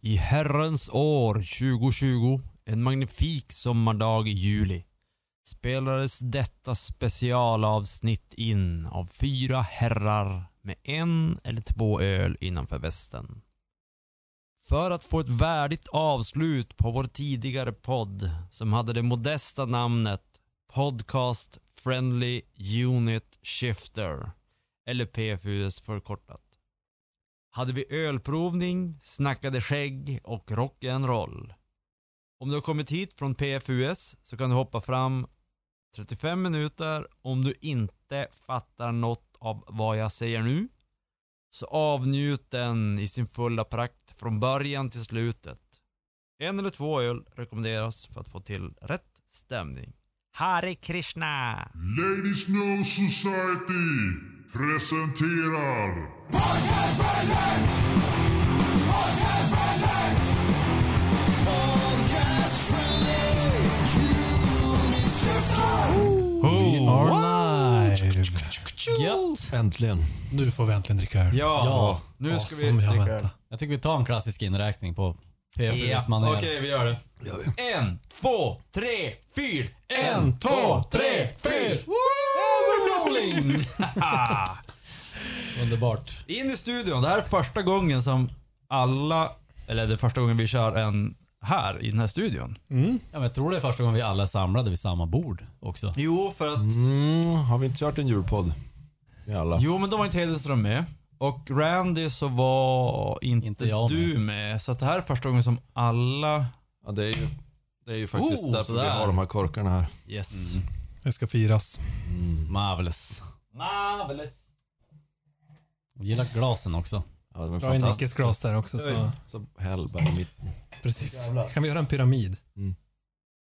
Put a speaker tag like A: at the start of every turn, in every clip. A: I herrens år 2020, en magnifik sommardag i juli, spelades detta specialavsnitt in av fyra herrar med en eller två öl innanför västen. För att få ett värdigt avslut på vår tidigare podd som hade det modesta namnet Podcast Friendly Unit Shifter eller PFUS förkortat hade vi ölprovning, snackade skägg och rock'n'roll. Om du har kommit hit från PFUS så kan du hoppa fram 35 minuter om du inte fattar något av vad jag säger nu. Så avnjut den i sin fulla prakt från början till slutet. En eller två öl rekommenderas för att få till rätt stämning. Hare Krishna!
B: Ladies No Society presenterar
C: Vi are live!
D: Gött!
C: Äntligen. Nu får vi äntligen dricka öl.
A: Ja,
D: Ja,
A: nu ska vi
C: som jag
A: dricka öl.
C: väntar.
D: Jag tycker vi tar en klassisk inräkning på
A: Ja,
D: PFUS
A: okej
D: manuell.
A: vi gör det. En, två, tre, fyra. En, två, tre, fyra. Woo!
D: Underbart.
A: In i studion. Det här är första gången som alla, eller det är första gången vi kör en här i den här studion.
E: Mm.
D: Ja, men jag tror det är första gången vi alla är samlade vid samma bord också.
A: Jo, för att,
E: Mm, har vi inte kört en julpodd? Vi alla.
A: jo men då var inte Hedenström med. Och Randy så var inte,
D: Inte jag
A: du med. Så att det här är första gången som alla,
E: Ja, det, är ju, det är ju faktiskt
A: Oh,
E: därför vi
A: sådär.
E: har de här korkarna här.
A: yes.
C: Det ska firas.
A: Mm.
D: Marvelous.
A: Marvelous.
D: Jag gillar glasen också.
E: Ja, det är
C: Jag har en
E: fantastiskt.
C: Nickes glas där också. Så.
E: Så Hellberg mitt.
C: Precis. Kan vi göra en pyramid?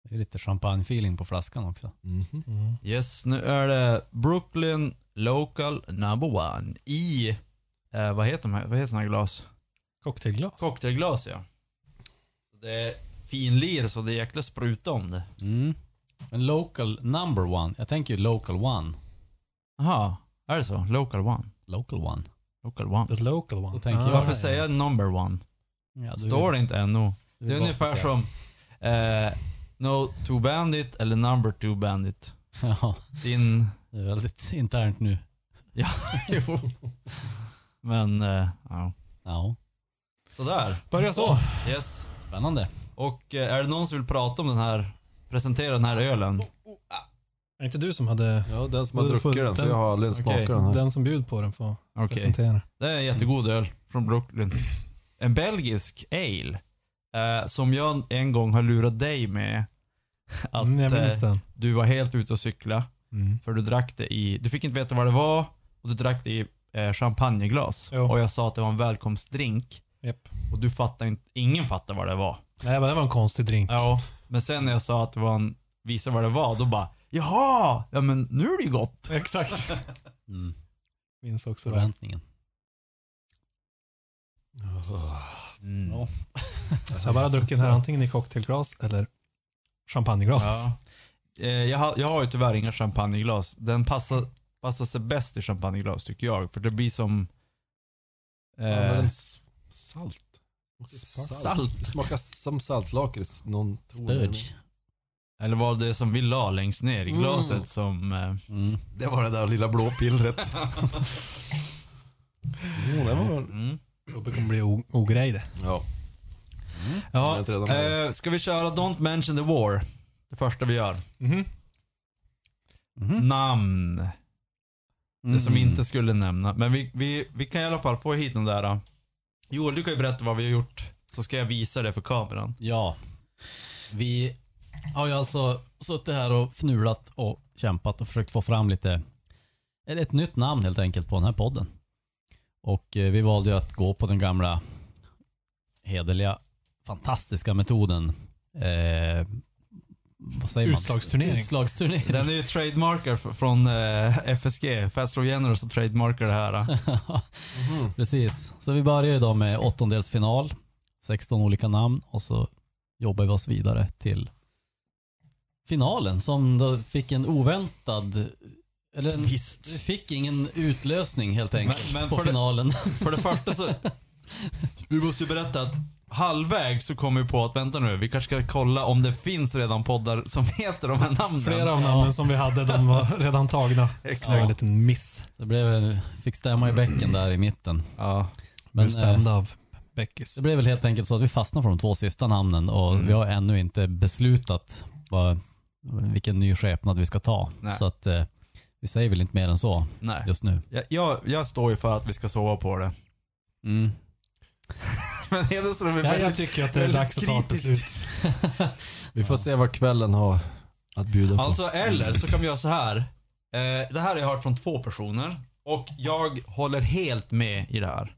D: Det är lite champagne-feeling på flaskan också.
E: Mhm.
A: Yes, nu är det Brooklyn Local Number One i, eh, vad heter de här, vad heter såna här glas?
C: Cocktailglas?
A: Cocktailglas ja. Det är finlir så det är jäkla spruta om det.
D: Mm. Men local number one. Jag tänker ju local one.
A: Jaha, är det så? Local one.
D: Local one.
A: Local one.
C: The local one.
D: Då tänker jag-
A: Varför säger jag number one?
D: Ja, du-
A: Står det inte NO?
D: du
A: Det
D: vill
A: är
D: vara
A: ungefär som
D: speciell.
A: eh, No Two Bandit eller Number Two Bandit.
D: Ja,
A: Din...
D: det är väldigt internt nu.
A: jo. Men, eh, ja.
D: Ja,
A: Sådär.
C: Börja så.
A: Yes.
D: spännande.
A: Och eh, är det någon som vill prata om den här, presentera den här ölen?
C: Är inte du som hade...
E: Ja, den som har
C: Du får
E: druckit den, för
C: den.
E: jag har aldrig ens
A: Okej.
E: smakat den här.
C: Den som bjöd på den får
A: Okej.
C: presentera.
A: Det är en jättegod öl från Brooklyn. En belgisk ale. Eh, som jag en gång har lurat dig med. Att
C: Mm, jag minns
A: eh,
C: den.
A: du var helt ute och cykla.
C: Mm.
A: För du drack det i, du fick inte veta vad det var och du drack det i eh, champagneglas.
C: Jo.
A: Och jag sa att det var en välkomstdrink.
C: Japp.
A: Och du fattade inte, ingen fattade vad det var.
C: Nej, men det var en konstig drink.
A: Ja. Men sen när jag sa att det var en, visa vad det var, då bara Jaha! Ja men nu är det ju gott.
C: Exakt.
D: Mm.
C: Minns också det.
D: Förväntningen.
A: Mm.
D: Ja.
C: Så jag har bara druckit den här antingen i cocktailglas eller champagneglas.
A: Ja. Eh, jag, har, jag har ju tyvärr inga champagneglas. Den passar, passar sig bäst i champagneglas tycker jag. För det blir som... Eh,
E: Ja, men den s- salt.
A: Salt.
E: Det smakar som saltlakrits. Någon tror det, men-
D: Spurge.
A: Eller var det som vi la längst ner i glaset
E: Mm.
A: som... Eh,
D: Mm.
E: Det var det där lilla blå pillret. jo, det var...
A: mm.
C: Det kommer bli o- ogrej det.
E: Ja. Jag
A: Ja,
E: är inte redan med.
A: eh, ska vi köra Don't mention the war? Det första vi gör.
C: Mhm.
D: Mhm.
A: Namn. Det som vi
D: Mm.
A: inte skulle nämna. Men vi, vi, vi kan i alla fall få hit den där. eh. Joel, du kan ju berätta vad vi har gjort. Så ska jag visa det för kameran.
D: Ja. Vi har ju alltså suttit här och fnulat och kämpat och försökt få fram lite, eller ett nytt namn helt enkelt på den här podden. Och eh, vi valde ju att gå på den gamla hederliga, fantastiska metoden. Eh, vad säger man?
C: Utslagsturnering.
D: Utslagsturnering.
A: Den är ju trademarker f- från eh, FSG. Fast Flow Generals och trademarker det här. eh. Mm-hmm.
D: Precis. Så vi börjar ju då med åttondelsfinal, 16 olika namn och så jobbar vi oss vidare till finalen som då fick en oväntad eller en, vi
A: Visst.
D: fick ingen utlösning helt enkelt
A: men
D: på
A: för det-
D: finalen.
A: För det första så... Vi måste ju berätta att halvvägs så kom vi på att vänta nu, vi kanske ska kolla om det finns redan poddar som heter de här namnen.
C: Flera av namnen som vi hade, de var redan tagna.
A: Exakt.
C: Så det var en liten miss.
D: Det blev, en- fick stämma i bäcken där i mitten.
A: Ja.
C: Men,
D: Men
C: blev
D: eh,
C: stämd av Beckis.
D: det blev väl helt enkelt så att vi fastnade för de två sista namnen och
A: Mm.
D: vi har ännu inte beslutat vad, vilken ny skepnad vi ska ta.
A: Nej.
D: Så att eh, vi säger väl inte mer än så
A: Nej.
D: just nu.
A: Jag, jag, jag står ju för att vi ska sova på det. Men Hedenström är
C: Mm. Ja,
A: väldigt
C: jag tycker att det är
A: väldigt
C: dags att ta ett beslut.
A: kritisk.
E: Vi får se vad kvällen har att bjuda på.
A: Alltså eller så kan vi göra så här. Eh, det här har jag hört från två personer och jag håller helt med i det här.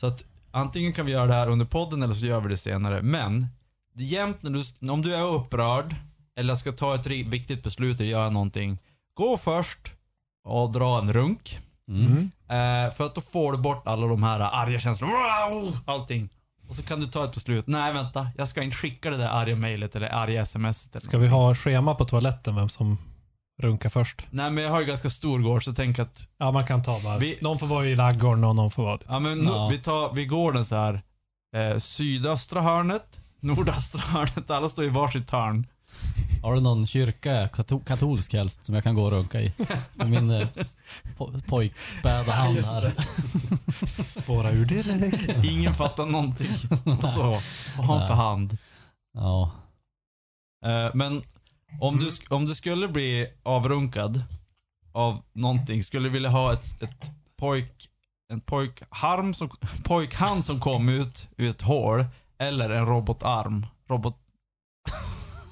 A: Så att antingen kan vi göra det här under podden eller så gör vi det senare. Men det är jämt när du, om du är upprörd eller ska ta ett ri- viktigt beslut eller göra någonting. Gå först och dra en runk.
D: Mm.
A: Eh, för att då får du bort alla de här arga känslorna. Wow! Allting. Och så kan du ta ett beslut. Nej vänta, jag ska inte skicka det där arga mejlet eller arga sms. eller
C: Ska vi ha schema på toaletten vem som runkar först?
A: Nej men jag har ju ganska stor gård så jag tänker att,
C: Ja, man kan ta bara.
A: Vi-
C: Någon får vara i laggården och någon får vara...
A: ja men
D: Ja.
A: no, vi tar, vi går den så här eh, sydöstra hörnet, nordöstra hörnet, alla står i varsitt hörn.
D: Har du någon kyrka, kato- katolsk helst, som jag kan gå och runka i? Med min eh, po- pojkspäda hand här.
C: Spåra ur det direkt.
A: Ingen fattar någonting. Vadå? Vad har han för hand?
D: Ja.
A: Eh, men om du, sk- om du skulle bli avrunkad av någonting, skulle du vilja ha ett, ett pojk, en pojkharm som, pojkhand som kom ut ur ett hål eller en robotarm? Robot...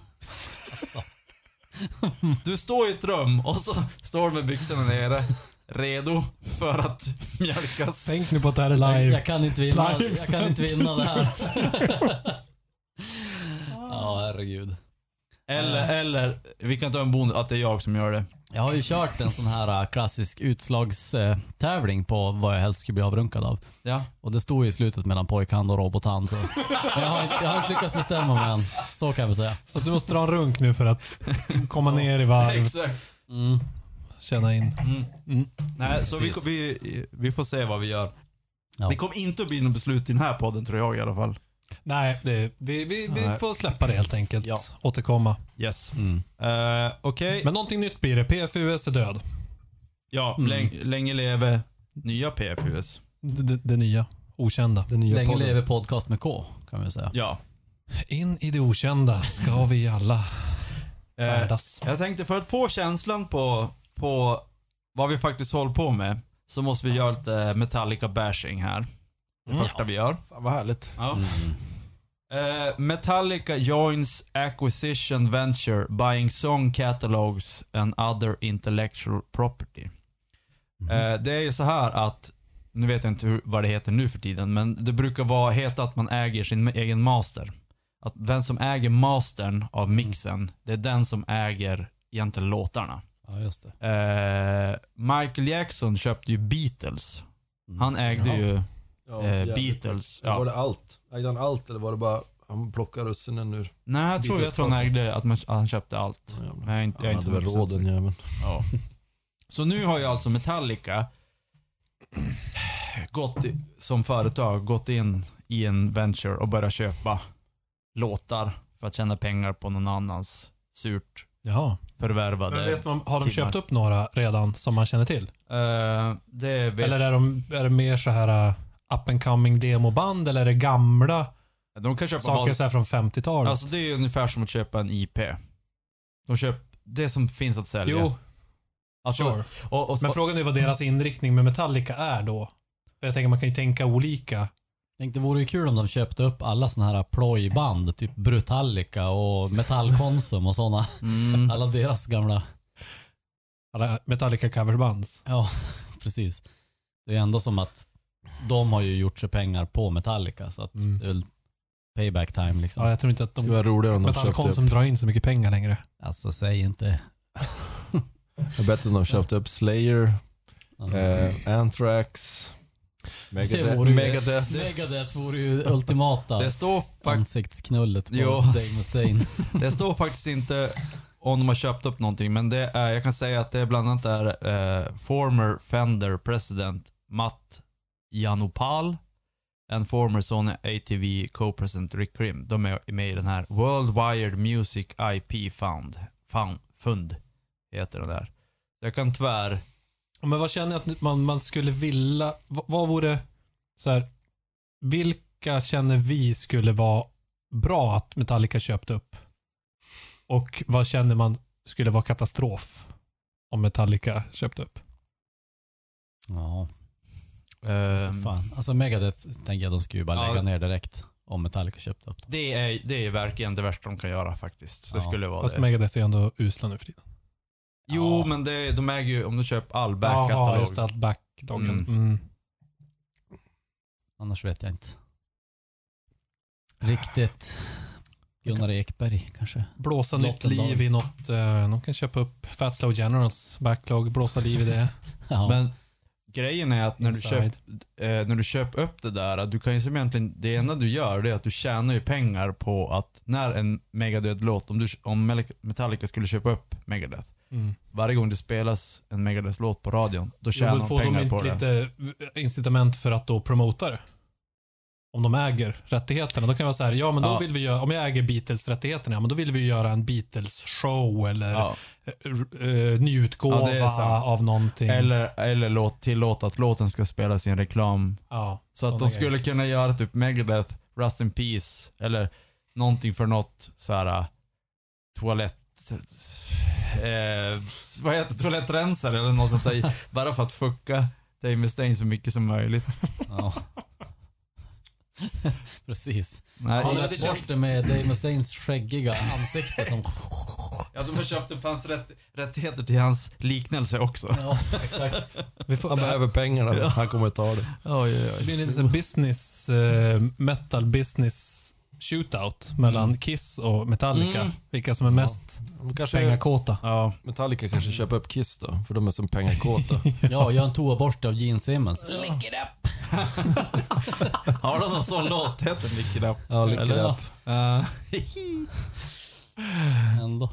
A: Du står i ett rum och så står du med byxorna nere, redo för att mjölkas.
C: Tänk nu på att det här är
D: Jag,
C: live.
D: jag, kan inte vinna,
C: Live
D: jag kan inte vinna det här. Ja, herregud.
A: Eller, eller, vi kan ta en bonus, att det är jag som gör det.
D: Jag har ju kört en sån här eh, klassisk utslagstävling på vad jag helst skulle bli avrunkad av.
A: Ja.
D: Och det stod ju i slutet mellan pojkhand och robothand. Så. Men jag har, inte, jag har inte lyckats bestämma mig än. Så kan vi säga.
C: Så att du måste dra en runk nu för att komma ner i varv,
A: Exakt.
D: Mm.
C: känna in.
A: Nej, så vi,
D: Precis.
A: vi, vi får se vad vi gör.
D: Ja.
A: Det kommer inte att bli något beslut i den här podden tror jag i alla fall.
C: Nej, det, vi, vi, vi
E: Nej.
C: får släppa det helt enkelt.
A: Ja.
C: Återkomma.
A: Yes.
D: Mm.
A: Uh, Okej.
C: Men någonting nytt blir det. PFUS är död.
A: Ja,
D: Mm.
A: läng, länge leve nya PFUS.
C: Det, det, det nya. Okända.
E: Den nya
D: Länge
E: podden.
D: lever podcast med K, kan vi säga.
A: Ja.
C: In i det okända ska vi alla
A: Eh,
C: färdas.
A: jag tänkte för att få känslan på, på vad vi faktiskt håller på med så måste vi göra lite Metallica bashing här. Det
C: Mm.
A: första vi gör.
E: Fan vad härligt.
A: Ja.
D: Mm.
A: Eh, Metallica joins acquisition venture buying song catalogs and other intellectual property.
D: Mhm.
A: Eh, Det är ju så här att, nu vet jag inte hur, vad det heter nu för tiden, men det brukar vara, heta att man äger sin egen master. Att den som äger mastern
D: Mm.
A: av mixen, det är den som äger egentligen låtarna.
D: Ja, just det.
A: Eh, Michael Jackson köpte ju Beatles.
D: Mm.
A: Han ägde
E: Jaha.
A: ju
E: Ja,
A: eh,
E: jävligt.
A: Beatles.
E: Var
A: Ja.
E: det allt? Ägde han allt eller var det bara han plockade russinen ur?
A: Nej, jag tror, jag tror han ägde att man, han köpte allt.
E: Ja, jävlar.
A: Jag är inte,
E: Han
A: jag är
E: hade
A: inte
E: väl
A: 100%
E: råd den jäveln.
A: Så nu har ju alltså Metallica gått i- som företag gått in i en venture och börjat köpa låtar för att tjäna pengar på någon annans surt
C: Jaha. Men
A: förvärvade.
C: vet man, har de
A: timmar.
C: köpt upp några redan som man känner till?
A: Eh, det vet,
C: Eller är, de, är det mer så här uh, up and coming demoband eller är det gamla
A: de kan köpa
C: saker så här från 50-talet?
A: Alltså det är ju ungefär som att köpa en IP. De köper det som finns att sälja.
C: jo,
A: alltså,
C: sure.
A: och, och,
C: Men frågan är vad deras inriktning med Metallica är då. För Jag tänker man kan ju tänka olika.
D: Tänk, det vore ju kul om de köpte upp alla såna här plojband, typ Brutallica och Metallkonsum och såna.
A: mm,
D: Alla deras gamla...
C: Alla Metallica coverbands.
D: Ja, precis. Det är ändå som att de har ju gjort sig pengar på Metallica, så att
C: Mm.
D: det är väl payback time liksom.
C: Ja, jag tror inte att
E: Det
C: de
E: var roligare om de köpte upp.
C: Metallkonsum drar in så mycket pengar längre.
D: Alltså säg inte...
E: Det är bättre om de köpte upp Slayer,
D: Ja.
E: eh, Anthrax,
D: Det
E: Megadeth.
D: vore ju-
E: Megadeth.
D: Megadeth vore ju ultimata
A: det står faktiskt
D: ansiktsknullet på
A: Jo.
D: Dave Mustaine.
A: Det står faktiskt inte om de har köpt upp någonting, men det är, jag kan säga att det är bland annat är eh, former Fender president Matt Janopal, and former Sony ATV co-president Rick Grimm. De är med i den här World Wired Music IP Fund. Fund, fund heter den där. Jag kan tyvärr...
C: Men vad känner jag att man, man skulle vilja, vad, vad vore, så här, vilka känner vi skulle vara bra att Metallica köpte upp? Och vad känner man skulle vara katastrof om Metallica köpte upp?
D: Ja,
A: ehm,
D: fan. Alltså Megadeth tänker jag de skulle ju bara
A: Ja.
D: lägga ner direkt. Om Metallica köpte upp dem.
A: det, är, det är verkligen det värsta de kan göra faktiskt. Det
D: Ja,
A: skulle vara
C: Fast
A: det.
C: Megadeth är ändå usla nu för tiden.
A: Jo,
D: Ja.
A: men det, de äger ju, om de köper all
C: Jaha,
A: backkatalog.
C: just det, allt backloggen.
A: Mm.
C: Mm.
D: Annars vet jag inte. Riktigt. Gunnar Ekberg kanske.
C: Blåsa nytt
D: Lottendagen.
C: liv i något, eh, de kan köpa upp Fat Slow Generals backlog, blåsa liv i det.
D: Ja.
A: Men grejen är att när du,
C: Inside.
A: köp, eh, när du köper upp det där, att du kan ju som egentligen, det enda du gör det är att du tjänar ju pengar på att när en Megadeth-låt, om, du, om Mel- Metallica skulle köpa upp Megadeth,
C: Mm.
A: varje gång det spelas en Megadeth-låt på radion, då
C: Jo,
A: tjänar
C: men
A: de
C: får de
A: pengar på
C: inte
A: det.
C: lite eh, incitament för att då promota det? Om de äger rättigheterna. Då kan det vara så här, ja men då
A: Ja.
C: vill vi göra, om jag äger Beatles-rättigheterna, ja men då vill vi göra en Beatles-show eller
A: Ja.
C: eh, eh, nyutgåva
A: Ja, det är sant.
C: av någonting.
A: Eller, eller låt, tillåta att låten ska spelas i en reklam.
C: ja,
A: Så att de
C: såna grejer.
A: skulle kunna göra typ Megadeth, Rust in Peace eller någonting för något så här äh, toalett... Eh, vad heter det? Toalettrensare eller något sånt där. bara för att fucka Dave Mustaine så mycket som möjligt.
D: Ja. Precis.
A: Nej,
D: Han hade bort det med Dave Mustaines skäggiga ansikte som...
A: ja, de har köpt upp hans rätt, rättigheter till hans liknelse också.
D: Ja, exakt.
C: Vi får,
E: Han behöver pengarna. Han kommer att ta det.
A: Oj, oj,
C: Det
A: oj.
C: blir en liten business, eh, metal business shootout mellan
A: Mm.
C: Kiss och Metallica.
A: Mm.
C: Vilka som är mest
E: De Kanske
C: pengakåta.
A: Ja.
E: Metallica kanske köper upp Kiss då, för de är som pengakåta.
D: Ja, gör en toaborste av Gene Simmons. Lick it up!
A: Har de någon sån låt? Heter den Lick It Up?
E: Ja, lycka
A: Eller?
E: upp.
A: Eh,
D: Ändå.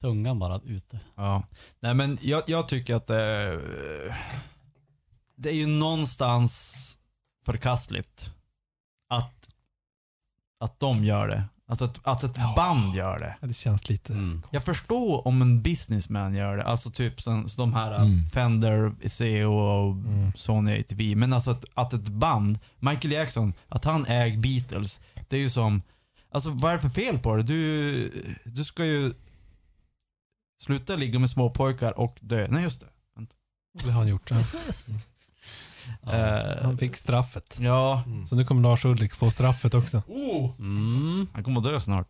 D: Tungan bara ute.
A: Ja. Nej men jag, jag tycker att eh, det är ju någonstans förkastligt att, att de gör det. Alltså att, att ett
C: Ja.
A: band gör det.
C: Ja, Det känns lite...
D: Mm.
A: Jag förstår om en businessman gör det. Alltså typ som, som de här eh,
E: Mm.
A: Fender, CEO och
C: Mm.
A: Sony ATV. Men alltså att, att ett band, Michael Jackson, att han äger Beatles. Det är ju som, alltså vad är det för fel på det? Du, du ska ju sluta ligga med småpojkar och dö. Nej just det.
C: Det har han gjort. ja.
A: Eh,
C: Han fick straffet.
A: ja.
C: Så nu kommer Lars Ulrik få straffet också.
A: Oh,
D: Mm.
A: han kommer att dö snart.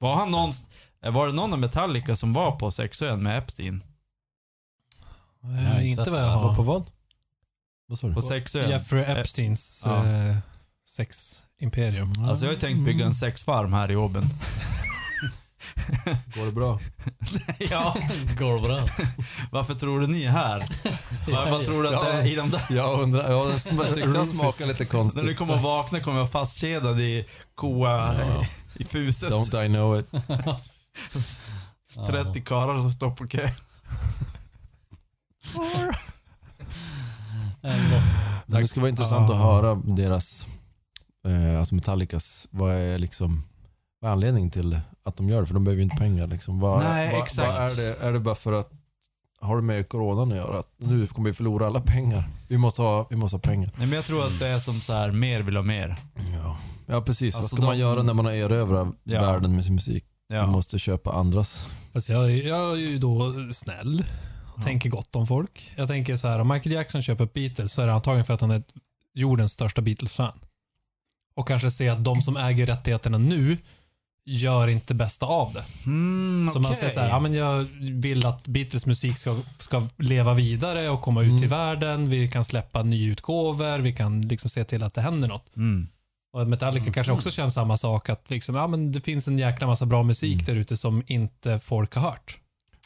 A: Var han någonstans, var det någon av Metallica som var på sexön med Epstein?
C: Eh,
D: Ja,
C: inte
D: exakt.
C: vad jag
D: Ja,
C: har.
E: På vad? Vad sa du?
A: På sexön?
C: Jeffrey Epsteins
A: Ja.
C: eh, seximperium.
A: Alltså jag har ju tänkt bygga en sexfarm här i Åben.
E: Går det bra?
A: ja,
D: Går bra.
A: varför tror du ni är här? Vad vad tror du att det är i de där?
E: Jag undrar. Jag tyckte han smakade lite
A: När du
E: konstigt.
A: kommer att vakna kommer jag vara fastkedjad i koa,
E: Ja.
A: i fuset.
E: Don't I know it.
A: 30 karlar som står på kö.
D: Ja, ändå.
E: Men det skulle vara intressant att höra deras, eh, alltså Metallicas, vad är liksom vad är anledningen till att de gör det? För de behöver ju inte pengar. Liksom. Vad,
A: Nej,
E: vad,
A: exakt.
E: Vad är, det, är det bara för att, har det med coronan att göra? Att nu kommer vi förlora alla pengar. Vi måste ha, vi måste ha pengar.
A: Nej men jag tror att det är som så här, mer vill ha mer.
E: Ja, ja precis.
A: Alltså,
E: vad ska man
A: de-
E: göra när man har erövrat
A: Ja.
E: världen med sin musik? Man
A: Ja.
E: måste köpa andras.
C: Fast jag, jag är ju då snäll och
A: Ja.
C: tänker gott om folk. Jag tänker så här, om Michael Jackson köper Beatles så är det antagligen för att han är jordens största Beatles-fan. Och kanske se att de som äger rättigheterna nu gör inte bästa av det.
A: Mm,
C: Så man säger så här, ja men jag vill att Beatles musik ska, ska leva vidare och komma ut
E: Mm.
C: i världen. Vi kan släppa nyutgåvor, vi kan liksom se till att det händer något.
A: mm.
C: Och Metallica kanske också känner samma sak, att liksom, ja men det finns en jäkla massa bra musik
E: Mm.
C: där ute som inte folk har hört.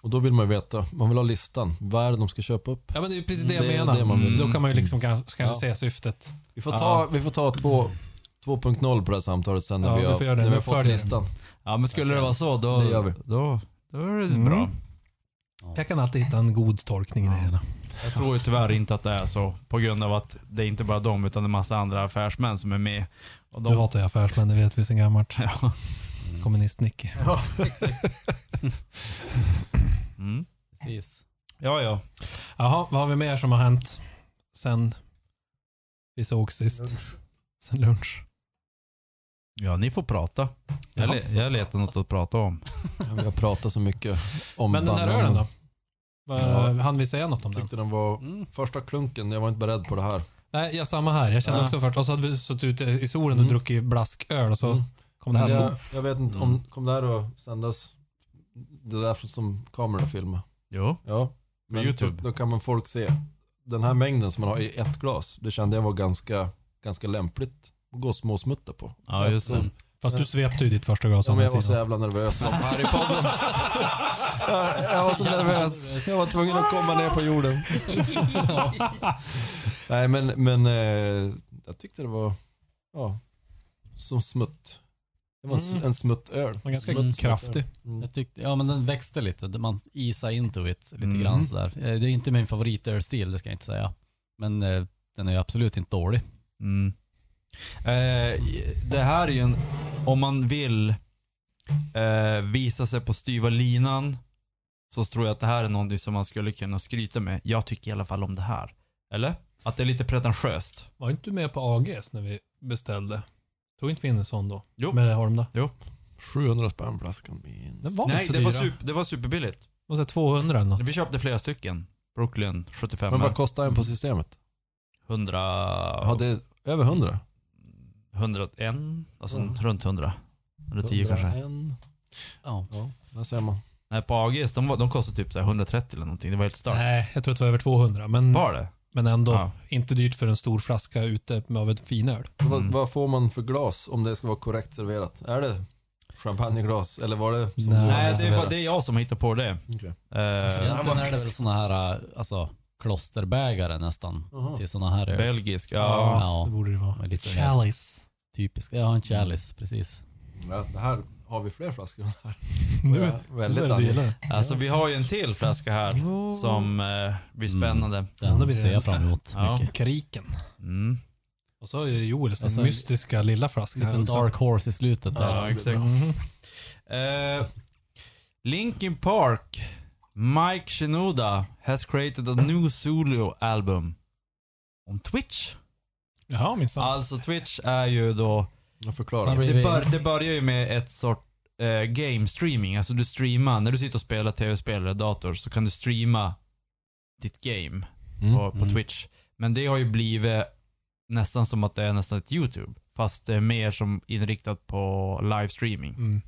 E: Och då vill man ju veta, man vill ha listan. Vad är det de ska köpa upp?
C: Ja, men det är precis det jag
E: Det är
C: menar.
E: det man Mm.
A: vill.
C: Då kan man ju liksom kans- kanske
E: Ja.
C: se syftet.
E: Vi får ta, vi får ta två, 2.0 på det här samtalet sen när
C: Ja,
E: vi,
C: vi
E: har,
C: får göra det.
E: När vi har
C: Nu följer
E: fått
C: det.
E: listan.
A: Ja men skulle det vara så då,
E: Det gör vi.
A: då, då är det
C: Mm.
A: bra.
C: Jag kan alltid hitta en god tolkning i det hela.
A: Jag tror ju tyvärr inte att det är så. På grund av att det är inte bara de utan det är massa andra affärsmän som är med. Och
C: Du hatar ju affärsmän, det vet vi sen gammalt.
A: Ja.
C: Kommunist-Nicke.
A: Ja, exakt. Mm.
D: Precis.
A: Ja, ja.
C: Jaha, vad har vi mer som har hänt sen vi såg sist? Sen lunch.
A: Ja, ni får prata. Jag, le- jag letar något att prata om.
E: Vi har pratat så mycket om
C: Men den här
E: bandvagnen.
C: ölen då? Ja.
E: Ja.
C: Han vill säga något om
E: Jag
C: den?
E: tyckte den var
D: Mm.
E: första klunken. Jag var inte beredd på det här.
C: Nej, ja, samma här. Jag kände
E: Ja.
C: också först. Och så hade vi suttit ute i solen och
E: Mm.
C: druckit blasköl och så
E: Mm.
C: kom det här.
E: jag, jag vet inte, om,
A: Mm.
E: kom det här att sändas? Det där som kamerorna filmar.
A: Jo.
E: Ja. Men
A: YouTube.
E: Då, då kan man folk se. Den här mängden som man har i ett glas, det kände jag var ganska, ganska lämpligt att gå och småsmutta på.
A: Ja, just
D: Alltså,
A: det.
C: Fast du svepte ju ditt första glas å
E: Ja, men
C: andra
E: jag var så
C: sidan.
E: jävla nervös. Jag var här i podden. jag, jag var så nervös. Jag var tvungen att komma ner på jorden. Nej, men, men eh, jag tyckte det var ja, som smutt. Det var en s-
C: Mm.
E: en smuttöl.
C: Den var ganska
E: Smutt, smutt
C: kraftig.
E: Mm.
D: Jag tyckte, ja men den växte lite. Man isade into it lite
A: Mm.
D: grann sådär. Eh, Det är inte min favoritölstil, det ska jag inte säga. Men eh, den är ju absolut inte dålig.
A: Mm. Eh, det här är ju en, om man vill eh, visa sig på styva linan så tror jag att det här är någonting som man skulle kunna skryta med. Jag tycker i alla fall om det här. Eller? Att det är lite pretentiöst.
C: Var inte du med på AGs när vi beställde? Tog inte vi in en sån då?
A: Jo.
C: Med Holmda.
E: 700 spänn flaskan min.
C: Den var inte
A: Nej,
C: så
A: det
C: dyra.
A: var, super, det var superbilligt.
C: Det var så här 200 eller något.
A: Vi köpte flera stycken. Brooklyn 75.
E: Men vad kostar en på systemet?
A: 100...
E: Ja, det är över 100.
A: 101? Alltså
E: Mm.
A: runt 100. 110 kanske.
E: 101.
D: Ja.
E: Ja, där ser man.
A: Nej, på AGs, de, var- de kostade typ så här 130 eller någonting. Det var helt stört.
C: Nej, jag tror att det var över 200. Men,
A: Var det?
C: men ändå
A: Ja.
C: inte dyrt för en stor flaska ute med av ett finöl.
A: Mm.
E: Vad, vad får man för glas om det ska vara korrekt serverat? Är det champagneglas eller var det som
C: Nej,
E: du
A: Nej, det, var,
E: serverade?
A: det är jag som hittar på det.
E: Okej.
A: Eh,
D: Egentligen är det väl såna här eh, alltså, klosterbägare nästan.
E: Jaha.
D: Till såna här öl.
A: Belgisk, ja.
C: det borde det vara.
D: med lite
C: Chalice.
D: Typiskt. Ja, en chalice, precis.
E: Ja, det här har vi fler flaskor av det här.
C: Nu
E: Jag är väldigt
C: väldigt
E: angelägen.
C: angelägen.
A: Alltså vi har ju en till flaska här som eh, blir
D: Mm.
A: spännande.
C: Ja, då
D: Den
C: blir det
D: ser jag fram emot
A: Ja.
D: mycket.
C: Kriken.
A: Mm.
C: Och så har ju Joel sin
D: Alltså,
C: mystiska lilla flaska här
D: Liten
C: också.
D: dark horse i slutet där.
A: Ja, exakt.
C: Mhm.
A: Eh, Linkin Park, Mike Shinoda has created a new solo album. On Twitch.
C: Jaha, minsann.
A: Alltså Twitch är ju då
E: Jag
D: Fan,
E: förklarar.
D: blir vi-
A: Det, bör, det börjar ju med ett sort eh, game streaming. Alltså du streamar, när du sitter och spelar tv-spel eller dator så kan du streama ditt game på, på
D: Mm.
A: Twitch. Men det har ju blivit nästan som att det är nästan ett YouTube. Fast det är mer som inriktat på live streaming.
C: Mm.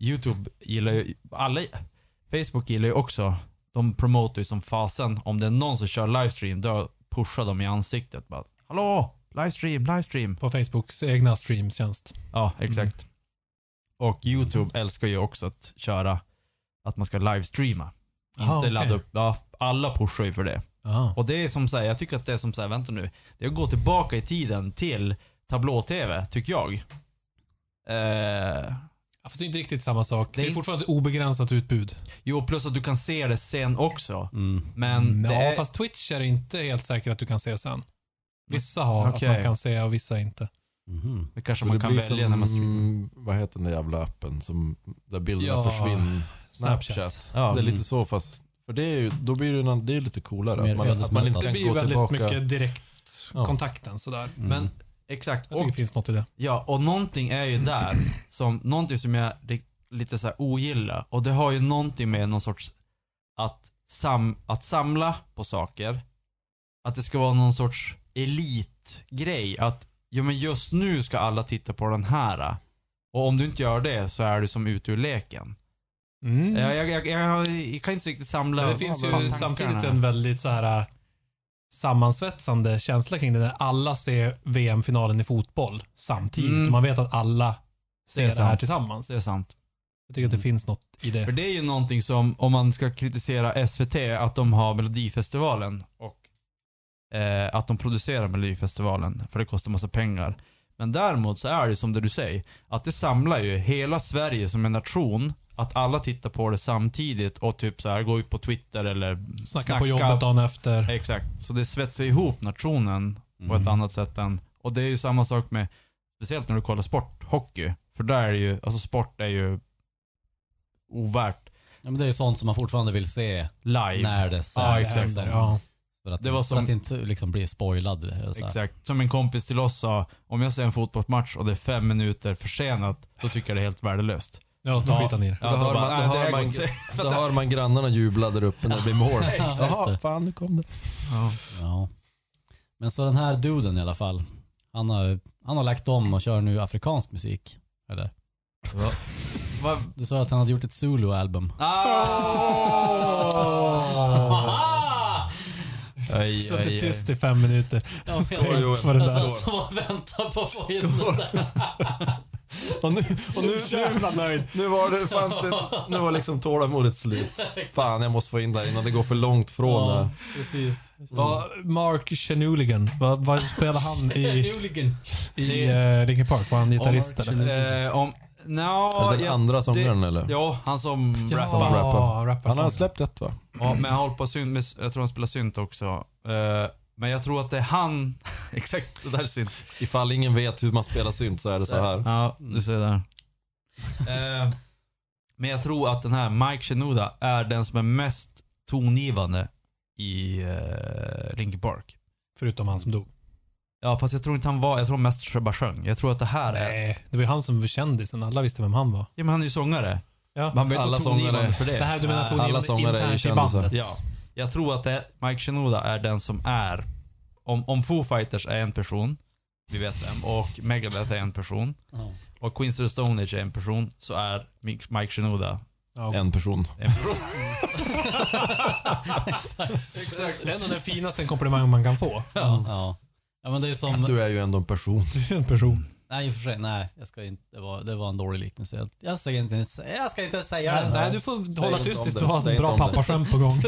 A: YouTube gillar ju, alla, Facebook gillar ju också, de promotar ju som fasen. Om det är någon som kör livestream, då pushar de i ansiktet bara Hallå! Livestream, livestream.
C: På Facebooks egna streamtjänst.
A: Ja, exakt. Och YouTube älskar ju också att köra att man ska livestreama. Inte
C: Ah, okej.
A: ladda upp. Ja, alla pushar ju för det.
C: Jaha.
A: Och det är som säger, jag tycker att det är som säger, vänta nu. Det är att gå tillbaka i tiden till tablå-tv, tycker jag. Eh,
C: Ja, Fast det är inte riktigt samma sak. Det
A: Det
C: är,
A: är
C: fortfarande obegränsat utbud.
A: jo, plus att du kan se det sen också.
D: Mm.
A: Men det
C: ja,
A: är...
C: fast Twitch är det inte helt säkert att du kan se sen. Vissa har
A: Okej.
C: att man kan se och vissa inte.
D: Mhm.
A: det kanske
E: Så
A: man
E: det
A: kan
E: blir
A: välja när man streamar.
E: mm, Vad heter den där jävla appen som, där bilderna
C: Ja,
E: försvinner?
C: Snapchat.
A: Ja,
E: det är
D: mm.
E: lite så fast, för det är ju, då blir det, ju någon- det är ju lite coolare.
D: Mer
E: Att man, att man inte
D: ödesmättat.
C: Det
E: kan
C: blir ju
E: gå
C: väldigt
E: tillbaka.
C: mycket
E: Ja.
C: direktkontakten sådär.
D: Mm.
A: Men exakt.
C: Jag tycker
A: Och
C: det finns något i det.
A: Ja, och någonting är ju där som, någonting som jag ri- lite så här ogillar. Och det har ju någonting med någon sorts att, sam, att samla på saker. Att det ska vara någon sorts elitgrej. Att ja, men just nu ska alla titta på den här. Och om du inte gör det så är du som ute ur leken.
C: Mm.
A: Jag, jag, jag, jag, jag kan inte riktigt samla
C: Men det finns ju
A: tankarna.
C: samtidigt en väldigt så här äh, sammansvetsande känsla kring det när alla ser VM-finalen i fotboll samtidigt.
A: Mm.
C: Och man vet att alla
A: Det
C: ser
A: är
C: det, här
A: sant.
C: tillsammans.
A: Det är sant. Mm.
C: Jag tycker att det finns något i
A: För
C: det.
A: det är ju någonting som, om man ska kritisera SVT, att de har Melodifestivalen och eh, att de producerar Melodifestivalen, för det kostar massa pengar. Men däremot så är det som det du säger, att det samlar ju hela Sverige som en nation att alla tittar på det samtidigt och typ så här går ut på Twitter eller
C: Snacka, på jobbet dagen efter.
A: Exakt. Så det svetsar ihop nationen på ett
D: Mm.
A: annat sätt än... Och det är ju samma sak med, speciellt när du kollar sport, hockey. För där är det ju, alltså sport är ju ovärt
D: Ja, men det är ju sånt som man fortfarande vill se
A: live.
D: när det sen
A: Ja, exakt.
D: händer.
C: Ja.
D: För att,
A: Det var
D: för
A: som-
D: att inte liksom bli spoilad. eller så här.
A: Exakt. Som en kompis till oss sa, om jag ser en fotbollsmatch och det är fem minuter försenat, då tycker jag det är helt värdelöst.
C: Ja, då
A: Ja.
C: skiter han i det.
A: Ja,
E: Då hör
A: bara, äh,
E: man- då
A: "Nej, det
E: hör
A: här går
E: man-
A: inte."
E: Då hör man grannarna jubla där uppe när det blir mål. Jaha, fan nu kom det.
A: Ja.
D: Ja. Men så den här duden i alla fall. Han har, han har lagt om och kör nu afrikansk musik. Eller?
A: Va?
D: Du sa att han hade gjort ett Zulu-album.
A: Ah! Aj, aj, aj.
C: Suttit tyst i fem minuter.
D: Jag
C: Tänkt på det där.
D: satt som och väntade på att få in den där.
E: Och nu, och nu, nu, nu var det, fanns det, nu var liksom tålamodet slut. Fan, jag måste få in där innan det går för långt från
D: Ja,
E: där.
D: precis.
C: Va, Mark Chenuligan, vad va spelade han i,
D: Hooligan.
C: i eh, Linkin Park? Var han gitarrist
D: Mark
C: eller?
A: Eh, om... Nja,
E: Är det den
A: ja,
E: andra sångaren eller?
A: ja, han som rappar.
E: Som rapper.
C: rappar
E: Han har
C: sång.
E: släppt ett va?
A: Ja, men han håller på synt, med, jag tror han spelar synt också. Eh, men jag tror att det är han, exakt det där är synt.
E: Ifall ingen vet hur man spelar synt så är det så här.
A: Ja, du ser där.
C: Mm.
A: Eh, men jag tror att den här Mike Shinoda är den som är mest tongivande i eh, Linkin Park.
C: Förutom han som dog.
A: Ja, fast jag tror inte han var, jag tror mest bara sjöng. Jag tror att det här är,
C: Nej, det var ju han som var kändisen. Alla visste vem han var.
A: ja men han är ju sångare.
C: Ja.
A: Man vet
E: Alla
A: alla tongivande
E: sångare.
A: för det.
C: Det här du menar
A: Nej.
C: Tony
E: alla sångare är ju
C: internt i
E: kändisar.
C: bandet?
A: Ja. Jag tror att det, Mike Shinoda är den som är, om, om Foo Fighters är en person, vi vet vem, och Megadeth är en person,
D: Ja.
A: och Queens of the Stone Age är en person, så är Mike Mike Shinoda
C: Ja.
E: En person.
A: en person.
C: Det är nog den finaste komplimang man kan få.
D: Ja. ja. Ja men det är som...
E: Du är ju ändå en person.
C: Du är en person.
D: Nej i och för sig, nej. Jag ska inte, det, var, det var en dålig liknelse. Jag- Jag ska inte, ens- jag ska inte ens säga
C: Nej,
D: den.
C: nej, du får hålla
E: inte
C: tyst
E: om
C: tills
E: det.
C: du har
E: Säg
C: en
E: inte
C: bra
E: om det.
C: pappaskämt på gång.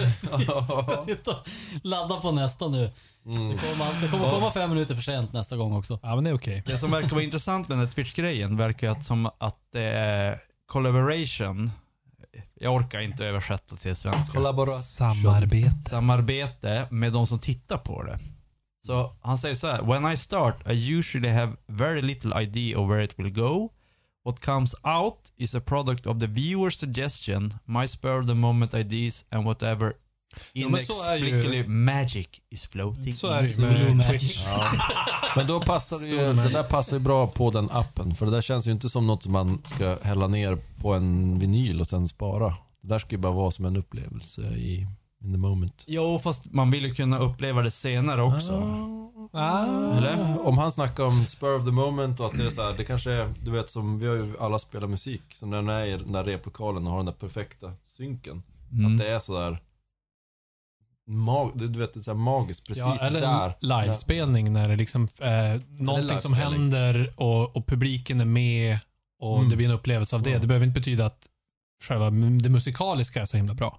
D: Jag ska sitta och ladda på nästa nu.
C: Mm.
D: Det kommer, det kommer komma fem minuter för sent nästa gång också.
C: Ja, men det är okej.
A: Det som verkar vara intressant med den här Twitch-grejen verkar ju att som att det är collaboration. Jag orkar inte översätta till svenska.
C: Samarbete.
A: Samarbete med de som tittar på det. Så han säger så här. When I start I usually have very little idea of where it will go. What comes out is a product of the viewer's suggestion, my spur of the moment ideas and whatever
C: Ja, men så är ju-
A: inexplicably magic is floating
C: Så är det ju
D: Zulu
C: med
D: Magic.
C: Twitch.
E: Men då passar det ju, det där passar ju bra på den appen. För det där känns ju inte som något som man ska hälla ner på en vinyl och sen spara. Det där ska ju bara vara som en upplevelse i in the moment.
A: Jo, fast man vill ju kunna uppleva det senare också.
C: Ah.
A: Eller?
E: Om han snackar om spur of the moment och att det är så här, det kanske är, du vet som, vi har ju alla spelat musik. Så när den är i den där replokalen och har den där perfekta synken. Att
A: Mm.
E: det är så där, mag, du vet det är så här magiskt precis
C: Ja, eller en
E: där.
C: livespelning när det liksom eh, någonting som
E: livespelning.
C: händer och, och publiken är med och
E: Mm.
C: det blir en upplevelse av det.
E: Mm.
C: Det behöver inte betyda att själva m- det musikaliska är så himla bra.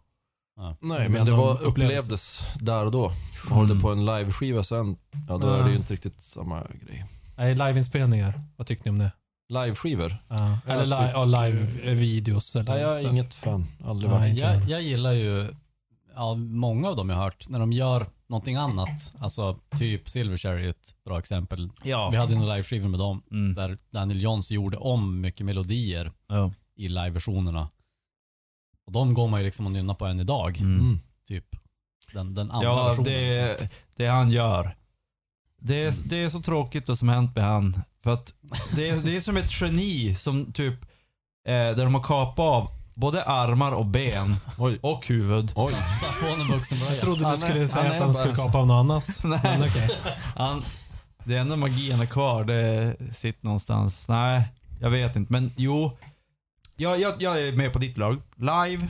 E: Nej,
C: Men
E: men det
C: de
E: var,
C: upplevelser.
E: upplevdes där och då. Har du det på en liveskiva sen, ja då är det ju
C: Ja.
E: inte riktigt samma grej.
C: Nej, liveinspelningar. Vad tyckte ni om det?
E: Liveskivor?
C: Ja.
E: Jag
C: eller li-
E: tycker-
C: ja, live-videos eller
E: Nej, jag
C: så.
E: är inget fan. Aldrig
C: Nej.
E: varit.
D: Jag, jag gillar ju ja, många av dem jag har hört när de gör någonting annat. Alltså typ Silverchair är ett bra exempel. Vi
A: Ja.
D: hade ju några liveskivor med dem
A: Mm.
D: där Daniel Johns gjorde om mycket melodier
A: Ja.
D: i liveversionerna. Och de går man ju liksom och nynnar på än idag.
A: Mm.
E: Mm.
D: Typ den, den andra
A: Ja,
D: versionen.
A: det, det han gör. Det är, det är så tråkigt vad som hänt med han. För att det är, det är som ett geni som typ, eh, där de har kapat av både armar och ben
E: Oj.
A: och huvud.
E: Oj.
D: Satt på honom
C: Jag
D: vuxenbröja.
C: trodde du
E: Han är-
C: skulle säga
E: han är
C: att han
E: bara-
C: skulle kapa av något annat. Men
A: Nej,
C: okej.
A: han, det enda magin är kvar, det sitter någonstans. Nej, jag vet inte. Men jo, jag, jag, jag är med på ditt lag. Live,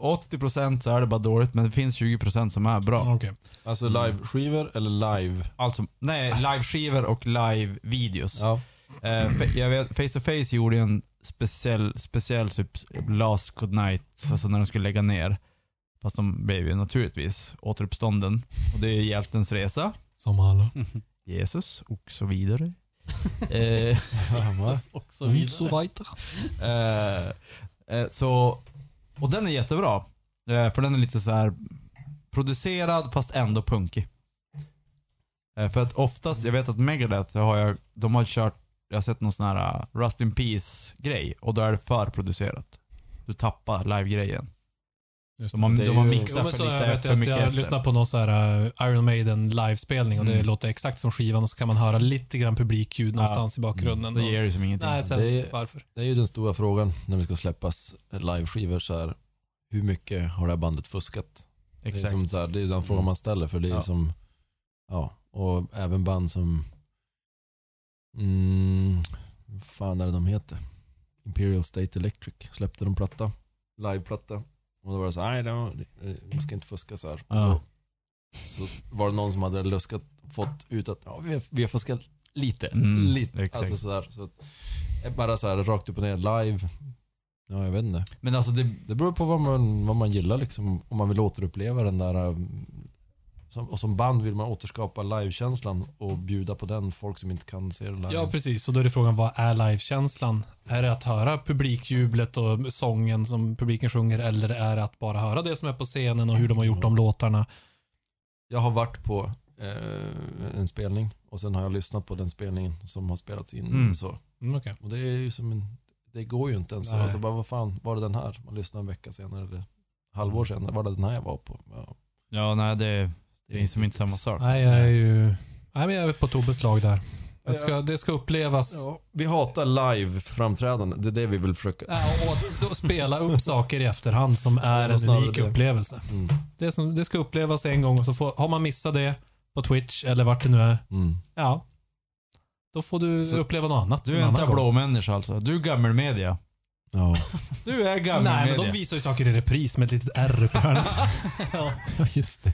A: 80% så är det bara dåligt, men det finns 20% som är bra.
C: Okej.
E: Alltså
C: Mm.
E: liveskivor eller live?
A: Alltså, nej, liveskivor och live-videos.
E: Ja.
A: Eh, fe- jag vet, Face to Face gjorde ju en speciell, speciell typ Last Good Night, alltså när de skulle lägga ner. Fast de blev ju naturligtvis återuppstånden. Och det är hjältens resa,
C: Som alla.
D: Mm.
A: Jesus och så vidare. eh,
D: Och så vidare.
C: weiter.
A: eh, Eh, så, och den är jättebra. Eh, för den är lite så här producerad fast ändå punkig. Eh, för att oftast, jag vet att Megadeth har jag, de har kört, jag har sett någon sån här eh, Rust in Peace grej och då är det för producerat. Du tappar live-grejen.
C: Just
A: De har,
E: det är
A: de har
E: ju-
A: mixat
C: Jo, men
A: för
C: så jag
A: lite,
C: vet
A: för
C: att
A: mycket
C: jag
A: efter.
C: lyssnar på någon så här eh, Iron Maiden livespelning och det
A: Mm.
C: låter exakt som skivan och så kan man höra lite grann publikljud någonstans i bakgrunden.
A: Mm. Det
C: Och,
A: ger ju som ingenting.
C: nej, sen,
E: Det är-
C: varför?
E: Det är ju den stora frågan när det ska släppas liveskivor så här. Hur mycket har det här bandet fuskat? Det är,
A: Exakt. Mm.
E: som så här, det är den frågan man ställer för det är
A: Ja.
E: som, ja, och även band som, mm, vad fan är det de heter? Imperial State Electric släppte de platta, liveplatta. Och då var det så här, nej, det var- eh, vi ska inte fuska så här.
A: Ja.
E: Så, så var det någon som hade luskat, fått ut att ja, vi, har, vi har fuskat lite,
A: Mm,
E: lite.
A: exakt.
E: Alltså så här, så att, eh, bara så här rakt upp och ner live. Ja, jag vet inte.
A: Men alltså det,
E: Det beror på vad man, vad man gillar liksom. Om man vill återuppleva den där... um, Som, och som band vill man återskapa livekänslan och bjuda på den folk som inte kan se det live.
C: Ja, precis. Och då är det frågan, vad är livekänslan? Är det att höra publikjublet och sången som publiken sjunger eller är det att bara höra det som är på scenen och hur de har gjort de låtarna?
E: Jag har varit på eh, en spelning och sen har jag lyssnat på den spelningen som har spelats in.
A: Mm.
E: Så.
C: Mm, okej.
E: Och det är ju som en... Det går ju inte ens.
C: Nej.
E: Alltså bara, vad fan, var det den här? Man lyssnar en vecka senare eller halvår senare. Var det den här jag var på? Ja,
A: ja nej det, Mm. det är som inte samma sak.
C: Nej, jag är ju... Nej, men jag är på Tobbes lag där. Det ska, det ska upplevas.
E: Ja, vi hatar live-framträdande. Det är det vi vill försöka...
C: Ja, och att Äh, spela upp saker i efterhand som är en
E: Snarare
C: unik
E: det.
C: upplevelse.
E: Mm.
C: Det, som, det ska upplevas en gång och så får, har man missat det på Twitch eller vart det nu är,
E: Mm.
C: ja. Då får du
A: Så-
C: uppleva något annat.
A: Du är en
C: annan gång.
A: tablåmänniska alltså. Du är gammelmedia.
E: Ja.
A: Du är
C: Nej, men
A: gammelmedia.
C: de visar ju saker i repris med ett litet R uppe i hörnet.
E: Ja, just det.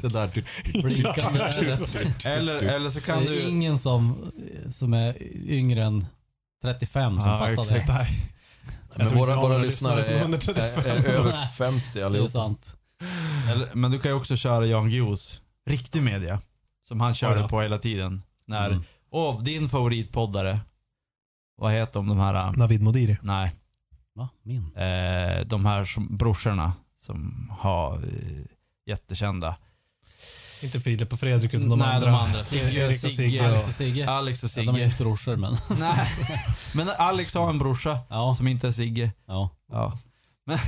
E: Det där typ- du
D: Blinkande ärret.
A: Eller, eller så kan
D: Det är
A: du...
D: ingen som, som är yngre än 35 som
A: Ja,
D: fattar
A: exakt.
D: det.
C: Jag
E: Men
C: tror
E: våra,
C: inte
E: våra
C: någon
E: lyssnare
C: lyssnare som är under
E: är,
C: 35.
E: är, är över 50
D: Det är
E: allihopa.
D: sant.
A: Eller, men du kan ju också köra Jan Guillous riktig media. Som han körde
C: Ja, ja.
A: på hela tiden. När,
E: Mm.
A: åh, din favoritpoddare. Vad heter de, de här? äh,
C: Navid Modiri.
A: Nej,
D: Va? Min?
A: eh, de här som, brorsorna som har eh, jättekända.
C: Inte Filip och Fredrik, utan de
A: Nej,
C: andra.
A: de andra. Sigge,
C: Sigge, Erik och
A: Sigge.
C: Sigge.
D: Alex
C: Och,
D: och Sigge.
A: Alex och
D: Ja, de är
A: Sigge.
D: inte brorsor men.
A: Nej, men Alex har en brorsa
D: Ja.
A: som inte är Sigge.
D: ja.
A: Ja. Men,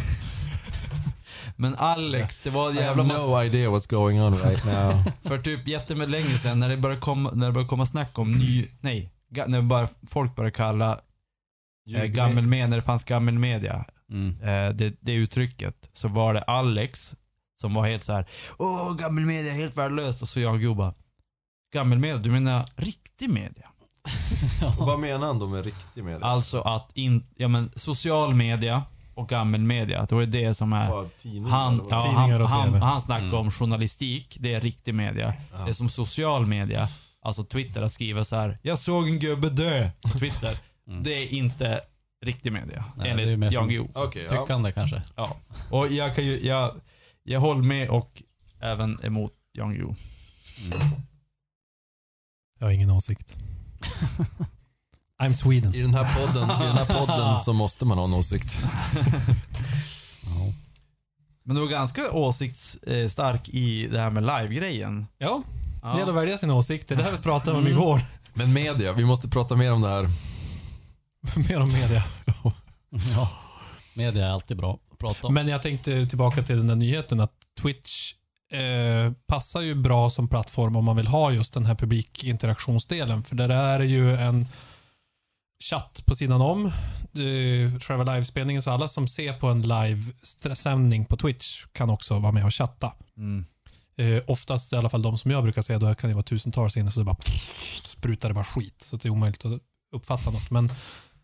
A: men Alex, det var en
E: I
A: jävla
E: have
A: massa,
E: no idea what's going on right now.
A: för typ jättelänge sedan när det började komma, när det började komma snack om ny, nej, ga- när bara, folk började kalla eh, gammelmedia, när det fanns gammelmedia,
D: Mm.
A: eh, det, det uttrycket, så var det Alex som var helt så här: åh gammelmedia är helt värdelöst och så jag och Gubba, gammelmedia, du menar riktig media?
E: Vad menar han då med riktig media?
A: Alltså att, in, ja men social media och gammelmedia, det var ju det som är
E: Bara tidningar?
A: Mm. Han,
E: eller
A: ja,
E: vad?
A: han,
C: Tidningar och
A: han,
C: TV.
A: han snackar
D: Mm.
A: om journalistik, det är riktig media.
E: Ja.
A: Det är som social media, alltså Twitter, att skriva så här. Jag såg en gubbe dö på Twitter.
D: Mm.
A: Det är inte riktig media,
D: Nej, det är ju mer
A: enligt Jan
D: som-
A: Guillou.
E: Okej, ja.
D: Tyckande kanske.
A: Och jag kan ju, jag, jag håller med och även emot Jan Guillou.
C: jag har ingen åsikt. I'm Sweden.
E: I den här podden, i den här podden så måste man ha en åsikt.
D: Ja.
A: Men du var ganska åsiktsstark i det här med live-grejen.
C: Ja, Mm. det gäller
A: Ja.
C: att välja sina åsikter. Det här vi pratade om igår.
E: Men media, vi måste prata mer om det här.
C: Mer om media.
D: ja. Media är alltid bra att prata om.
C: Men jag tänkte tillbaka till den där nyheten att Twitch eh, passar ju bra som plattform om man vill ha just den här publikinteraktionsdelen. För där är det ju en chatt på sidan om eh, själva livespelningen. Så alla som ser på en livesändning på Twitch kan också vara med och chatta.
A: Mm.
C: Eh, oftast, i alla fall de som jag brukar se, då kan det vara tusentals inne så det bara sprutar det bara skit. Så det är omöjligt att uppfatta något. Men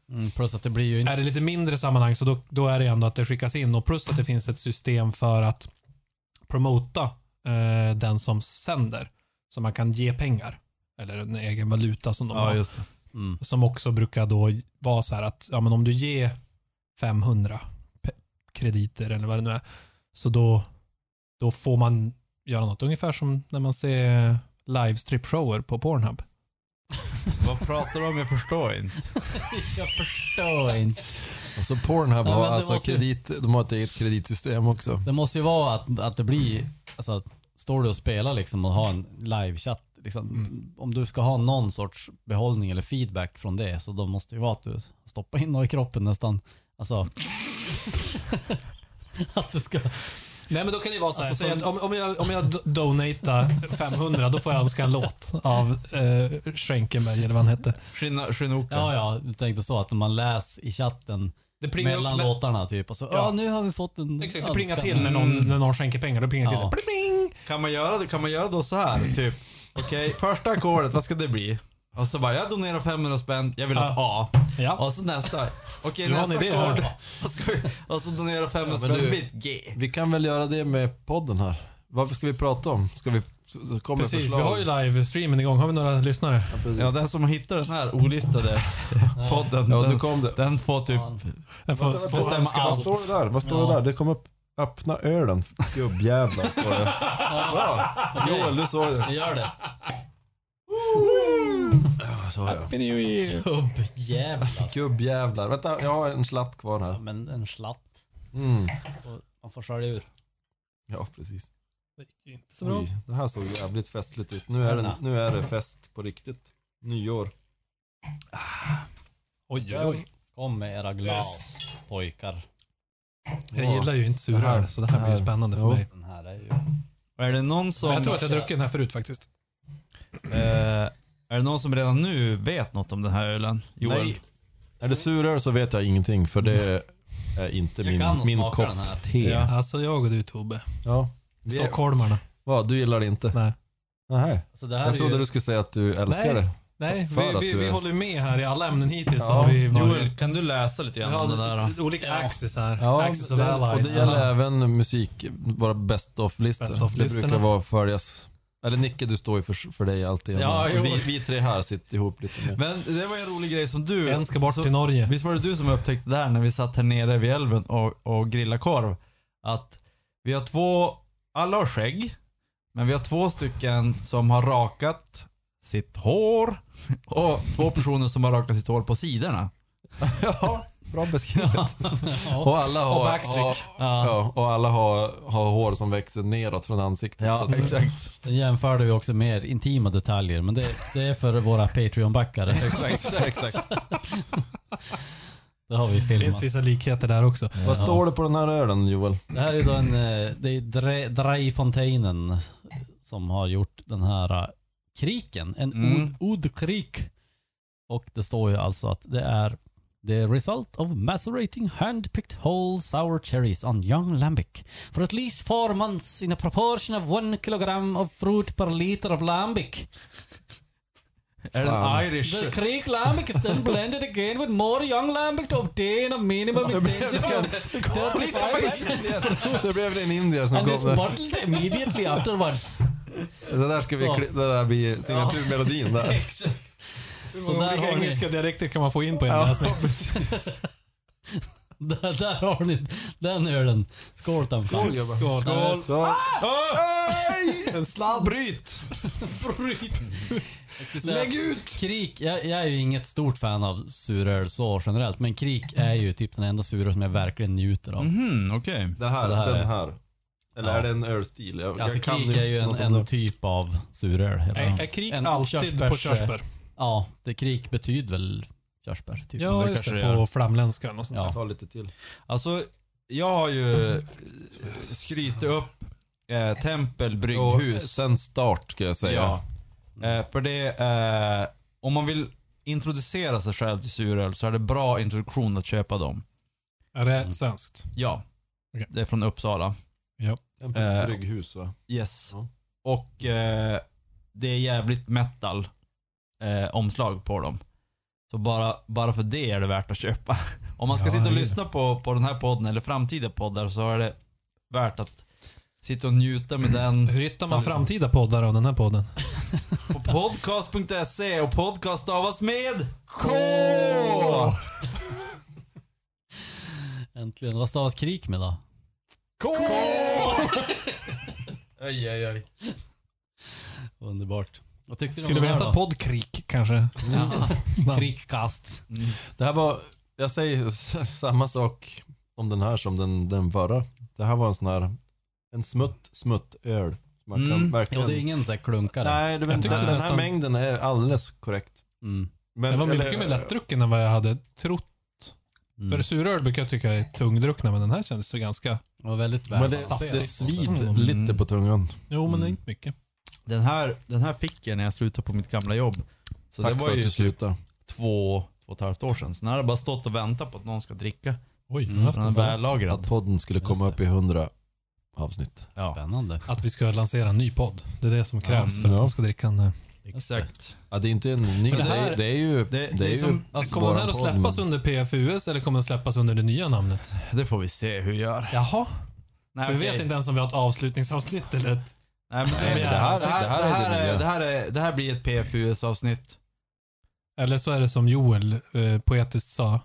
D: Mm, plus att det blir ju inte...
C: är det lite mindre sammanhang så då, då är det ändå att det skickas in och plus att det finns ett system för att promota eh, den som sänder. Så man kan ge pengar. Eller en egen valuta som de har.
A: Ja, just det.
D: Mm.
C: Som också brukar då vara så här att ja, men om du ger 500 pe- krediter eller vad det nu är. Så då, då får man göra något. Ungefär som när man ser live stripshower på Pornhub.
A: Vad pratar du om? Jag förstår inte.
D: Jag förstår inte.
E: Och så
D: Nej,
E: Pornhub
D: men
E: har
D: det
E: alltså
D: måste ju-
E: kredit, de har ett eget kreditsystem också.
D: Det måste ju vara att, att det blir, alltså att står du och spelar liksom och har en livechatt, liksom, om du ska ha någon sorts behållning eller feedback från det så då måste det ju vara att du stoppar in något i kroppen nästan. Alltså, att du ska...
C: Nej, men då kan det ju vara så här.
D: Alltså,
C: säg
D: som-
C: att om, om jag, om jag do- donatar 500, då får jag önska en låt av eh, Schenkenberg, eller vad han hette.
A: Shinna- Shinnoka.
D: Ja, ja, du tänkte så att när man läser i chatten
C: Det plingar
D: mellan
C: upp,
D: låtarna typ och så, ja
C: Ja.
D: nu har vi fått en
C: exakt, det plingar
D: önskan."
C: till när någon, när någon skänker pengar. Då plingar det
D: Ja.
C: till. så här, Pling!
A: Kan man göra det? Kan man göra då så här? Typ, okej, första ackordet, vad ska det bli? Och så bara, jag donerar 500 spänn, jag vill ha ett A.
C: Ja.
A: Och så nästa, okej
C: Du har
A: nästa
C: en idé här.
A: ackord. Och så, och så donerar 500
E: Ja, men
A: spänn, det
E: du-
A: blir ett G.
E: Vi kan väl göra det med podden här. Vad ska vi prata om? Ska vi... så- så Kommer
C: Precis,
E: förslag.
C: vi har ju livestreamen igång. Har vi några lyssnare?
E: Ja, precis.
A: Ja, den som hittar den här olistade podden,
E: Ja, nu
A: den,
E: kom det.
A: den får typ...
D: Fan.
C: Jag får,
E: Vänta,
C: får
E: vänta,
C: önska
E: Vad
C: allt.
E: står det där? Vad står det
D: Ja.
E: där? Det kom upp. Öppna ölen, gubbjävlar, står det. Bra! Joel, du såg det.
D: Jag gör det.
E: Ja, så har jag.
D: Gubbjävlar.
E: Gubbjävlar. Vänta, jag har en slatt kvar här.
D: Men en slatt.
E: Mm.
D: Man får skölja ur.
E: Ja, precis.
C: Det gick inte så bra.
E: Oj, det här såg jävligt festligt ut. Nu är, det, nu är det fest på riktigt. Nyår.
C: Oj, oj, oj.
D: Kom med era glas pojkar.
C: Jag gillar ju inte
E: Det här-
C: suröl, så det här blir
E: det
C: ju
E: här-
C: spännande för
E: jo.
C: mig.
D: Den här är ju...
A: Är det någon som...
C: Jag tror att jag har druckit den här förut faktiskt.
A: Eh, är det någon som redan nu vet något om den här ölen? Joel?
E: Nej. Är det suröl så vet jag ingenting för det är inte
D: Jag
E: min,
D: kan
E: min
D: smaka
E: kopp
D: den här.
E: te.
A: Ja.
C: Alltså jag och du Tobbe.
E: Ja. Det-
C: Stockholmarna.
E: Vad, du gillar det inte?
C: Nej.
E: Nej.
D: Alltså det här
E: Jag
D: är ju...
E: trodde du skulle säga att du älskar
C: Nej.
E: det.
C: Nej,
E: För
C: vi,
E: att
C: vi,
E: du
C: vi
E: är-
C: håller ju med här i alla ämnen hittills.
E: Ja.
C: Har vi varit,
A: Joel, kan du läsa lite grann om det där?
C: ja,
A: då?
C: olika
D: Ja.
C: axis här.
E: Ja,
C: axis of
E: det, och
C: allies.
E: det gäller även musik, våra best
C: Best
E: of-listor.
C: of
E: Det
C: listorna.
E: brukar vara följas. Eller Nicke, du står ju för, för dig alltid.
A: Ja, jo.
E: vi, vi tre här sitter ihop lite mer.
A: Men det var ju en rolig grej som du...
C: En ska bort
A: så-
C: till Norge.
A: Visst var det du som upptäckte det här när vi satt här nere vid älven och, och grillade korv? Att vi har två, alla har skägg, men vi har två stycken som har rakat sitt hår och två personer som har rakat sitt hår på sidorna.
E: Ja, bra beskrivet. och alla har,
C: Och backstreak.
E: har- ja, och alla har, har hår som växer neråt från ansiktet.
A: Ja,
E: så att säga.
A: exakt.
D: Den jämförde vi också mer intima detaljer, men det, det är för våra Patreon-backare.
E: Exakt, exakt.
D: Det har vi
C: Det finns
D: filmat.
C: vissa likheter där också.
E: Vad står det på den här ölen Joel?
D: Det här är då en... eh, Det är Dre- Dreifonteinen som har gjort den här eh, kriken. En
A: Mm.
D: mm. ordkrik. Och det står ju alltså att det är The result of macerating hand-picked whole sour cherries on young lambic for at least four months in a proportion of one kilogram of fruit per liter of lambic.
A: Är den
E: Fan.
A: irish?
D: The Creek lambic is then blended again with more young lambic to obtain a minimum intensity of 35%
E: Det blev en indier som
D: and is
E: kom. där.
D: bottled immediately afterwards.
E: Det där ska vi
D: Så.
E: kli- det där blir signaturmelodin där.
D: Så där
C: Vilka
D: har ni,
C: engelska dialekter kan man få in på en
E: Ja,
C: läsning?
D: där, där har ni den ölen. Skål Tampa.
E: Skål gubbar.
C: Skål.
E: Så. Aj! En sladd. Bryt!
D: Jag skulle säga
E: Lägg ut!
D: eh, Krik, jag, jag är ju inget stort fan av suröl så generellt, men krik är ju typ den enda suröl som jag verkligen njuter av.
E: Mm.
A: Mhm, okej.
E: Den här,
D: Så det här är-
E: den här. Eller
D: Ja.
E: är det en ölstil? Jag,
D: Alltså
E: jag kan
D: krik är ju en,
E: något om
D: en
E: det.
D: typ av suröl. helt
C: Är, är
D: enkelt.
C: krig
D: En
C: alltid på
D: körsbärs-
C: körsbär?
D: Ja, det krik betyder väl körsbär typ.
C: Ja,
A: det
C: just det.
A: kanske det gör.
C: På flamländskan och sånt
D: Ja.
C: där.
E: Ta lite till.
A: Alltså, jag har ju eh, skrytit upp eh, Tempel
E: Och eh,
A: brygghus.
E: sen start ska jag säga.
A: Ja. Eh, för det är, eh, om man vill introducera sig själv till suröl så är det bra introduktion att köpa dem.
C: Är det svenskt?
A: Ja.
C: Okej.
A: Det är från Uppsala. Eh,
E: En brygghus va?
A: Yes.
E: Ja.
A: Och eh, det är jävligt metal eh, omslag på dem. Så bara, bara för det är det värt att köpa. Om man ska
C: Ja,
A: sitta och
C: det är
A: lyssna på, på den här podden eller framtida poddar så är det värt att sitta och njuta med den.
C: Hur hittar man
A: Samma-
C: framtida poddar av den här podden?
A: På podcast.se och podcast stavas med K!
D: Äntligen. Vad stavas krik med då?
A: K!
D: Underbart. Vad tyckte
C: Skulle vi heta Podkrik kanske?
D: ja. Krigkast.
E: Det här var, jag säger s- samma sak om den här som den, den förra. Det här var en sån här, en smutt, smutt öl. Man kan
A: Mm.
E: verkligen...
D: Jo, det är ingen sån här klunkare.
E: Nej, det, den,
C: tyckte
E: den här
C: nästan-
E: mängden är alldeles korrekt.
D: Mm.
E: Men,
C: Det var
E: eller-
C: mycket mer lättdrucken än vad jag hade trott.
D: Mm.
C: För suröl brukar jag tycka är tungdruckna, men den här kändes ju ganska...
D: Det var väldigt
E: Men
D: väl.
E: det,
C: Saftigt.
E: det svid
C: Mm.
E: lite på tungan.
C: Jo, men det är inte mycket.
A: Den här, den här fick jag när jag slutade på mitt gamla jobb. Så
E: Tack
A: det var
E: för att
A: ju
E: du
A: typ
E: slutade.
A: två, två och ett halvt år sedan. Så den här har bara stått och väntat på att någon ska dricka.
C: Oj,
D: Mm.
C: jag har haft
A: Den är
C: en sån.
E: Att
A: vällagrad.
E: podden skulle komma upp i 100 avsnitt.
A: Ja,
D: Spännande.
C: Att vi ska lansera en ny podd. Det är det som krävs
A: Mm.
C: för att
E: Ja.
C: de ska dricka en... eh,
A: exakt.
E: Ja, det är inte en ny,
C: För
E: det,
C: det här-
E: är, det är ju...
A: Det,
E: det är
A: är som,
E: ju
A: alltså,
C: Kommer den
E: Våran
C: här att
E: podd,
C: släppas
E: men-
C: under PFUS eller kommer den släppas under det nya namnet?
A: det får vi se hur vi gör.
C: Jaha.
A: Nej,
C: så vi
A: okej.
C: vet inte ens om vi har ett avslutningsavsnitt eller ett...
A: Nej, men det,
C: Nej, men
A: det,
C: det
A: här,
C: här-
A: det, här,
E: det här är det
A: är,
E: nya.
A: det, här är, det här blir ett PFUS-avsnitt.
C: Eller så är det som Joel eh, poetiskt sa.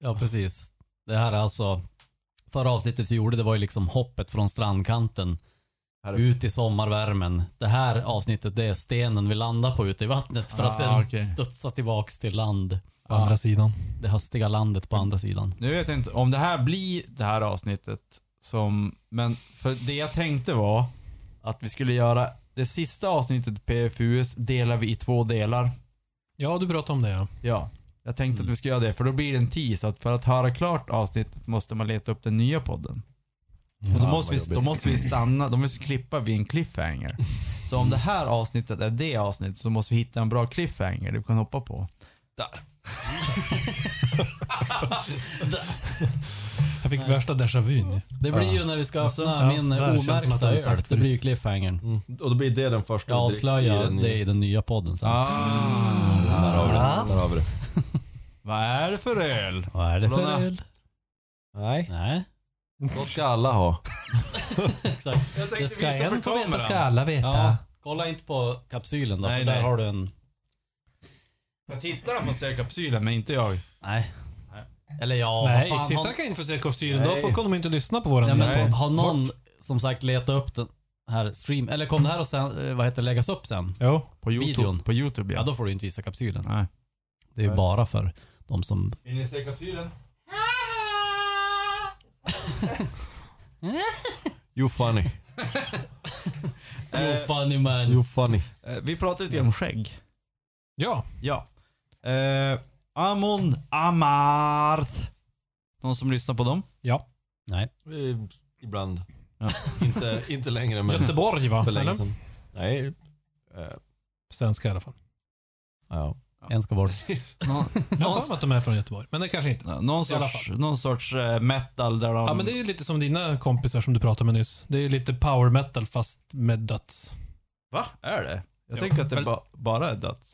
D: Ja, precis. Det här är alltså, förra avsnittet vi gjorde det var ju liksom hoppet från strandkanten
E: Här är-
D: ut i sommarvärmen. Det här avsnittet det är stenen vi landar på ute i vattnet för att
A: Ah,
D: sen
A: okej.
D: studsa tillbaks till land.
C: På andra sidan.
D: Det höstiga landet på andra sidan.
A: Nu vet jag inte om det här blir det här avsnittet som... Men för det jag tänkte var att vi skulle göra det sista avsnittet PFUS delar vi i två delar.
C: Ja, du pratade om det ja.
A: Ja. Jag tänkte att vi skulle göra det för då blir det en tease att för att höra klart avsnittet måste man leta upp den nya podden. Och då,
E: Fan,
A: måste
E: vad
A: vi, då
E: jobbigt.
A: måste vi stanna, då måste vi klippa vid en cliffhanger. Så om det här avsnittet är det avsnittet så måste vi hitta en bra cliffhanger du kan hoppa på. Där.
C: Jag fick värsta déjà vu nu.
D: Det blir ju när vi ska öppna
C: Ja,
D: min
C: där känns som att
D: omärkta
C: det har
D: öl.
C: sagt
D: Det
C: förut.
D: blir ju cliffhangern.
E: Mm. Och då blir det den första
D: Jag
E: direkt i
D: avslöjar
E: den
D: det i den nya podden sen.
A: Ah.
E: Där har vi det. Där har vi det.
A: Vad är det för öl?
D: Vad är det
A: Blonna.
D: för öl?
E: Nej,
D: Nej,
E: då ska alla ha.
D: exakt.
A: Jag
D: Det ska en få veta, ska
C: alla
D: Ja, kolla inte på kapsylen då,
A: Nej,
D: för där
A: nej.
D: har du en...
A: Tittarna får se kapsylen men inte jag.
D: Nej. Eller ja,
C: Nej,
D: vad fan, har-
C: tittarna kan inte få se kostymen. Då
E: Nej.
C: får- kommer de inte lyssna på våran
D: Ja,
C: nya
D: men
C: podd.
D: har någon som sagt letat upp den här stream, eller kom det här och sen, eh, vad heter det, läggas upp sen?
C: Jo.
A: På Youtube.
D: Videon.
A: På Youtube
D: Ja,
A: ja.
D: då får du inte visa kapsylen.
A: Nej.
D: Det är ju bara för de som...
A: Vill ni se kapsylen?
E: You funny.
D: You funny man.
E: You funny.
A: Eh, Vi pratade lite om skägg.
C: Ja.
A: Ja. Eh, Amon Amarth. Någon som lyssnar på dem?
C: Ja.
D: Nej.
E: Eh, Ibland.
A: Ja.
E: Inte, inte längre men
C: Göteborg va?
E: för länge
C: Eller?
E: sedan. Nej. eh,
C: Svenska i alla fall.
E: ja.
D: En ska bort.
A: Någon,
C: Jag har för mig att de är från Göteborg, men det kanske inte.
A: någon
C: I alla
A: sorts, någon sorts eh, metal där de...
C: Ja, men det är ju lite som dina kompisar som du pratade med nyss. Det är ju lite power metal fast med döds.
A: Va? Är det? Jag
C: Ja.
A: tänker att det
C: Eller-
A: ba, bara är döds...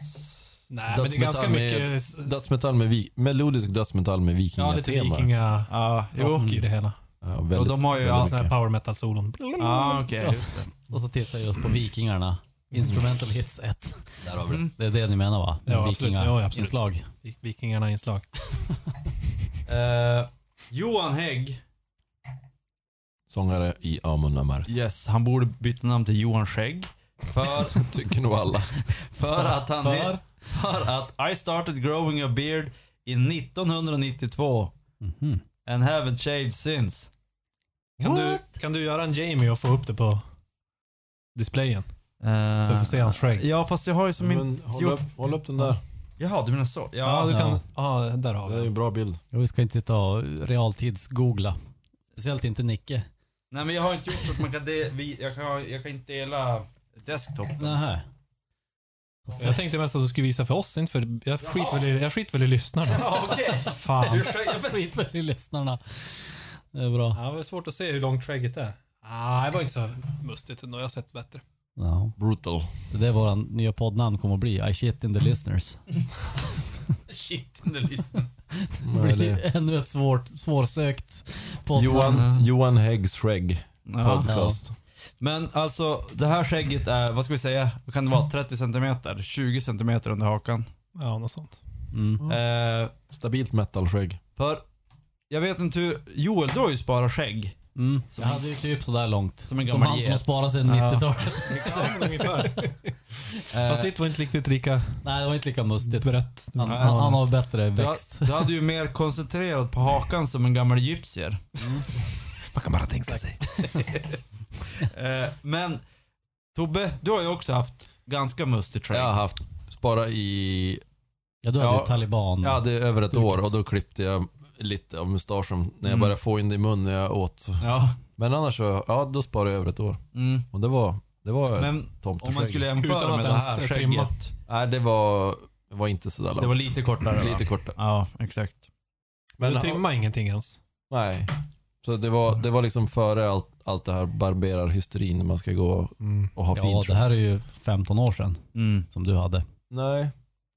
C: Nej, men det är
E: Dödsmetall
C: ganska
E: med-
C: mycket... s- s-
E: Dödsmetall med vi, melodisk dödsmetall med
C: ja, lite
E: vikingatema.
C: vikinga...
A: Ja,
C: Jo.
A: jo.
C: i det hela.
E: Ja,
A: Och
E: väldigt,
A: de har ju...
E: väldigt
A: all-
E: mycket.
C: Såna här power metal-solon.
A: Ja, okej. just det.
D: Och så tittar jag just på Vikingarna. Instrumental Hits 1.
E: Där har vi det.
D: Det är det ni menar va?
C: Ja, absolut. Ja, absolut.
D: Inslag.
C: Vikingarna-inslag.
A: Eh, Johan Hägg.
E: Sångare i Amon Amarth.
A: Yes, han borde byta namn till Johan Skägg. För,
E: Tycker nog alla.
A: för att han...
D: För?
A: För att I started growing a beard in 1992
D: Mhm.
A: and haven't shaved since.
C: Kan du, kan du göra en Jamie och få upp det på displayen?
A: Eh,
C: Så vi får se hans skägg.
A: Ja, fast jag har ju som min...
E: Men, håll, upp, håll upp den där.
A: Jaha, du menar så?
C: Ja,
A: Ja,
C: du
A: ja,
C: kan... Ja, där har
E: Det är ju
C: vi
E: en bra bild.
D: Jo, vi ska inte sitta och realtids-googla. Speciellt inte Nicke.
A: Nej, men jag har inte gjort så att man kan... De, vi, jag, kan jag kan inte dela desktopen.
D: Nähä.
C: Jag tänkte mest att du skulle visa för oss, inte för... Jag skiter väl i, jag skiter väl i lyssnarna.
A: Ja, okej.
C: Fan.
A: Ursäkta.
D: Skit väl i lyssnarna. Det är bra.
C: Ja, det var svårt att se hur långt skägget är. Ah, det var inte så mustigt ändå. Jag har sett bättre.
D: Ja.
E: Brutal.
D: Det är det våran nya poddnamn kommer att bli. I shit in the listeners.
A: Shit, den där listan.
D: Det blir ännu ett svårt, svårsökt poddnamn.
E: Johan, Johan Häggs Shreg
A: Ja.
E: podcast.
A: Men alltså, det här skägget är, vad ska vi säga, vad kan det vara? 30 centimeter? 20 centimeter under hakan.
C: Ja, något sånt.
D: Mm.
A: Eh,
E: Stabilt metal-skägg.
A: för, jag vet inte hur, Joel du har ju sparat skägg.
D: Mm.
A: Som
D: Jag
A: en-
D: hade ju typ sådär långt.
A: Som en
D: Som
A: gammal
D: han som
A: get.
D: har sparat sedan
A: Ja.
D: 90-talet.
C: Exakt. ungefär. Fast
D: Eh,
C: ditt var inte riktigt lika
D: Nej, det var inte lika mustigt.
C: brett.
D: Han, han, han har
A: Du,
D: bättre växt.
A: ha- du hade ju mer koncentrerat på hakan som en gammal egyptier.
C: Man kan bara tänka sig.
A: Eh, men Tobbe, du har ju också haft ganska mustig
E: Jag
A: trade.
E: har haft spara i
D: Ja, du hade
E: Ja.
D: ju taliban.
E: Jag hade över ett år och då klippte jag lite av mustaschen när jag
A: Mm.
E: började få in det i munnen när jag åt.
A: Ja.
E: Men annars så, ja då sparade jag över ett år.
A: Mm.
E: Och det var, det var
A: Men om man
E: tomteskägg.
A: skulle
C: Utan
A: jämföra
C: att
A: med det
C: ens
A: här
C: trimma.
A: skägget.
E: Nej det var, det var inte sådär långt.
A: Det var lite kortare va?
E: lite kortare.
A: Ja, exakt.
E: Men,
C: du trimmar ingenting ens.
E: nej. Så det var, det var liksom före allt, allt det här barberarhysterin när man ska gå och ha
D: Ja,
E: fint.
D: det här är ju 15 år sedan
A: Mm.
D: som du hade.
E: Nej,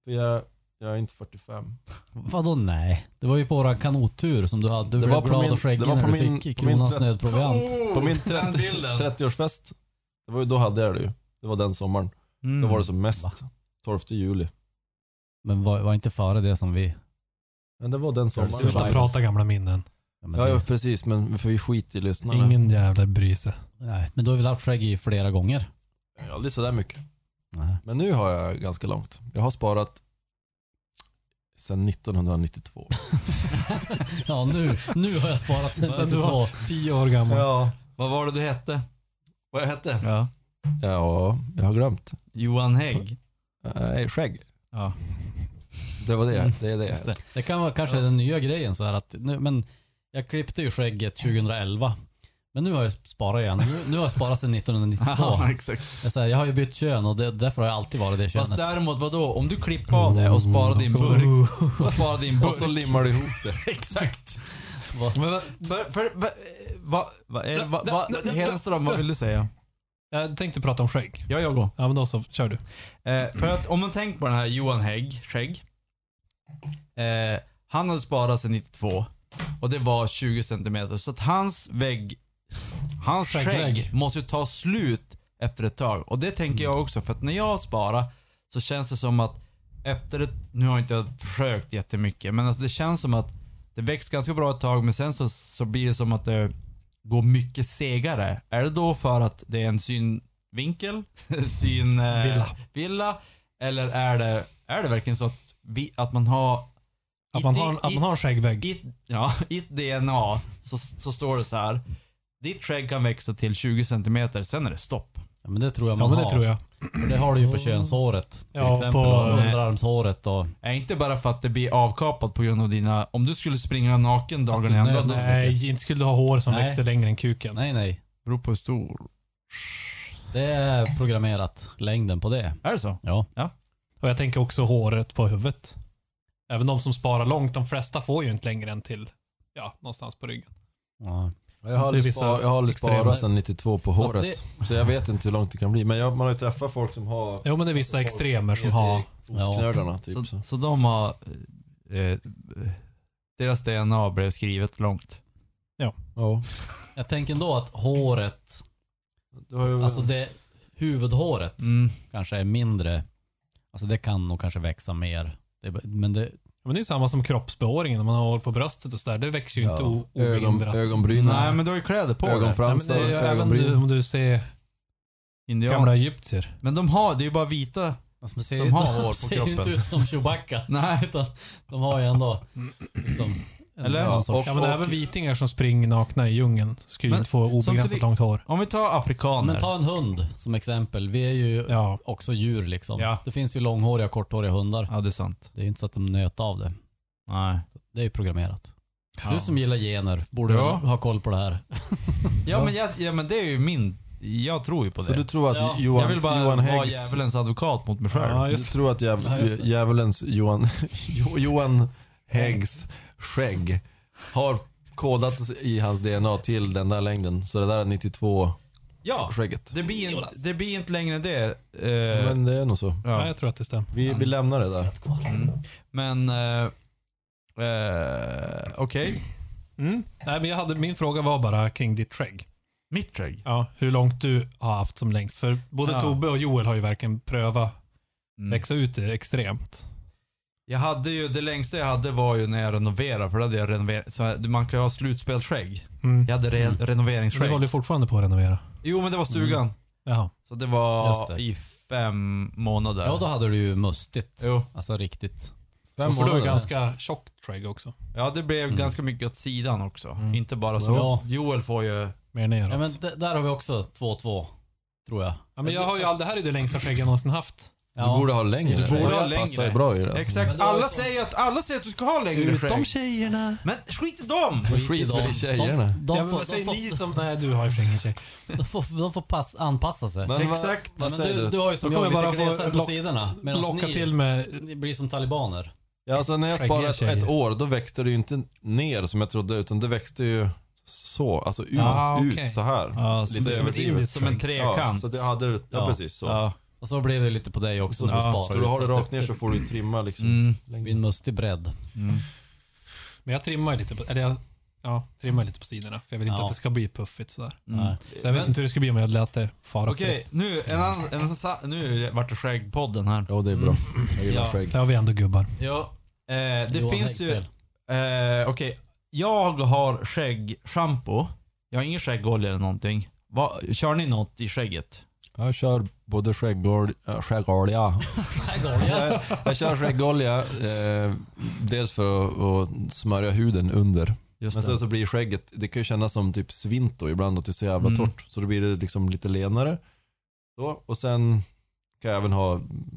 E: för jag, jag är inte 45.
D: Vadå nej? Det var ju på våran kanottur som du hade. Du
E: Det
D: blev
E: var på
D: glad
E: min-
D: och skäggig
E: det var
D: när
E: på
D: du
E: min-
D: fick
E: på min
D: kronans
E: tvätt-
D: nödproviant.
E: På min
A: den
E: 30,
A: bilden.
E: 30-årsfest, det var ju, då hade jag det ju. Det var den sommaren.
A: Mm.
E: Då var det som
D: Va?
E: mest. 12 juli.
D: Men var, var inte före det som vi...
E: Men det var den sommaren.
C: Sluta prata gamla minnen.
D: Ja, men
E: Ja,
D: det,
E: ja precis, men för vi skiter i lyssnarna.
C: Ingen jävla bry sig.
D: Nej, men du har väl haft skägg i flera gånger?
E: Jag har Aldrig sådär mycket.
D: Nej.
E: Men nu har jag ganska långt. Jag har sparat sedan 1992.
D: ja, nu, nu har jag sparat
C: Sen
D: sen
C: du
D: 92.
C: Tio år gammal.
E: Ja.
A: Vad var det du hette?
E: Vad jag hette?
A: Ja.
E: Ja, jag har glömt.
A: Johan Hägg.
E: Nej, skägg.
A: Ja.
E: Det var det. Det är det.
A: Just det.
D: Det kan vara kanske den nya grejen så här att, nu, men jag klippte ju skägget 2011. Men nu har jag sparat igen. Nu, nu har jag sparat sedan 1992.
A: Ja, exakt.
D: Jag, säger, jag har ju bytt kön och det, därför har jag alltid varit det
A: Fast
D: könet.
A: däremot vadå? Om du klipper av
D: Mm,
A: det och sparar din burk. Och sparar din
E: Och så
A: burk.
E: limmar du ihop det.
A: Exakt.
C: Men vad-
A: För, för, va, va, va, eh, va, va, Hedenström, vad vill du säga?
C: jag tänkte prata om skägg.
A: Ja, jag går.
C: Ja, men då så. Kör du.
A: Eh, för att om man tänker på den här Johan Hägg, Skägg. Eh, han hade sparat sig 92 och det var 20 centimeter. Så att hans vägg, hans
C: Skäggvägg.
A: skägg måste ju ta slut efter ett tag. Och det tänker jag också för att när jag sparar så känns det som att efter ett, nu har inte jag försökt jättemycket men alltså det känns som att det växer ganska bra ett tag men sen så, så blir det som att det går mycket segare. Är det då för att det är en synvinkel? syn... eh,
C: Villa.
A: villa? Eller är det, är det verkligen så att, vi, att man har...
C: Att
A: i
C: man
A: di-
C: har, en- att
A: i-
C: man har en skäggvägg.
A: i, ja, i ett DNA så, så står det så här. Ditt skägg kan växa till 20 centimeter, sen är det stopp.
D: Ja, men det tror jag
C: Ja,
D: man
C: men det
D: har.
C: tror jag.
D: För det har du ju på könshåret. Till
C: Ja,
D: exempel
C: på-
D: och underarmshåret och...
A: Är inte bara för att det blir avkapat på grund av dina... Om du skulle springa naken dagen i ända, då
C: Nej, inte skulle du ha hår som
D: Nej.
C: växte längre än kuken.
D: Nej, nej.
A: beror på hur stor.
D: Det är programmerat, längden på det.
A: Är det så?
D: Ja.
C: Och jag tänker också håret på huvudet. Även de som sparar långt, de flesta får ju inte längre än till, ja, någonstans på ryggen.
D: ja.
E: Jag har
C: Det är
E: aldrig
C: vissa
E: spar- jag har aldrig
C: extrema-
E: sparat sedan 92 på
D: Fast
E: håret. Så jag vet inte hur långt det kan bli. Men jag, man har ju träffat folk som har
C: Jo, men det är vissa extremer som har...
D: Ja.
E: knölarna typ. Så.
A: så, så de har... Eh, deras DNA blev skrivet långt.
E: Ja.
D: Jag tänker ändå att håret,
E: Du har ju...
D: alltså det huvudhåret
A: Mm.
D: kanske är mindre. Alltså det kan nog kanske växa mer. Det, men det,
C: Men det är ju samma som kroppsbehåringen, om man har hår på bröstet och sådär. Det växer ju inte
E: ja.
C: o-
E: Ögon,
C: obehindrat.
E: ögonbrynen.
A: Nej, men du har ju kläder på dig.
C: Nej, men det
E: Ögonfransar,
C: är ju även
E: ögonbryn.
C: du, om du ser gamla
A: Indianer.
C: egyptier.
A: Men de har, det är ju bara vita.
D: alltså man ser,
A: Som har hår på
D: ser ju inte
A: kroppen.
D: ut som Chewbacca.
A: Nej.
D: Utan de har ju ändå liksom, en
A: Eller?
D: annan sorts-
C: Ja, men även vitingar som springer nakna i djungeln skulle ju
A: Men
C: inte få obegränsat
A: samtidigt-
C: långt hår.
A: Om vi tar afrikaner.
D: Men ta en hund som exempel. Vi är ju
C: Ja.
D: också djur liksom.
A: Ja.
D: Det finns ju långhåriga och korthåriga hundar.
A: Ja, det är sant.
D: Det är ju inte så att de nöt av det.
A: Nej.
D: Det är ju programmerat.
A: Ja.
D: Du som gillar gener borde
A: Ja.
D: ha koll på det här.
A: Ja, men, jag, ja, men det är ju min... Jag tror ju på det.
E: Så du tror att
D: Ja.
E: Johan,
A: jag vill bara
E: Johan
A: vara
E: Häggs...
A: djävulens advokat mot mig själv.
C: Ja,
E: Du
C: just det.
E: tror att djäv,
D: Ja, just det.
E: djävulens Johan, Jo- Johan Häggs skägg har kodats i hans DNA till den där längden. Så det där är 92
A: Ja,
E: skägget.
A: det blir, inte-
D: Jonas.
A: det blir inte längre än det. Eh, men
E: Men det är nog så.
C: Ja,
A: ja.
C: jag tror att det stämmer.
E: Vi, vi lämnar det där.
A: mm. men eh, eh, okej.
C: Mm. Nej, men jag hade, min fråga var bara kring ditt skägg.
A: Mitt skägg?
C: Ja, hur långt du har haft som längst. För både
A: Ja.
C: Tobbe och Joel har ju verkligen prövat
A: Mm.
C: växa ut det extremt.
A: Jag hade ju, det längsta jag hade var ju när jag renoverade, för då hade jag renoverat. Så här, man kan ju ha slutspelsskägg.
C: Mm.
A: Jag hade re-
D: Mm.
C: Vi
A: renoveringsskägg.
C: håller fortfarande på att renovera.
A: Jo men det var stugan.
C: Jaha.
A: Så det
D: Just
A: var
D: det.
A: i fem månader.
D: Ja, då hade du ju mustigt.
A: Jo.
D: Alltså riktigt.
E: Fem
C: För det var
E: månader.
C: ganska tjockt trägg också.
A: Ja, det blev
D: Mm.
A: ganska mycket åt sidan också.
C: Mm.
A: Inte bara så.
D: Ja.
A: Joel får ju...
C: Mer neråt.
D: Ja, men d- där har vi också 2-2, tror jag.
C: jag har ju all, det här är det längsta skägg jag någonsin haft.
D: Ja.
E: Du borde ha längre.
A: Du borde ha
E: Det passar
A: längre.
E: bra i det. alltså.
A: Exakt.
D: Men det var
A: alla,
D: ju så-
A: säger att, alla säger att du ska ha längre skägg.
C: tjejerna.
A: Men skit i dem!
E: Men skit väl i tjejerna.
D: De, de,
C: Ja, men
D: får,
C: vad
D: de,
C: säger ni
D: får,
C: som... Nej, du har ju för ingen tjej.
D: de får, de får pass, anpassa sig.
E: Men vad-
A: Exakt.
E: Vad
D: Men
E: säger
D: du,
E: du?
D: du har ju som
C: Då
D: jag
C: kommer
D: lite
C: jag bara få
D: glesare på
C: lock-
D: sidorna. Medan
C: Locka
D: ni,
C: till med...
D: ni blir som talibaner.
E: Ja, alltså när jag
C: Skäggiga
E: sparade ett,
C: tjejer.
E: ett år, då växte det ju inte ner som jag trodde, utan det växte ju så. Alltså ut,
C: Ah, okej.
E: ut så här.
A: Ja,
E: som- Lite som ett överdrivet.
C: indiskt
A: Som en
C: skägg.
E: Ja,
A: trekant.
E: så det hade, ja,
D: Ja.
E: precis så.
A: Ja.
D: Och så blev det lite på dig också
E: Så
D: när du
A: Ja,
D: sparar
E: Ska du ha
D: ut,
E: det
D: så att
E: rakt ner så får du ju trimma liksom.
A: Mm.
D: blir en mustig bredd.
A: Mm.
C: Men jag trimmar ju lite på... Eller jag, ja, trimmar lite på sidorna. För jag vill inte
D: Ja.
C: att det ska bli puffigt sådär.
A: Mm.
D: Nej.
C: Så jag vet inte hur det ska bli om jag lät det fara
A: Okej,
C: fritt.
A: nu, en annan, en, sa- nu vart det skäggpodden här. Mm.
E: Ja, det är bra. Jag gillar
A: Ja.
E: skägg.
C: Där har vi ändå gubbar.
A: Ja. Eh, det
D: Johan
A: finns ju... Eh,
D: Häggfeldt.
A: Okej, jag har skäggschampo. Jag har ingen skäggolja eller någonting. Va, kör ni något i skägget?
E: Jag kör både skäggolja, äh, skäggolja. jag, jag kör skäggolja, eh, dels för att, att smörja huden under.
A: Just
E: Men sen så blir skägget, det kan ju kännas som typ svinto ibland att det är så jävla
A: Mm.
E: torrt. Så då blir det liksom lite lenare. Så, och sen kan jag även ha mm,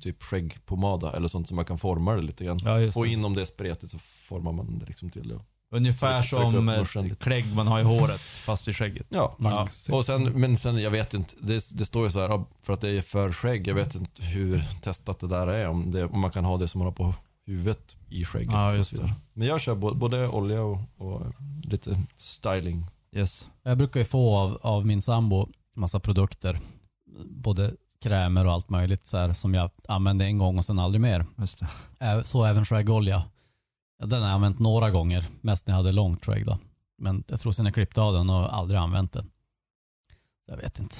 E: typ skäggpomada eller sånt som man kan forma det lite grann.
A: Ja, just
E: Få
A: det.
E: in om det är spretigt så formar man det liksom till det.
A: Ungefär
E: Tryck- trycka
A: som
E: upp
A: eh,
E: muschen lite.
A: klägg man har i håret, fast i skägget.
E: Ja.
A: Ja.
E: Och sen, men sen, jag vet inte, det, det står ju så här ja, för att det är för skägg. Jag vet inte hur testat det där är. Om, det, om man kan ha det som man har på huvudet i skägget.
A: Ja,
E: och
A: just
E: så vidare. Men jag kör både, både olja och, och lite styling.
A: Yes.
D: Jag brukar ju få av, av min sambo massa produkter. Både krämer och allt möjligt så här, som jag använde en gång och sen aldrig mer.
A: Just det.
D: Ä- Så även skäggolja. Ja, Den har jag använt några gånger, mest när jag hade långt skägg då. Men jag tror sen jag klippte av den och aldrig använt den. Jag vet inte.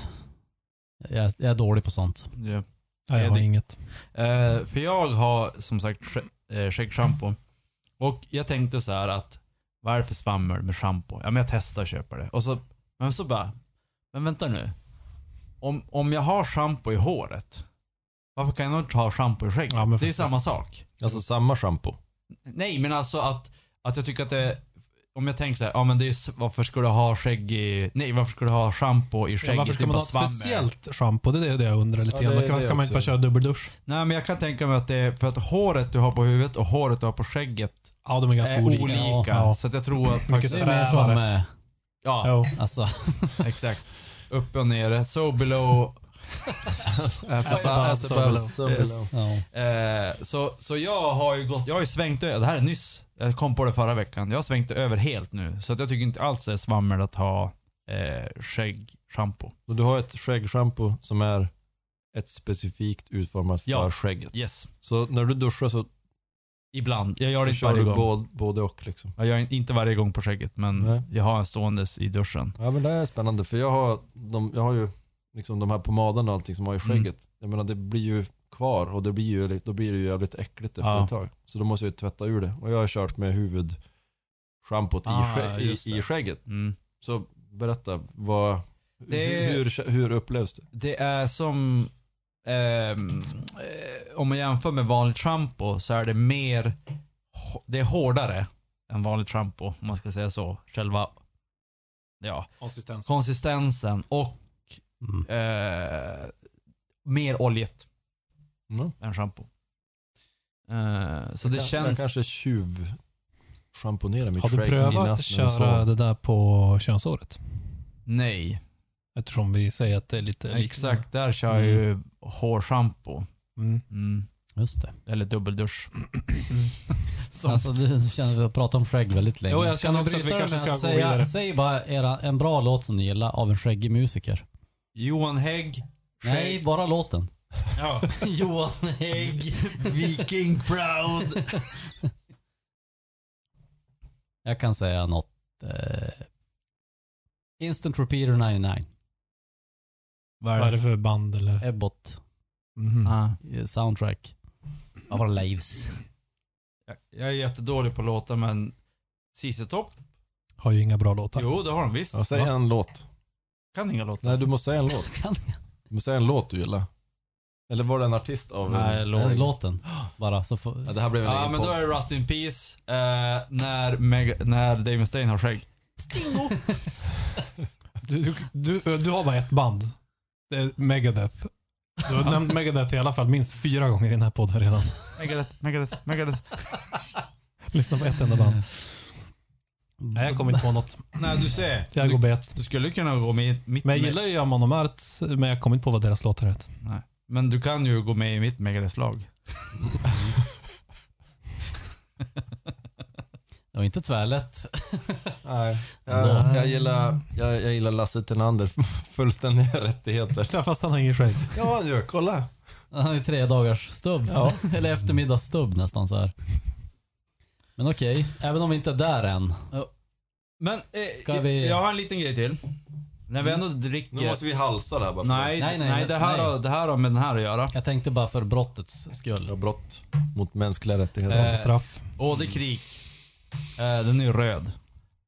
D: Jag, jag är dålig på sånt.
A: Ja.
C: Nej, jag har
A: det-
C: inget.
A: Eh, för jag har som sagt sk- eh, skäggschampo. Och jag tänkte så här att vad är det för svammel med schampo? Ja men jag testar att köpa det. Och så, men så bara, men vänta nu. Om, om jag har schampo i håret, varför kan jag inte ha schampo i skägget?
C: Ja, men
A: det är ju
C: faktiskt.
A: samma sak.
E: Alltså samma shampoo.
A: Nej men alltså att, att jag tycker att det om jag tänker så här, ja men det är, s- varför ska du ha skägg i, nej varför ska du ha schampo i skägget?
C: Ja, varför
A: Det
C: ska
A: är
C: man
A: bara
C: ha
A: svammel.
C: ett speciellt schampo? Det är det- det jag undrar lite
E: Ja,
C: grann.
E: det är
C: Varför
E: det
C: kan man inte bara
E: också.
C: köra dubbeldusch?
A: Nej men jag kan tänka mig att det är för att håret du har på huvudet och håret du har på skägget
C: Ja, de är ganska
A: är
C: olika.
A: olika.
C: Ja, ja.
A: Så att jag tror att...
C: Mycket
D: Det är mer som,
C: strävare.
D: eh,
A: Ja,
C: Ja.
D: alltså,
A: exakt. Upp och ner. So below.
E: As
C: above,
A: alltså,
C: so below.
D: ja.
A: Eh, så, så jag har ju gått... Jag har ju svängt över. Det här är nyss. Jag kom på det förra veckan. Jag har svängt över helt nu. Så att jag tycker inte alls det är svammel att ha eh, skäggschampo.
E: Och du har ett skäggschampo som är ett specifikt utformat
A: Ja.
E: för skägget.
A: Yes.
E: Så när du duschar så
A: Ibland. Jag gör det
E: då
A: inte
E: kör du
A: varje gång.
E: både, både och liksom.
A: Jag gör inte varje gång på skägget men
E: Nej.
A: jag har en ståendes i duschen.
E: Ja men det här är spännande för jag har, de, jag har ju liksom de här pomaderna och allting som har i
A: Mm.
E: skägget. Jag menar det blir ju kvar och det blir ju, då blir det ju jävligt äckligt efter
A: Ja.
E: ett tag. Så då måste jag ju tvätta ur det. Och jag har kört med huvudschampot
A: Ah,
E: i, skägg,
A: just
E: i,
A: det.
E: i skägget.
A: Mm.
E: Så berätta, vad,
A: Det-
E: hur, hur, hur upplevs det?
A: Det är som... ehm, Eh, om man jämför med vanligt schampo så är det mer... hå- Det är hårdare än vanligt schampo, om man ska säga så. Själva ja,
C: Konsistens.
A: konsistensen och
D: Mm.
A: eh, mer oljet
E: Mm.
A: än schampo. Eh, så det
E: jag,
A: känns...
E: Jag kanske tjuv schamponerar mitt
C: Har du
E: skägg i
C: prövat
E: natt
C: att
E: när jag
C: köra
E: sover.
C: det där på könsåret?
A: Nej.
C: Eftersom vi säger att det är lite liknande.
A: Exakt, där kör jag ju
E: Mm.
A: hårschampo.
C: Mm.
A: Mm.
D: Just det.
A: Eller dubbeldusch. Som-
D: Alltså, du känner att vi har pratat om skägg väldigt länge.
C: Jo, jag känner också att vi
D: Bryta det
C: kanske
D: med
C: ska
D: att
C: gå
D: säga,
C: vidare.
D: säg bara era, en bra låt som ni gillar av en skäggig musiker.
A: Johan Hägg.
D: Nej, bara låten.
A: Ja.
D: Johan Hägg, Viking Proud. jag kan säga något. Eh, Instant Repeater 99.
A: Vad
C: Vad är
A: är det?
C: det för band eller?
D: Ebbot.
C: Mhm.
A: Ah.
D: eh, Soundtrack. Av våra lives.
A: Jag- Jag är jättedålig på låtar men ZZ Top?
C: Har ju inga bra låtar.
A: Jo, det har de visst.
E: Ja, säg
A: Va?
E: en låt.
A: Kan inga låtar.
E: Nej, du måste säga en låt.
D: Kan
E: Du måste säga en låt du gillar. Eller var det en artist av...
A: Nej, låt.
D: jag? Låten. Bara så får...
E: Ja, det här blev en
A: Ja,
E: egen
A: men då
E: podd.
A: är det Rust in Peace eh, när, Meg- när Dave Mustaine har skägg.
C: Du, du, du, du har bara ett band. Det är Megadeth. Du har nämnt Megadeth i alla fall minst fyra gånger i den här podden redan.
A: Megadeth, Megadeth, Megadeth.
C: Lyssna på ett enda band. Nej, jag kommer inte på något.
A: Nej, du ser.
C: Jag går
A: du,
C: bet.
A: du skulle kunna gå med i mitt...
C: Men jag
A: Me-
C: gillar ju Amon Mart, men jag kommer inte på vad deras låtar heter.
A: Nej. Men du kan ju gå med i mitt Megadeth-lag.
D: Det var inte tvärlätt.
E: Nej. Jag, jag, gillar, jag, jag gillar Lasse Tenander. Fullständiga rättigheter.
C: Ja, Fast han har ingen skägg.
E: Ja, han gör. Kolla.
D: Han har ju tre dagars stubb.
E: Ja.
D: Eller eftermiddagsstubb nästan så här. Men okej, även om vi inte är där än.
A: Men eh,
D: Ska vi-
A: jag har en liten grej till. När vi ändå dricker...
E: Nu måste vi halsa det här bara. för-
A: Nej, nej,
D: Nej, nej,
A: nej, det, här
D: nej.
A: Har, det här har med den här att göra.
D: Jag tänkte bara för brottets skull.
E: Ja, brott mot mänskliga rättigheter.
A: Eh,
C: Straff.
A: Åderkrig. Eh, den är ju röd.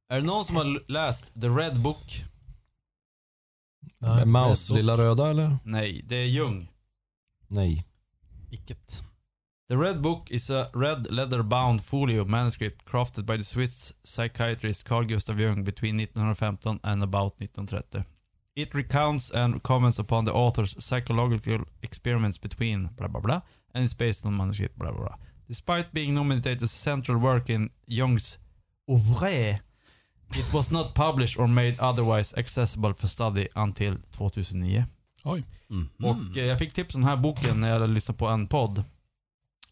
A: Är det någon som har l- läst The Red Book?
E: Är Maus
D: Red Book.
E: lilla röda eller?
A: Nej, det är Jung.
E: Nej.
D: Vilket.
A: The Red Book is a red leather-bound folio manuscript crafted by the Swiss psychiatrist Carl Gustav Jung between 1915 and about 1930. It recounts and comments upon the author's psychological experiments between blah blah blah and is based on manuscript blah blah blah. Despite being nominated as central work in Jung's oeuvre, it was not published or made otherwise accessible for study until 2009.
D: Mm.
A: Och eh, jag fick tips om den här boken när jag lyssnade på en podd.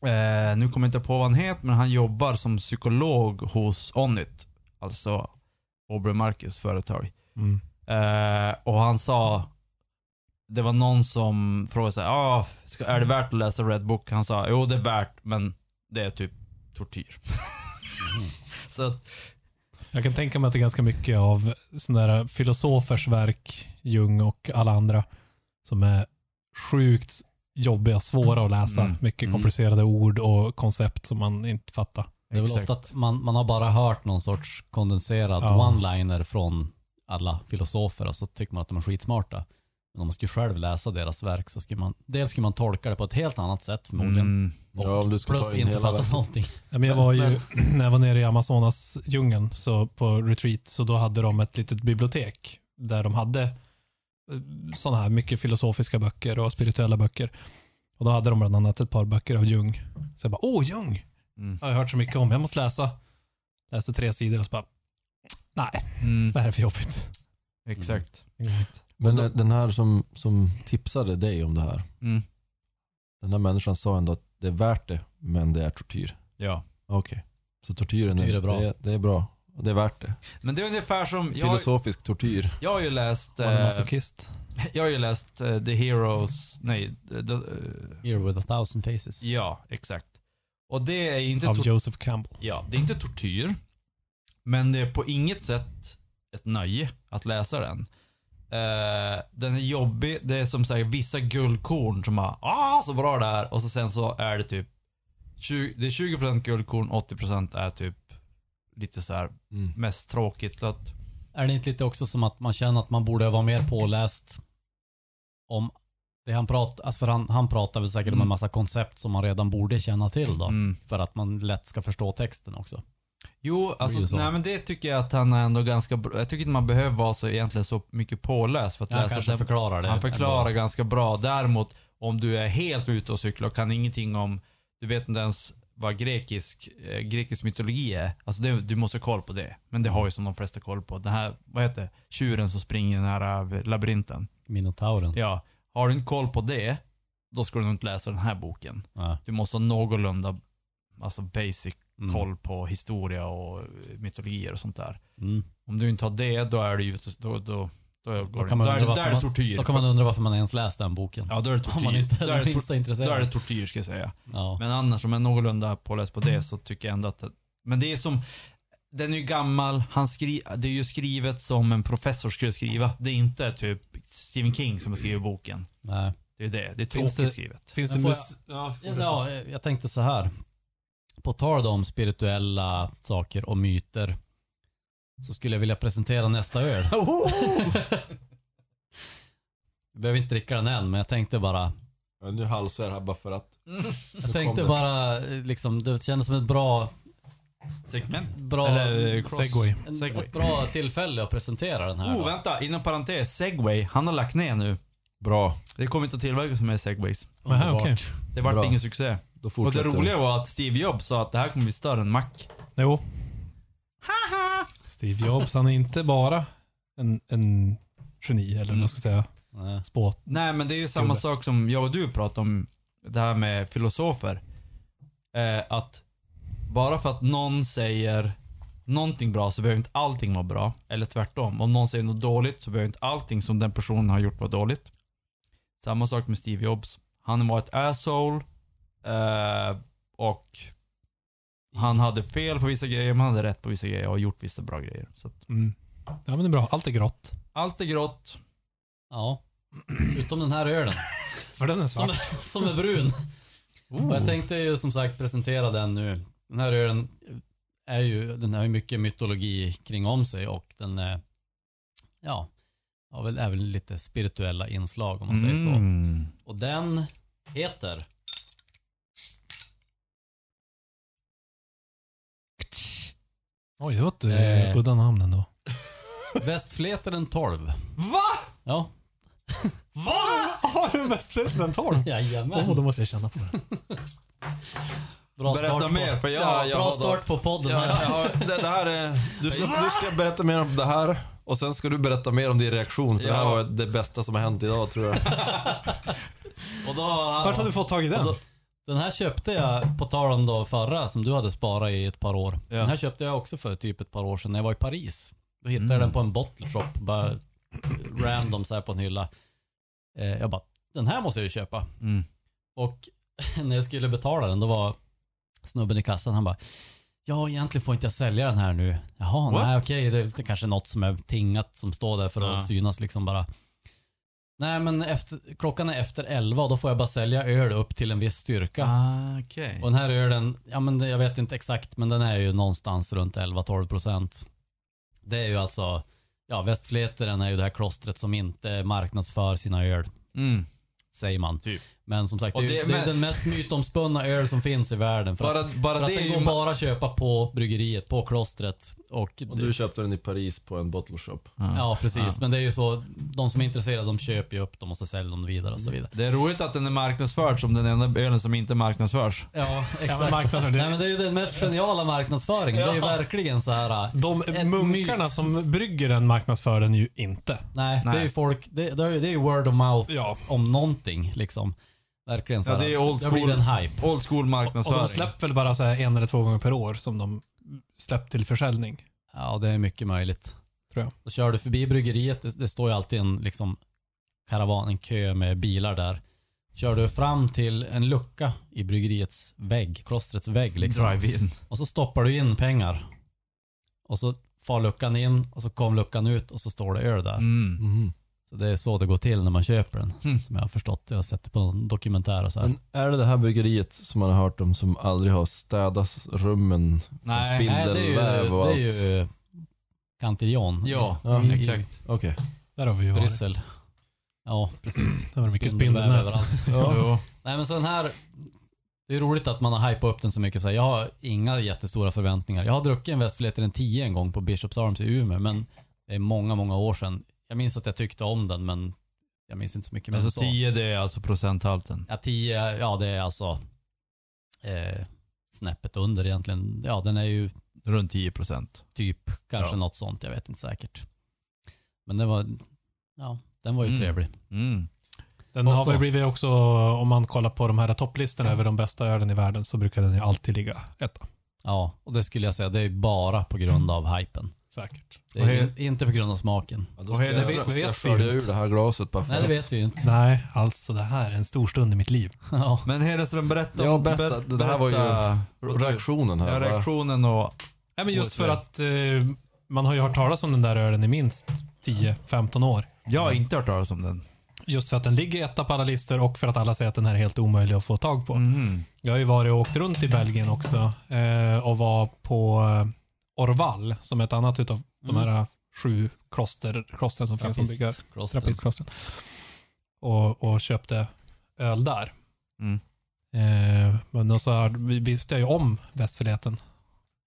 A: Eh, nu kommer jag inte på vad han heter, men han jobbar som psykolog hos Onnit. Alltså Aubrey Marcus företag.
C: Mm.
A: Eh, och han sa, det var någon som frågade sig, ah, ska, är det värt att läsa Red Book? Han sa, jo det är värt, men det är typ tortyr. Så att,
C: Jag kan tänka mig att det är ganska mycket av sådana där filosofers verk, Jung och alla andra, som är sjukt jobbiga, svåra att läsa.
A: Mm.
C: Mycket
A: Mm.
C: komplicerade ord och koncept som man inte fattar.
D: Det är väl
A: Exakt.
D: ofta att man, man har bara hört någon sorts kondenserad
C: Ja.
D: one-liner från alla filosofer och så tycker man att de är skitsmarta. Men om man skulle själv läsa deras verk så skulle man, dels skulle man tolka det på ett helt annat sätt förmodligen.
A: mm,
D: Och
E: Ja, om du ska
D: plus
E: ta in
D: inte
E: hela
D: fatta
E: världen.
D: någonting.
C: Ja, men jag var ju, när jag var nere i Amazonas djungeln så på retreat, så då hade de ett litet bibliotek där de hade sådana här mycket filosofiska böcker och spirituella böcker. Och då hade de bland annat ett par böcker av Jung. Så jag bara, åh Jung!
A: Mm.
C: Har jag hört så mycket om, jag måste läsa. Läste tre sidor och så bara, nej,
A: mm,
C: det här är för jobbigt.
A: exakt.
E: Men den- den här som, som tipsade dig om det här.
A: Mm,
E: Den här människan sa ändå att det är värt det, men det är tortyr.
A: ja.
E: Okej. Så tortyren
D: Tortyr är bra.
E: Det, är, det är bra. Och det är värt det.
A: Men det är ungefär som, jag,
E: Filosofisk tortyr.
A: jag har ju läst...
C: Man är
A: eh,
C: masochist.
A: Jag har ju läst eh, The Heroes, nej, the, the, eh,
D: Here with a thousand faces.
A: ja exakt. Och det är inte,
C: Av
A: tor-
C: Joseph Campbell.
A: ja, det är inte tortyr. Men det är på inget sätt ett nöje att läsa den. Eh, den är jobbig, det är som säger vissa guldkorn som bara ah så bra det här och så sen så är det typ 20, det är 20% guldkorn, 80% är typ lite så här
E: Mm.
A: mest tråkigt. Så att,
D: Är det inte lite också som att man känner att man borde vara mer påläst om det han pratar, alltså för han, han pratar väl säkert om
A: Mm.
D: en massa koncept som man redan borde känna till då.
A: mm.
D: För att man lätt ska förstå texten också.
A: Jo,
D: ju
A: alltså
D: så.
A: nej men det tycker jag att han är ändå ganska bra. Jag tycker inte man behöver vara så egentligen så mycket påläst för att
C: Alltså,
D: Han
A: läsa
D: kanske
A: den.
D: förklarar det.
A: han förklarar
D: ändå.
A: ganska bra. Däremot om du är helt ute och cyklar och kan ingenting om, du vet inte ens vad grekisk, eh, grekisk mytologi är. Alltså det, du måste ha koll på det. Men det har ju som de flesta koll på. Den här, vad heter det? tjuren som springer i den här eh, labyrinten.
D: Minotauren.
A: Ja, har du inte koll på det, då ska du nog inte läsa den här boken.
D: Ja.
A: Du måste ha någorlunda, alltså basic
D: Mm.
A: koll på historia och eh, mytologier och sånt där.
D: Mm.
A: Om du inte har det, då är det ju... Då, då, då, går det,
D: kan man
A: då är det,
D: undra
A: där är
D: varför
A: det tortyr.
D: Då kan man undra varför man ens läst den boken.
A: Ja, då är det
D: Om man inte
A: tortyr. Då
D: är det
A: är det, tor- då
D: minsta
A: är
D: intresserad.
A: det tortyr, ska jag säga.
D: Ja.
A: Men annars, om jag är någorlunda påläst på det så tycker jag ändå att... Det, men det är som... Den är ju gammal, han skri, det är ju skrivet som en professor skulle skriva. Det är inte typ Stephen King som har skrivit boken.
D: Nej.
A: Det är det. Det är tråkigt
C: Finns det-
A: skrivet.
C: Finns det
D: Men får
C: mus... Ja,
D: Ja, jag tänkte så här. På tal om spirituella saker och myter så skulle jag vilja presentera nästa öl. Vi behöver inte dricka den än, men jag tänkte bara
E: Men nu halsar jag här bara för att.
D: Jag tänkte
E: kom den.
D: bara, eh, liksom, det kändes som ett bra,
A: Segment.
D: bra,
A: Eller eh, cross.
C: Segway.
D: en,
A: Segway.
D: ett bra tillfälle att presentera den här.
A: Oh,
D: då.
A: vänta. Inom parentes. Segway. Han har lagt ner nu.
E: Bra.
A: Det kommer inte att tillverkas mer segways.
C: Aha, okej.
A: Det vart
E: Bra.
A: ingen succé.
E: Då
A: Och det
E: fortsätter
A: roliga var att Steve Jobs sa att det här kommer bli större än Mac.
C: Jo. Steve Jobs, han är inte bara en, en geni, eller vad man ska säga.
D: Nej.
C: Spå.
A: Nej, men det är ju samma
C: Gubbe.
A: sak som jag och du pratade om. Det här med filosofer. Eh, att bara för att någon säger någonting bra så behöver inte allting vara bra. Eller tvärtom. Om någon säger något dåligt så behöver inte allting som den personen har gjort vara dåligt. Samma sak med Steve Jobs. Han var ett asshole. Eh, och han hade fel på vissa grejer, men han hade rätt på vissa grejer och gjort vissa bra grejer. Så att
C: Mm. Ja, men det är bra. Allt är grått.
A: allt är grått.
D: Ja. Utom den här ölen,
C: För den är svart.
D: som, som är brun. Och jag tänkte ju som sagt presentera den nu. Den här ölen är ju, den har ju mycket mytologi kring om sig och den är, ja, har väl även lite spirituella inslag om man säger så.
A: Mm.
D: Och den heter...
C: Oj, det var ett
D: Eh.
C: eh. udda namn ändå.
D: Västfletaren 12.
A: Va?
D: Ja.
C: Va? Har du en västfläsk med en torv?
D: Jajamän.
C: Åh, då måste jag känna på den.
D: Bra
A: Berätta
D: start
A: mer,
D: på,
A: för jag,
E: Ja,
A: jag
E: jag
D: bra
E: har då-
D: start på podden
E: Ja,
D: här.
E: ja, det, det här är, du, ska, du ska berätta mer om det här och sen ska du berätta mer om din reaktion för det här
A: Ja.
E: var det bästa som har hänt idag tror jag.
A: Och då,
C: Vart har du fått tag i den?
D: Den här köpte jag, på tal om då förra som du hade sparat i ett par år.
A: Ja.
D: Den här köpte jag också för typ ett par år sedan när jag var i Paris. Då hittade jag
A: Mm.
D: den på en bottle shop, bara random så här på en hylla. Eh, Jag bara, den här måste jag ju köpa.
A: Mm.
D: Och när jag skulle betala den, då var snubben i kassan, han bara Ja, egentligen får inte jag sälja den här nu. Jaha,
A: What?
D: nej okej, det är kanske något som är tingat som står där för att
A: Ja.
D: synas liksom bara. Nej men efter, klockan är efter 11 och då får jag bara sälja öl upp till en viss styrka.
A: Ah, Okej.
D: Och den här ölen, ja men det- jag vet inte exakt men den är ju någonstans runt 11-12 procent. Det är ju alltså, ja Västfleteren är ju det här klostret som inte marknadsför sina öl,
A: Mm.
D: säger man.
A: Typ.
D: Men som sagt,
A: Och
D: det, är ju-
A: det-
D: det är
A: men-
D: den mest mytomspunna öl som finns i världen. För
A: Bara,
D: att,
A: bara
D: för att
A: det är
D: den
A: ju...
D: går bara att köpa på bryggeriet, på klostret. Och,
E: Och du köpte den i Paris på en bottle shop.
D: Ja precis, men det är ju så, de som är intresserade de köper ju upp dem och så säljer de vidare och så vidare.
A: Det är roligt att den är marknadsförd som den enda ölen som inte marknadsförs.
D: Ja,
C: men
D: exakt.
C: marknadsföring, det-
D: Nej men det är ju den mest geniala marknadsföringen. Det är ju verkligen så här.
C: De
D: Ett
C: munkarna
D: myt.
C: som brygger den marknadsför den ju inte.
D: Nej, det är
A: Nej.
D: ju folk, det, det är ju- det är ju word of mouth
C: Ja.
D: om någonting liksom. Verkligen så
A: Ja,
D: här.
A: det är old
D: blir
A: school.
D: en hype.
A: Old school
C: Och
A: marknadsföring.
C: de släpper väl bara så här en eller två gånger per år som de släppt till försäljning.
D: Ja, det är mycket möjligt.
C: Tror jag.
D: Då kör du förbi bryggeriet, det, det står ju alltid en liksom karavan, en kö med bilar där. Kör du fram till en lucka i bryggeriets vägg, klostrets vägg liksom.
A: Drive-in.
D: Och så stoppar du in pengar. Och så far luckan in och så kom luckan ut och så står det öl där.
A: Mm.
E: Mhm.
D: Så det är så det går till när man köper den.
A: Mm.
D: Som jag har förstått det. Jag har sett det på någon dokumentär och så här.
E: Men är det det här bryggeriet som man har hört om som aldrig har städat rummen från
A: Nej,
D: Nej, det är ju,
E: spindelväv och
D: det är
E: allt?
D: ju Cantillon.
A: Ja,
E: Ja.
D: i,
A: exakt.
E: Okej.
C: Där har vi ju
D: I
C: varit.
D: Bryssel. Ja, precis.
C: Där var det mycket
D: Spindelväv
C: spindelnät.
D: överallt.
E: Ja.
A: Jo.
D: Nej men så den här, det är roligt att man har hypat upp den så mycket så här. Jag har inga jättestora förväntningar. Jag har druckit en Westfleter en 10 en gång på Bishops Arms i Umeå men det är många, många år sedan. Jag minns att jag tyckte om den men jag minns inte så mycket mer
A: Men
D: än
A: så
D: så.
A: 10 det är alltså procenthalten.
D: Ja, 10, ja det är alltså eh, snäppet under egentligen. Ja, den är ju
A: Runt 10 procent.
D: typ kanske
A: Ja.
D: något sånt, jag vet inte säkert. Men det var, ja, den var ju
A: Mm.
D: trevlig.
A: Mm.
C: Den
D: Och
C: har
D: så.
C: väl blivit också, om man kollar på de här topplistorna över de bästa ölen i världen så brukar den ju alltid ligga etta.
D: Ja, och det skulle jag säga, det är bara på grund av hypen.
C: Säkert.
D: Det är
A: Och
D: in, inte på grund av smaken.
E: Ja, då
A: Och
E: ska
A: det vet-
E: jag, ska jag
A: vet vi
E: skölja
A: inte.
E: ur det här glaset bara för
D: Nej, det
E: att-
D: vet vi ju inte.
C: Nej, alltså det här är en stor stund i mitt liv.
D: Ja,
A: Men Hedenström, berätta
E: Ja,
A: om...
E: berätta.
A: ber-
E: Det här var ju-
A: berätta-
E: Reaktionen här.
A: Ja,
E: va?
A: reaktionen och...
C: Nej, men just
A: Hårt
C: för att eh, man har ju hört talas om den där ölen i minst 10-15 år.
A: Jag har inte hört talas om den.
C: Just för att den ligger etta på alla listor och för att alla säger att den här är helt omöjlig att få tag på.
A: Mhm.
C: Jag har ju varit och åkt runt i Belgien också eh, och var på eh, Orval som är ett annat utav de här sju kloster, klostren som finns som bygger
D: Trappist.
C: trappistklostren. Och, och köpte öl där.
A: Mm.
C: Eh, men då sa jag, vi visste ju om västfileten.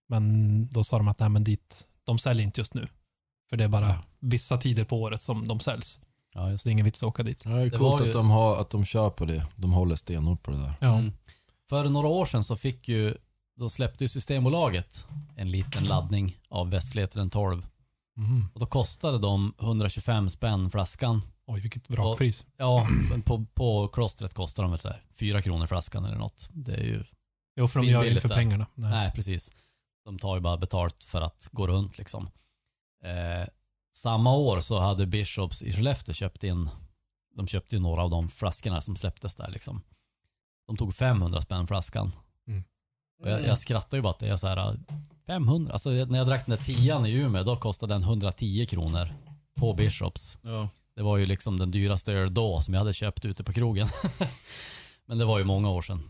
C: Men då sa de att nej men dit, de säljer inte just nu. För det är bara vissa tider på året som de säljs.
D: Ja, just
C: Så det är ingen vits att åka dit.
E: Ja, det är
D: Det
E: coolt
D: var ju-
E: att, de har, att de kör på det. De håller stenhårt på det där.
C: Ja.
D: Mm. För några år sedan så fick ju, då släppte ju Systembolaget en liten laddning av Västflätaren 12.
C: Mm.
D: Och då kostade de 125 spänn flaskan.
C: Oj, vilket vrakpris.
D: Ja, men på, på klostret kostar de väl så här 4 kronor flaskan eller något. Det är ju,
C: Jo, för de gör ju inte för
D: Svinbilligt där.
C: pengarna. Nej.
D: nej precis. De tar ju bara betalt för att gå runt liksom. Eh, samma år så hade Bishops i Skellefteå köpt in, de köpte ju några av de flaskorna som släpptes där liksom. De tog 500 spänn flaskan. Och jag, jag skrattar ju bara att det är så här äh, 500. Alltså när jag drack den där tian i Umeå då kostade den 110 kronor på Bishops.
A: Ja.
D: Det var ju liksom den dyraste öl då som jag hade köpt ute på krogen. Men det var ju många år sedan.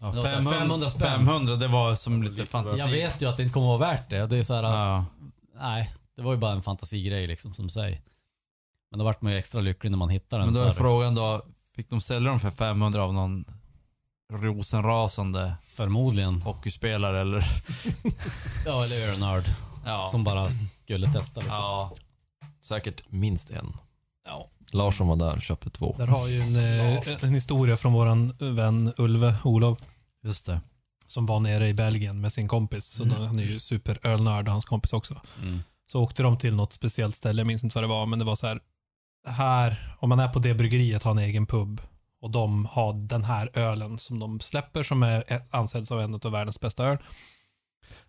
A: Ja,
D: Det var så här
A: 500,
D: 500 spänn.
A: 500, det var som lite fantasi.
D: Jag vet ju att det inte kommer vara värt det. Det är så här, äh,
A: Ja.
D: nej, det var ju bara en fantasigrej liksom som du säger. Men då vart man ju extra lycklig när man hittade den.
A: Men då är
D: för,
A: frågan då, fick de sälja dem för 500 av någon rosenrasande
D: Förmodligen.
A: hockeyspelare eller?
D: Ja, eller ölnörd.
A: Ja.
D: Som bara skulle testa liksom.
A: ja.
E: Säkert minst en.
A: Ja.
E: Larsson var där köpte två.
C: Där har ju en, eh, en historia från våran eh, vän Ulve Olof
A: Just det.
C: som var nere i Belgien med sin kompis. Så Han är ju superölnörd och hans kompis också.
D: Mm.
C: Så åkte de till något speciellt ställe, jag minns inte vad det var, men det var så här. Här, om man är på det bryggeriet, har en egen pub och de har den här ölen som de släpper som är ett- ansedd som en av världens bästa öl.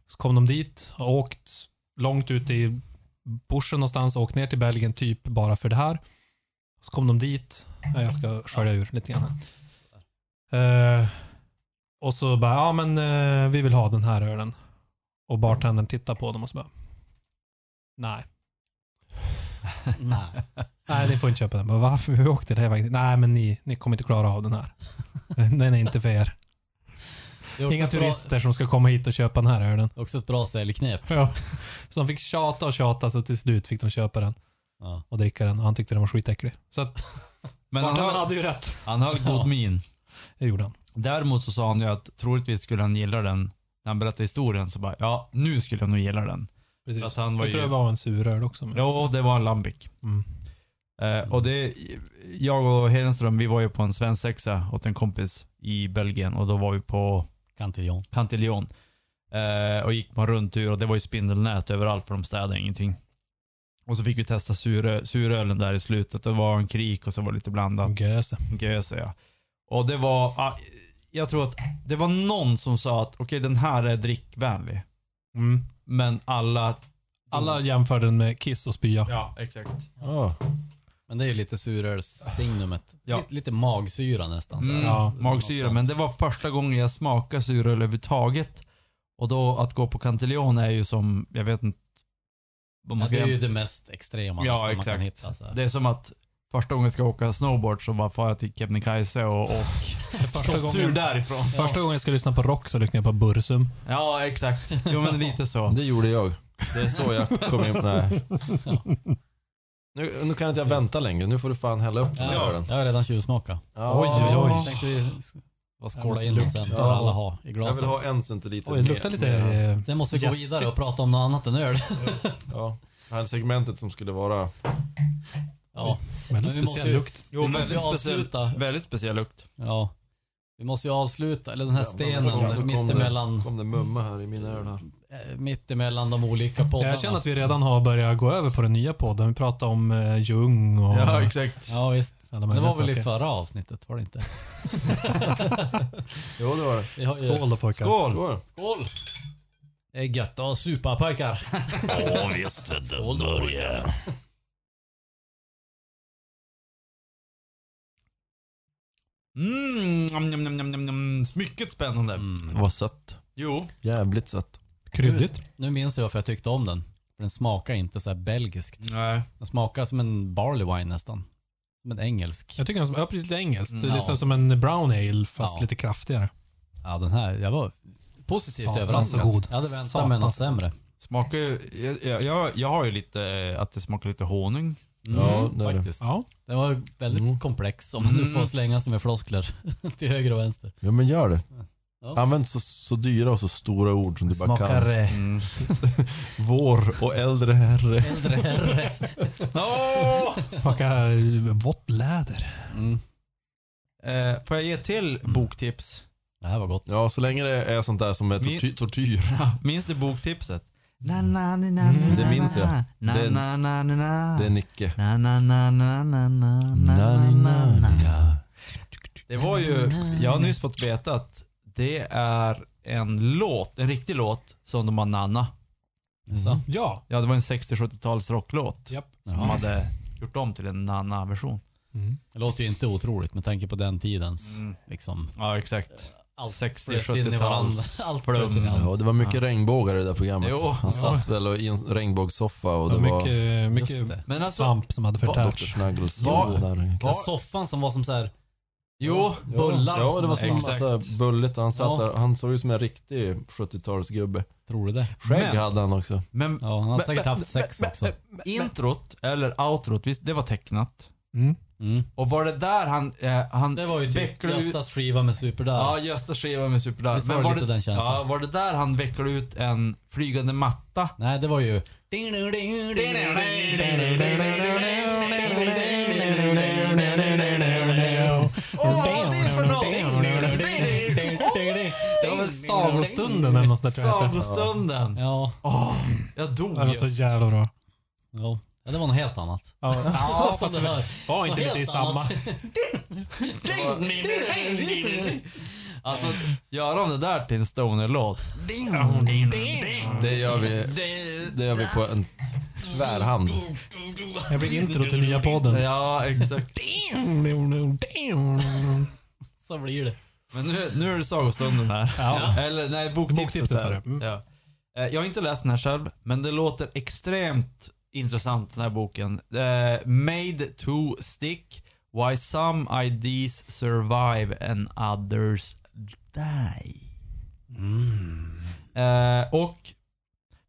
C: Så kom de dit, har åkt långt ut i bushen någonstans, åkt ner till Belgien typ bara för det här. Så kom de dit, Nej, jag ska skölja ur lite grann. här. Eh, och så bara, ja men eh, vi vill ha den här ölen. Och bartendern tittar på dem och så bara, nej.
D: Nej.
C: Nej, ni får inte köpa den. Bara, Varför? Vi åkte det här vägen. Nej, men ni, ni kommer inte klara av den här. Den är inte för er.
D: Det är också
C: Inga
D: ett bra-
C: turister som ska komma hit och köpa den här ölen.
D: Också ett bra säljknep.
C: Ja. Så de fick tjata och tjata så till slut fick de köpa den
D: Ja.
C: och dricka den och han tyckte den var skitäcklig. Så att
A: Men han
C: bartendern
A: höll,
C: hade ju rätt.
A: han höll
D: Ja.
A: god min.
C: Det gjorde han.
A: Däremot så sa han ju att troligtvis skulle han gilla den. När han berättade historien så bara, ja nu skulle jag nog gilla den.
C: Precis.
A: För att han var
C: jag tror
A: ju...
C: det var en suröl också. men-
A: Ja, det var en lambic.
C: Mm.
A: Eh, och det, jag och Hedenström, vi var ju på en svensexa åt en kompis i Belgien och då var vi på
D: Cantillon.
A: Cantillon. Eh, och gick man runt ur och det var ju spindelnät överallt för de städade ingenting. Och så fick vi testa sure, surölen där i slutet. Det var en krik och så var det lite blandat.
C: Göse.
A: Göse ja. Och det var, ah, jag tror att det var någon som sa att okej den här är drickvänlig.
C: Mm.
A: Men alla,
C: Alla jämförde den med kiss och spya.
A: ja exakt.
E: Ja.
D: Men det är ju lite surölssignumet.
A: Ja.
D: Lite, lite magsyra nästan. så här.
A: Mm,
C: Ja,
A: magsyra. Men det var första gången jag smakade suröl överhuvudtaget. Och då att gå på Cantillon är ju som, jag vet inte. vad
D: ja,
A: man ska
D: det är ju
A: jämföra.
D: det mest extrema
A: Ja,
D: nästan man
A: exakt.
D: kan hitta. Så här.
A: Det är som att första gången jag ska åka snowboard så bara far jag till Kebnekaise och, och
C: Första
A: tur
C: gången,
A: därifrån.
C: första gången jag ska lyssna på rock så lyssnade jag på Bursum.
A: Ja, exakt. Jo men lite så.
E: Det gjorde jag. Det är så jag kom in. Nej. Nu, nu kan inte jag vänta längre. Nu får du fan hälla upp den här
D: Ja,
E: ölen.
D: jag har redan tjuvsmakat.
E: Ja.
D: Jag tänkte vi ska bara skåla
C: måste
D: in den sen. får
E: Ja.
D: alla ha i
E: Jag
D: glaset.
E: vill ha en centiliter
C: Oj, det luktar lite... eh,
D: Sen måste vi gå
C: Gästigt.
D: vidare och prata om något annat än öl.
E: Ja. Det här segmentet som skulle vara...
D: Ja.
C: Väldigt
D: vi måste
C: speciell
D: ju-
C: lukt.
A: Jo,
D: Vi måste ju
A: väldigt speciell,
D: avsluta.
A: väldigt speciell lukt.
D: Ja. Vi måste ju avsluta, eller den här
E: Ja, men då kom- då
D: stenen
E: kom det-
D: mittemellan,
E: Mm. kom det mumma här i mina öl här.
D: eh, mittemellan de olika poddarna.
C: Jag känner att vi redan har börjat gå över på den nya podden. Vi pratar om eh, Jung och
A: Ja, exakt.
D: Ja visst.
C: alla
D: Men det
C: möjliga
D: var väl i
C: saker.
D: förra avsnittet, var det inte?
E: Jo, det var det.
D: Vi har ju-
C: Skål då pojkar.
E: Skål!
D: Skål! Det är gött att supa pojkar.
E: Ja, visst vet du.
D: Skål då.
E: Norge.
A: Mm, nom, nom, nom, nom, nom, nom. mycket spännande.
D: Mm.
E: Vad sött.
A: Jo.
E: Jävligt sött.
C: Kryddigt.
D: Nu minns jag varför jag tyckte om den. För den smakar inte så här belgiskt.
A: Nej.
D: Den smakar som en barley wine nästan. men engelsk.
C: Jag tycker den smakar lite engelskt. Det är
D: Mm, Ja.
C: liksom som en brown ale fast
D: Ja.
C: lite kraftigare.
D: Ja, den här, jag var positivt
C: Satans
D: överraskad.
C: god.
D: Jag hade väntat
C: Satans
D: mig något
C: god.
D: sämre.
A: Smakar ju- jag, jag- jag, jag har ju lite eh, att det smakar lite honung.
E: Ja, det är det.
D: Mm, faktiskt.
C: Ja.
D: Den var ju väldigt
E: Mm.
D: komplex om man nu får slänga sig med floskler till höger och vänster.
E: Ja men gör det.
D: Ja.
E: Använd så, så dyra och så stora ord som du bara
D: Smakar
E: kan.
D: eh,
A: Mm.
E: Vår och äldre herre.
D: äldre herre.
C: Smakar vått läder.
D: Mm.
A: Eh, får jag ge till boktips?
D: Det här var gott.
E: Ja, så länge det är sånt där som är torty- tortyr.
A: Minns du boktipset? Mm. Na, na, ni, na, na,
E: det
A: na,
E: minns jag.
A: na. Na,
E: Det-
A: na, na, na, na.
E: Det är Nicke.
A: Na, na, na, na, na, na, na, na, na, na. Det var ju, jag har nyss fått veta att det är en låt, en riktig låt som de har nanna.
D: Så.
C: Ja.
A: Ja, det var en 60-70-tals rocklåt
C: Japp.
A: som de hade gjort om till en nanna-version.
C: Mm.
D: Det låter ju inte otroligt med tanke på den tidens
A: Mm.
D: liksom.
A: Ja, exakt.
D: Allt
A: 60-70-tals
D: flöt in i varandra. Allt flöt in i
A: flum.
D: allt.
E: Ja, det var mycket regnbågar i det där programmet.
A: Jo.
E: Han satt väl och- i en regnbågssoffa och
C: Det
E: det var
C: mycket,
D: Just det.
C: mycket
A: Men alltså,
C: svamp som hade
E: Dr.
C: förtärts.
E: Snuggles.
A: Var-
E: och där.
D: Den
A: var-
D: soffan som var som så här
A: jo,
D: bullar.
E: Ja, det var som en
A: Exakt.
E: massa bulligt och han satt
D: Ja.
E: där. Han såg ut som en riktig 70-talsgubbe.
D: Tror du det?
E: Skägg
A: Men-
E: hade han också.
A: men
D: Ja, han har säkert haft sex också.
A: introt eller outrot, visst det var tecknat?
C: Mm.
D: Mm.
A: Och var det där han, eh, han
D: Det var ju typ
A: vecklade ut-
D: Göstas skiva med Superdär.
A: Ja, Gösta Skiva med Superdarr.
D: Visst var det lite den känslan?
A: Ja, var det där han vecklade ut en flygande matta?
D: Nej, det var ju...
A: Åh, vad var det för någonting?
C: Det var väl sagostunden eller något sånt där tror jag det hette.
A: Sagostunden.
D: Ja,
A: Jag dog
C: Det var så
A: just.
C: jävla bra.
D: ja. ja, det var något helt annat.
C: Ja.
D: Ja, fast det var,
C: Var inte lite i samma.
A: Alltså, göra om det där till en stoner-låt.
E: Det gör vi, det gör vi på en tvärhand.
C: Jag blir intro till nya podden.
A: Ja, exakt.
D: Så blir det.
A: Men nu, nu är det sagostunden här.
C: Ja.
A: Eller nej, boktipset.
C: Boktipset var det. Mm.
A: Ja. Eh, Jag har inte läst den här själv, men det låter extremt intressant den här boken. Eh, Made to stick, why some ideas survive and others die.
C: Mm.
A: Eh, och,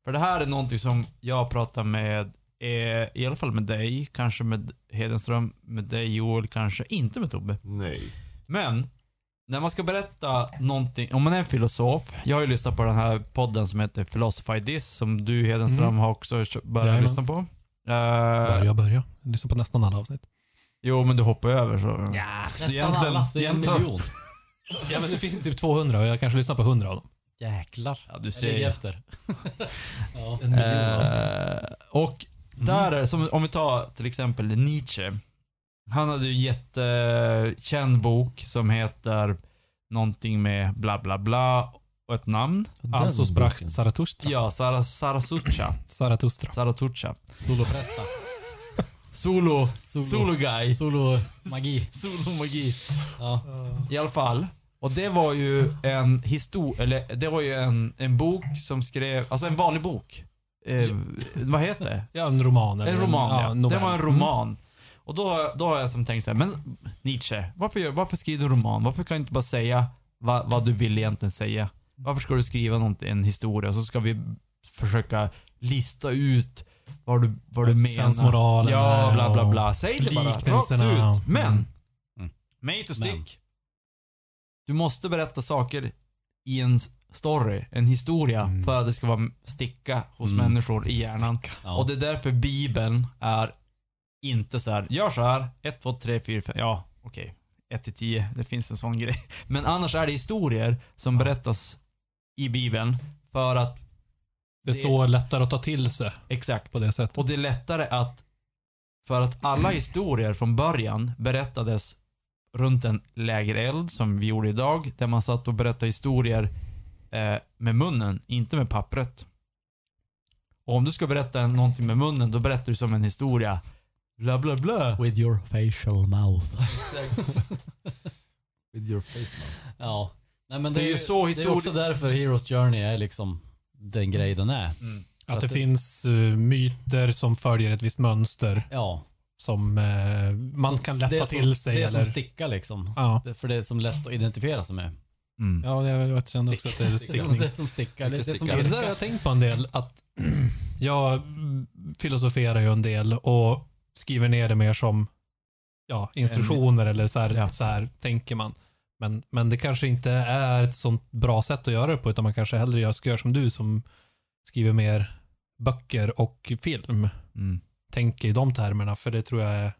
A: för det här är någonting som jag pratar med, eh, i alla fall med dig, kanske med Hedenström, med dig Joel, kanske inte med Tobbe.
E: Nej.
A: Men, när man ska berätta någonting, om man är en filosof, jag har ju lyssnat på den här podden som heter Philosophy This, som du Hedenström
C: Mm.
A: har också kö- börjat
C: Jajamän.
A: lyssna på. Eh,
C: Börja, börja. Lyssna på nästan alla avsnitt.
A: jo, men du hoppar över så.
D: Nästan
A: Egentligen-
D: alla. Det är en
A: egentligen-
D: miljon.
C: Ja men det finns typ 200 och jag kanske lyssnar på 100 av dem.
D: Jäklar.
A: Ja, du
D: Jag ligger
A: ser.
D: efter. ja.
A: Eh, och där är det, som, om vi tar till exempel Nietzsche. Han hade ju en jättekänd bok som heter någonting med bla bla bla och ett namn.
C: Alltså sprack Zaratustra.
A: Ja, Sara- Sarasucha.
C: Zaratustra.
A: Saratucha.
D: Solopresta.
A: Solo,
D: Solo.
A: solo guy.
D: Solo-magi.
A: Solomagi.
D: Ja.
A: I alla fall. Och det var ju en histor... Eller det var ju en, en bok som skrev... Alltså en vanlig bok. Eh, vad heter det?
C: Ja, en roman. eller
A: En roman ja.
C: novell. Mm.
A: Det var en roman. Och då, då har jag som tänkt så här, men Nietzsche, varför, gör, varför skriver du en roman? Varför kan du inte bara säga vad, vad du vill egentligen säga? Varför ska du skriva något, en historia och så ska vi försöka lista ut vad du, vad du menar?
C: Sensmoralen
A: Ja,
C: här
A: bla bla
C: och
A: bla. Säg det bara rakt
C: liknelserna.
A: ut. Men,
C: Mm.
D: Mm.
A: mig to
D: Men.
A: stick. Du måste berätta saker i en story, en historia,
C: Mm.
A: för att det ska vara sticka hos
D: Mm.
A: människor i hjärnan.
D: Ja.
A: Och det är därför Bibeln är inte så här, gör så här, 1, 2, 3, 4, 5, ja okej. 1 till 10, det finns en sån grej. Men annars är det historier som berättas i Bibeln för att,
C: Det är så lättare att ta till sig
A: exakt.
C: på det sättet.
A: Och det är lättare att, för att alla historier från början berättades runt en lägereld som vi gjorde idag, där man satt och berättade historier eh, med munnen, inte med pappret. Och om du ska berätta en- någonting med munnen, då berättar du som en historia. Bla bla bla.
D: With your facial mouth.
E: With your face man.
D: Ja. Nej, men
A: Det är ju så
D: Det är
A: histori-
D: också därför Heroes Journey är liksom den grej den är.
C: Att det
D: att det-
C: finns eh, myter som följer ett visst mönster
D: Ja.
C: som eh, man kan lätta
D: det
C: till
D: som,
C: sig.
D: Det
C: eller,
D: som stickar liksom.
C: ja.
D: Det, för det är som lätt att identifiera sig med.
A: Mm.
C: ja, jag jag känner också att det är stickning.
D: Det som stickar. Det, det som
C: Ja, det där har
D: virkar.
C: jag tänkt på en del. Att jag filosoferar ju en del och skriver ner det mer som ja, instruktioner eller så här,
D: Ja.
C: så här tänker man. Men, men det kanske inte är ett sånt bra sätt att göra det på utan man kanske hellre gör, ska göra som du som skriver mer böcker och film.
A: Mm.
C: Tänk i de termerna för det tror jag är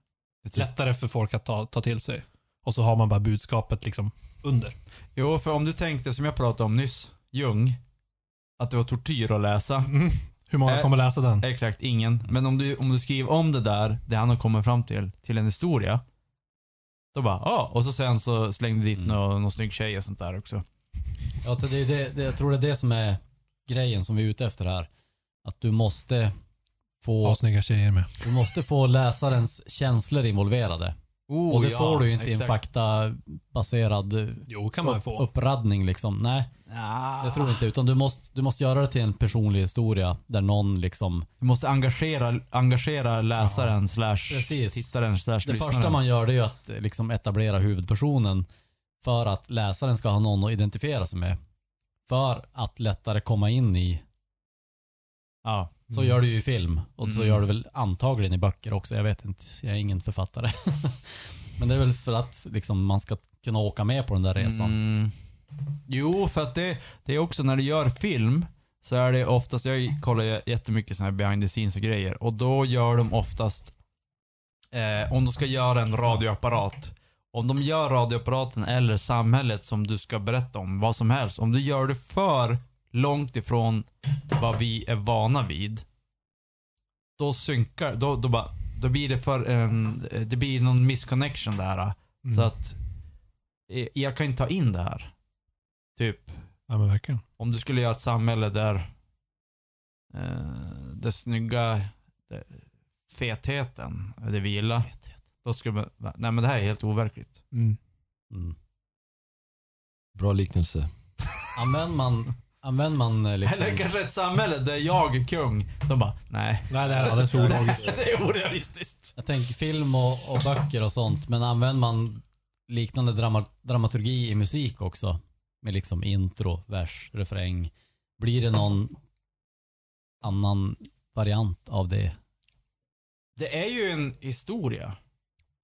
C: lättare för folk att ta, ta till sig. Och så har man bara budskapet liksom under.
A: Jo, för om du tänkte som jag pratade om nyss, Jung, att det var tortyr att läsa.
C: Hur många
A: Äh,
C: kommer läsa den?
A: Exakt, ingen. Men om du, om du skriver om det där, det han har kommit fram till, till en historia. Då bara, ja. Ah. Och så sen så slängde dit
D: Mm.
A: någon, någon snygg tjej och sånt där också.
D: Ja, så det, är det, det, jag tror det är det som är grejen som vi är ute efter här. Att du måste få,
C: Ja, snygga tjejer med.
D: du måste få läsarens känslor involverade.
A: Oh,
D: Och det får du ju inte i en
A: exakt.
D: faktabaserad eh,
C: Jo, kan man
D: upp-
C: få.
D: uppraddning liksom. Nej,
A: Ah.
D: jag tror inte. Utan du måste, du måste göra det till en personlig historia där någon liksom...
A: Du måste engagera, engagera läsaren slash
D: Precis.
A: tittaren slash
D: Det
A: lyssnaren.
D: första man gör det är ju att eh, liksom etablera huvudpersonen för att läsaren ska ha någon att identifiera sig med. För att lättare komma in i
A: Ja.
D: Så gör du ju i film och så
A: Mm.
D: gör du väl antagligen i böcker också. Jag vet inte, jag är ingen författare. Men det är väl för att liksom, man ska kunna åka med på den där resan.
A: Mm. Jo, för att det, det är också när du gör film så är det oftast, jag kollar ju jättemycket såna här behind the scenes och grejer och då gör de oftast, eh, om de ska göra en radioapparat, om de gör radioapparaten eller samhället som du ska berätta om, vad som helst, om du gör det för långt ifrån vad vi är vana vid, då synkar, då, då, bara, då blir det för, en, det blir någon misconnection där.
C: Mm.
A: Så att eh, jag kan inte ta in det här. Typ,
C: Ja, men verkligen.
A: om du skulle göra ett samhälle där eh, det snygga, det, fetheten, det vila. Då skulle man, nej men det här är helt overkligt.
C: Mm.
D: Mm.
E: Bra liknelse.
D: Använder man, använder man eh, liksom...
A: Eller kanske ett samhälle där jag är kung. De bara, nej.
C: Nej, det är alldeles för ologiskt.
A: Det är orealistiskt.
D: Jag tänker film och, och böcker och sånt, men använder man liknande drama, dramaturgi i musik också? Med liksom intro, vers, refräng. Blir det någon annan variant av det?
A: Det är ju en historia.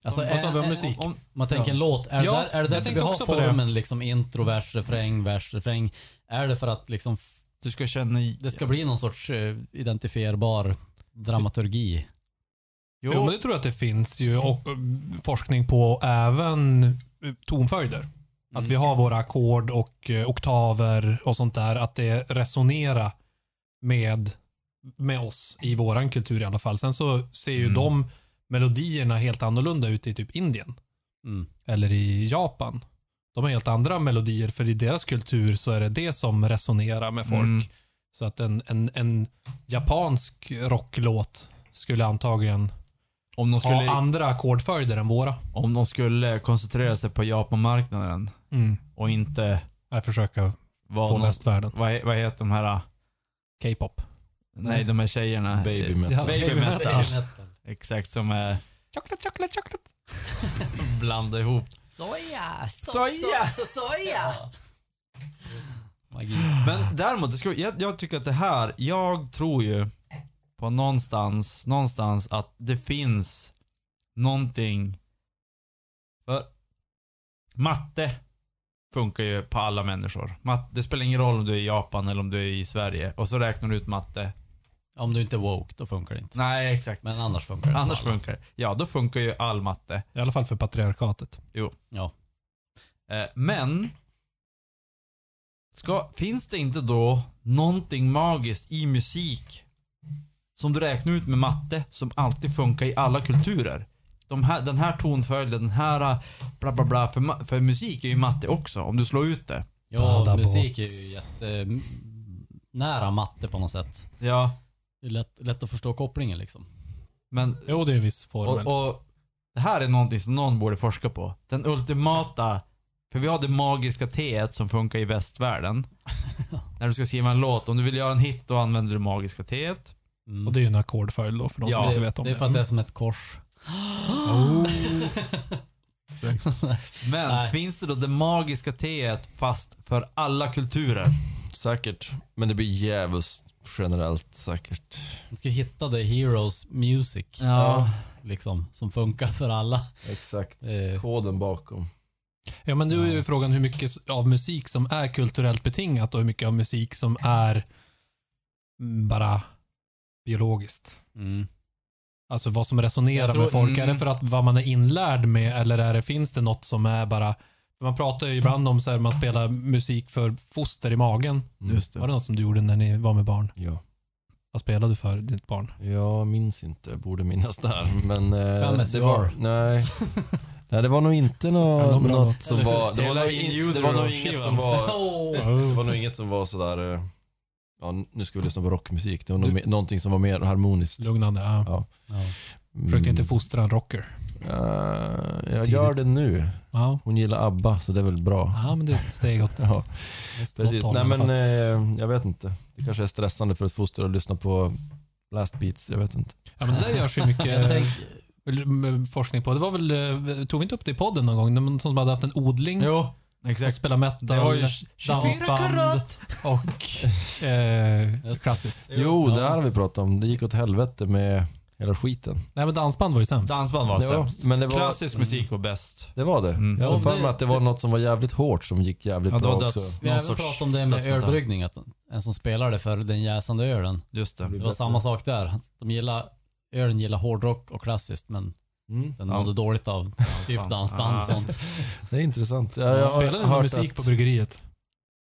D: Alltså,
C: Vad sa vi om musik?
A: Om,
D: Man tänker
A: Ja.
D: en låt. Är
C: Ja,
D: det, där, är det
C: jag
D: därför vi
C: tänkte
D: har
C: också på det.
D: formen liksom intro, vers, refräng, vers, refräng? Är det för att liksom f-
A: du ska känna...
D: det ska bli någon sorts eh, identifierbar dramaturgi?
A: Jo,
C: Jo, men det tror jag att det finns ju och, och, forskning på och även eh, tonföljder. Att vi har våra ackord och eh, oktaver och sånt där. Att det resonerar med, med oss i våran kultur i alla fall. Sen så ser ju
A: Mm.
C: de melodierna helt annorlunda ut i typ Indien
D: Mm.
C: eller i Japan. De har helt andra melodier för i deras kultur så är det det som resonerar med folk.
A: Mm.
C: Så att en, en, en japansk rocklåt skulle antagligen
A: om, de skulle,
C: ha andra ackordföljder än våra.
A: om de skulle koncentrera sig på Japanmarknaden
C: Mm.
A: och inte
C: Jag försöker
A: vara
C: få
A: någon
C: västvärlden.
A: Vad, he- vad heter de här? ah,
C: K-pop.
A: Nej, de här tjejerna.
E: Baby
A: Eh,
E: metal.
A: Baby metal.
D: Baby metal.
A: Exakt, som är
C: Chocolate, chocolate, chocolate.
A: blanda ihop.
D: Soja! so-
A: Soja!
D: so- so- Soja! Magi.
A: Men däremot, det ska, jag, jag tycker att det här, jag tror ju på någonstans, någonstans att det finns någonting. För matte funkar ju på alla människor. Matt, det spelar ingen roll om du är i Japan eller om du är i Sverige. Och så räknar du ut matte.
D: Om du inte är woke, då funkar det inte.
A: Nej, exakt.
D: Men annars funkar det.
A: Annars funkar det. Ja, då funkar ju all matte.
C: I alla fall för patriarkatet.
D: Ja.
A: Eh, Men ska, finns det inte då någonting magiskt i musik som du räknar ut med matte som alltid funkar i alla kulturer? De här, den här tonföljden, den här eh, bla bla bla. För, ma- för musik är ju matte också om du slår ut det.
D: Ja,
C: Bada
D: musik är ju
C: bots.
D: jätte... Nära matte på något sätt.
A: Ja,
D: Det är lätt, lätt att förstå kopplingen liksom.
A: men
C: Jo, det är en viss formel.
A: och, och det här är någonting som någon borde forska på. Den ultimata, för vi har det magiska T som funkar i västvärlden. När du ska skriva en låt, om du vill göra en hit då använder du det magiska T.
D: Mm.
C: Och det är ju en ackordföljd då för de
A: Ja,
C: som
D: det,
C: inte vet om
D: det
C: det.
D: är för att det är som ett kors.
C: Oh.
A: Men
D: Nej.
A: finns det då det magiska teet fast för alla kulturer?
E: Säkert. Men det blir djävulskt generellt säkert.
D: Man ska hitta det Heroes Music.
A: Ja.
D: Liksom, som funkar för alla.
E: Exakt.
D: Eh,
E: Koden bakom.
C: Ja, men nu är ju frågan hur mycket av musik som är kulturellt betingat och hur mycket av musik som är mm, bara biologiskt.
D: mm.
C: Alltså vad som resonerar
D: Jag tror-
C: med folk.
D: mm.
C: Är det för att vad man är inlärd med eller är det, finns det något som är bara... Man pratar ju ibland om så här, man spelar musik för foster i magen.
E: Just
C: Mm. Var det något som du gjorde när ni var med barn?
E: Ja.
C: Vad spelade du för ditt barn?
E: Jag minns inte, jag borde minnas där. Men
D: Fem
E: eh,
D: SUR.
E: det var... Nej. nej, det var nog inte
C: Ja,
E: nå
C: de bra.
E: något som
D: Eller hur?
E: var... Det var,
A: Hela
E: nog in, det
A: Injudero
E: var nog inget som var...
D: Åh.
E: Det var nog inget som var sådär... eh, Ja, nu ska vi lyssna på rockmusik. Det var nog me- någonting som var mer harmoniskt.
C: Lugnande, ja.
D: Ja.
E: Mm.
C: Försökte inte fostra en rocker.
E: Eh, jag
C: Tidigt.
E: gör det nu.
C: Ja.
E: Hon gillar ABBA, så det är väl bra.
C: ja, men det är ett steg åt
E: Ja,
C: åt
E: precis.
C: håll i
E: Nej
C: alla
E: men
C: fall.
E: eh, jag vet inte. Det kanske är stressande för ett foster att lyssna på blast beats. Jag vet inte.
C: Ja, men det där görs ju
D: Jag
C: mycket
D: tänk,
C: eh, forskning på. Det var väl, eh, tog vi inte upp det i podden någon gång? Någon som hade haft en odling
A: Jo,
C: och spelat metal,
A: Det var ju
C: dansband och eh,
D: Just.
C: klassiskt.
E: Jo, det här har vi pratat om. Det gick åt helvete med hela skiten.
C: Nej men dansband var ju sämst.
A: Dansband var
E: det var,
A: sämst.
E: men det var,
A: Klassisk musik var bäst.
E: Det var det.
A: Mm.
E: Jag har
D: Ja,
E: för
D: det-
E: mig att det var något som var jävligt hårt som gick jävligt
A: Ja, det
E: bra
A: var
E: också.
A: döds...
D: vi har
A: Någon
D: även
A: sorts...
D: pratat om det med
A: dödsmetall.
D: öldryggning. Att en som spelade för den jäsande ölen.
A: Just det.
E: blir
D: Det var
E: bättre.
D: samma sak där. De gillar, ölen gillar hårdrock och klassiskt men
E: Mm.
D: den
A: Ja.
D: mådde dåligt av typ dansband och
A: Ja.
D: sånt.
E: Det är intressant. Ja,
C: Ja,
E: jag har
C: spelade
E: hört
C: ni musik
E: att-
C: på bryggeriet?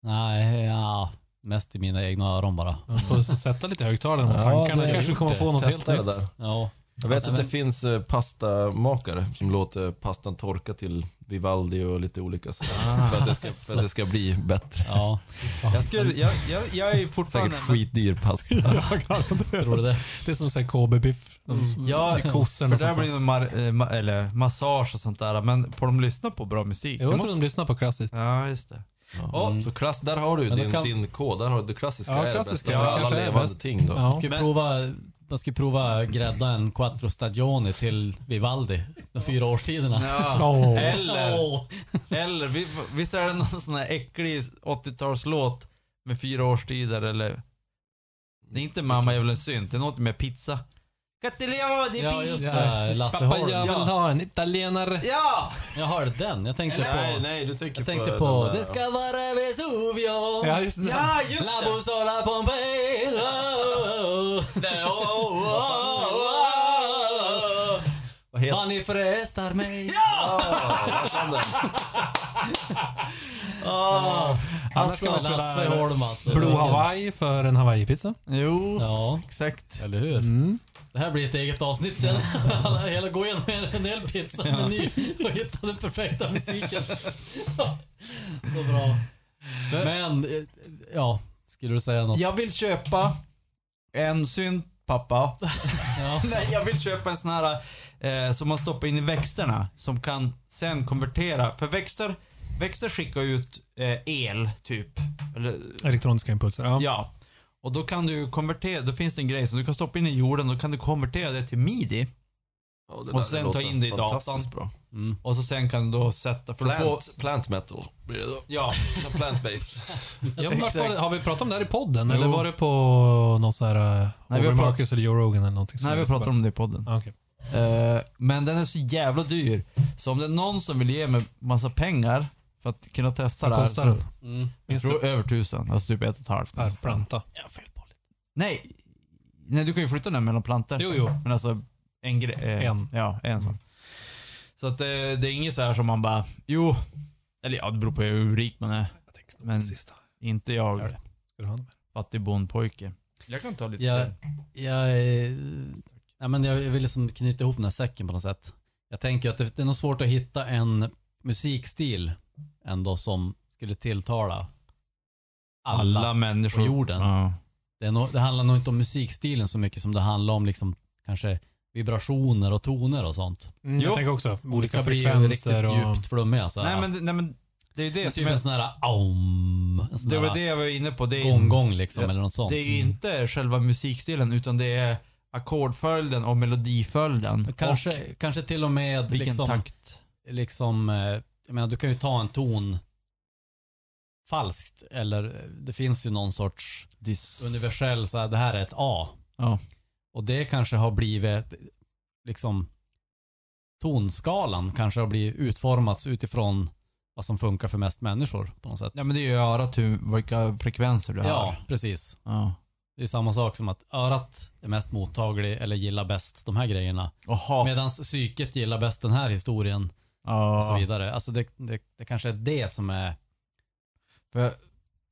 D: Nej, ja. Mest i mina egna öron bara.
C: Man får så sätta lite högtalare mot
E: Ja,
C: tankarna.
E: det-
C: kanske kommer få något helt
E: Testa det
C: nytt.
E: där.
D: Ja.
E: Jag vet
D: Alltså,
E: att det
D: men-
E: finns eh, pastamakare som låter pastan torka till Vivaldi och lite olika sådär. För, att det ska, för att det ska bli bättre.
D: Ja,
A: Jag, skulle, jag, jag, jag är fortfarande...
E: Säkert skitdyr pasta.
D: tror du det?
C: Det är som såhär KB-biff.
E: Mm.
C: De som-
A: Ja,
C: det är
A: för
C: kossorna som
A: där
C: får-
A: blir det mar, eh, ma, eller massage och sånt där. Men får de lyssna på bra musik?
C: Jo,
A: Det
C: jag tror de lyssnar på klassiskt.
A: Ja, just det.
E: Ja, Så klass, där har du
D: Men då
E: din,
D: kan-
E: din kod, där har du det klassiska.
C: Ja,
E: är det
C: klassiska,
E: bästa för
C: ja,
E: alla
C: kanske är
E: levande
C: bäst.
E: ting då.
C: Ja.
D: Ska vi prova, man ska prova grädda en quattro stagioni till Vivaldi. De fyra årstiderna.
A: Ja.
C: Åh.
A: Eller,
D: Åh.
A: eller vi- visst är det någon sån här äcklig 80-talslåt med fyra årstider eller? Det är inte Mamma jag vill en synt, det är något med pizza. Cattilia di
D: Ja, just
A: pizza!
D: det. Lasse
C: Pappa,
D: Holm.
C: jag vill
A: Ja.
C: ha en italienare.
A: Ja!
D: Jag hörde den. Jag tänkte
E: Nej,
D: på...
E: nej, du tänker
D: Jag tänkte
E: på...
D: på...
E: den där-
D: Det ska vara Vesuvio.
C: Ja, just det.
A: Ja, just
D: La
A: det!
D: Bussola Pompeii.
A: Nej, åh, åh, åh, åh.
E: Vad heter
D: Vad ni frestar mig.
E: den?
C: Annars kan man
D: Alltså, Lasse
C: spela
D: Holm alltså.
C: Blue Hawaii för en Hawaii-pizza.
A: Jo,
D: Ja,
A: exakt.
D: eller hur? Det här blir ett eget avsnitt sen. Alla hela gå igenom en, en hel pizzameny och hitta den perfekta musiken. Så bra. Men, eh, ja. Skulle du säga något?
A: Jag vill köpa en synt, pappa.
D: Ja.
A: Nej, jag vill köpa en sån här eh, som man stoppar in i växterna. Som kan sen konvertera. För växter, växter skickar ut eh, el, typ. Eller,
C: Elektroniska impulser. Ja.
A: ja. Och då kan du konvertera, då finns det en grej som du kan stoppa in i jorden, då kan du konvertera det till midi.
E: Ja, det
A: Och
E: där
A: sen
E: låter
A: ta in det i
E: fantastiskt Bra.
A: Och så sen kan du då sätta, för då får...
E: Plant, plant metal blir det då.
A: Ja,
E: Plant-based.
C: Ja, men vart var
A: Exakt.
C: det, har vi pratat om det här i podden? Eller
A: Jo.
C: var det på någon sån här eh,
A: Nej, vi har
C: Aubrey
A: prat-
C: Marcus eller Joe Rogan eller någonting?
A: nej vi pratar om det i podden.
C: Ah, okej.
A: Eh, men den är så jävla dyr. Så om det är någon som vill ge mig massa pengar för att kunna testa det
C: Vad
A: här.
C: kostar
A: så-
C: den?
D: Mm.
A: Jag
C: Minns
A: tror över tusen, alltså typ ett och ett halvt.
C: Äh, planta.
D: Jag fel på lite.
A: Nej. Nej, du kan ju flytta den mellan plantor.
C: Jo, jo.
A: Men alltså en grej. Eh,
C: En.
A: Ja, en sån. Så att eh, det är inget så här som man bara, jo. Eller ja, det beror på hur rik man är.
C: Jag tänkte snå
A: Men-
C: den sista. Ska
A: Inte
D: Gör
A: jag,
D: det.
C: du ha den med?
A: fattig bondpojke. Jag kan ta lite
D: Ja.
A: till.
D: Jag, eh, ja, men jag vill liksom knyta ihop den här säcken på något sätt. Jag tänker att det, det är nog svårt att hitta en musikstil ändå som skulle tilltala alla.
A: Alla människor.
D: på jorden.
A: Ja.
D: Det, är nog, det handlar nog inte om musikstilen så mycket som det handlar om liksom kanske vibrationer och toner och sånt.
C: Mm,
A: Jo.
C: jag tänker också
D: Det ska
C: olika
D: bli
C: frekvenser
D: riktigt
C: och...
D: djupt flummiga så här.
A: Nej, men, det- nej men det är ju det
D: typ
A: som
D: en
A: jag,
D: sån här aum. En sån
A: Det var
D: här
A: det jag var inne på. Det är,
D: gongong liksom
A: Ja,
D: eller något sånt.
A: det är ju inte själva musikstilen utan det är ackordföljden och melodiföljden.
D: Kanske,
A: Och
D: kanske till och med
A: vilken
D: liksom,
A: takt.
D: liksom, eh, jag menar du kan ju ta en ton falskt eller eh, det finns ju någon sorts
A: Dis...
D: universell, så här, det här är ett A.
A: Ja.
D: Och det kanske har blivit liksom tonskalan kanske har blivit utformats utifrån vad som funkar för mest människor på något sätt.
A: Ja men det är ju örat hur, vilka frekvenser du
D: ja
A: hör.
D: precis.
A: Ja.
D: Det är samma sak som att örat är mest mottaglig eller gillar bäst de här grejerna.
A: Jaha.
D: Medan psyket gillar bäst den här historien och så
A: Ja.
D: vidare. Alltså det, det, det kanske är det som är...
A: För,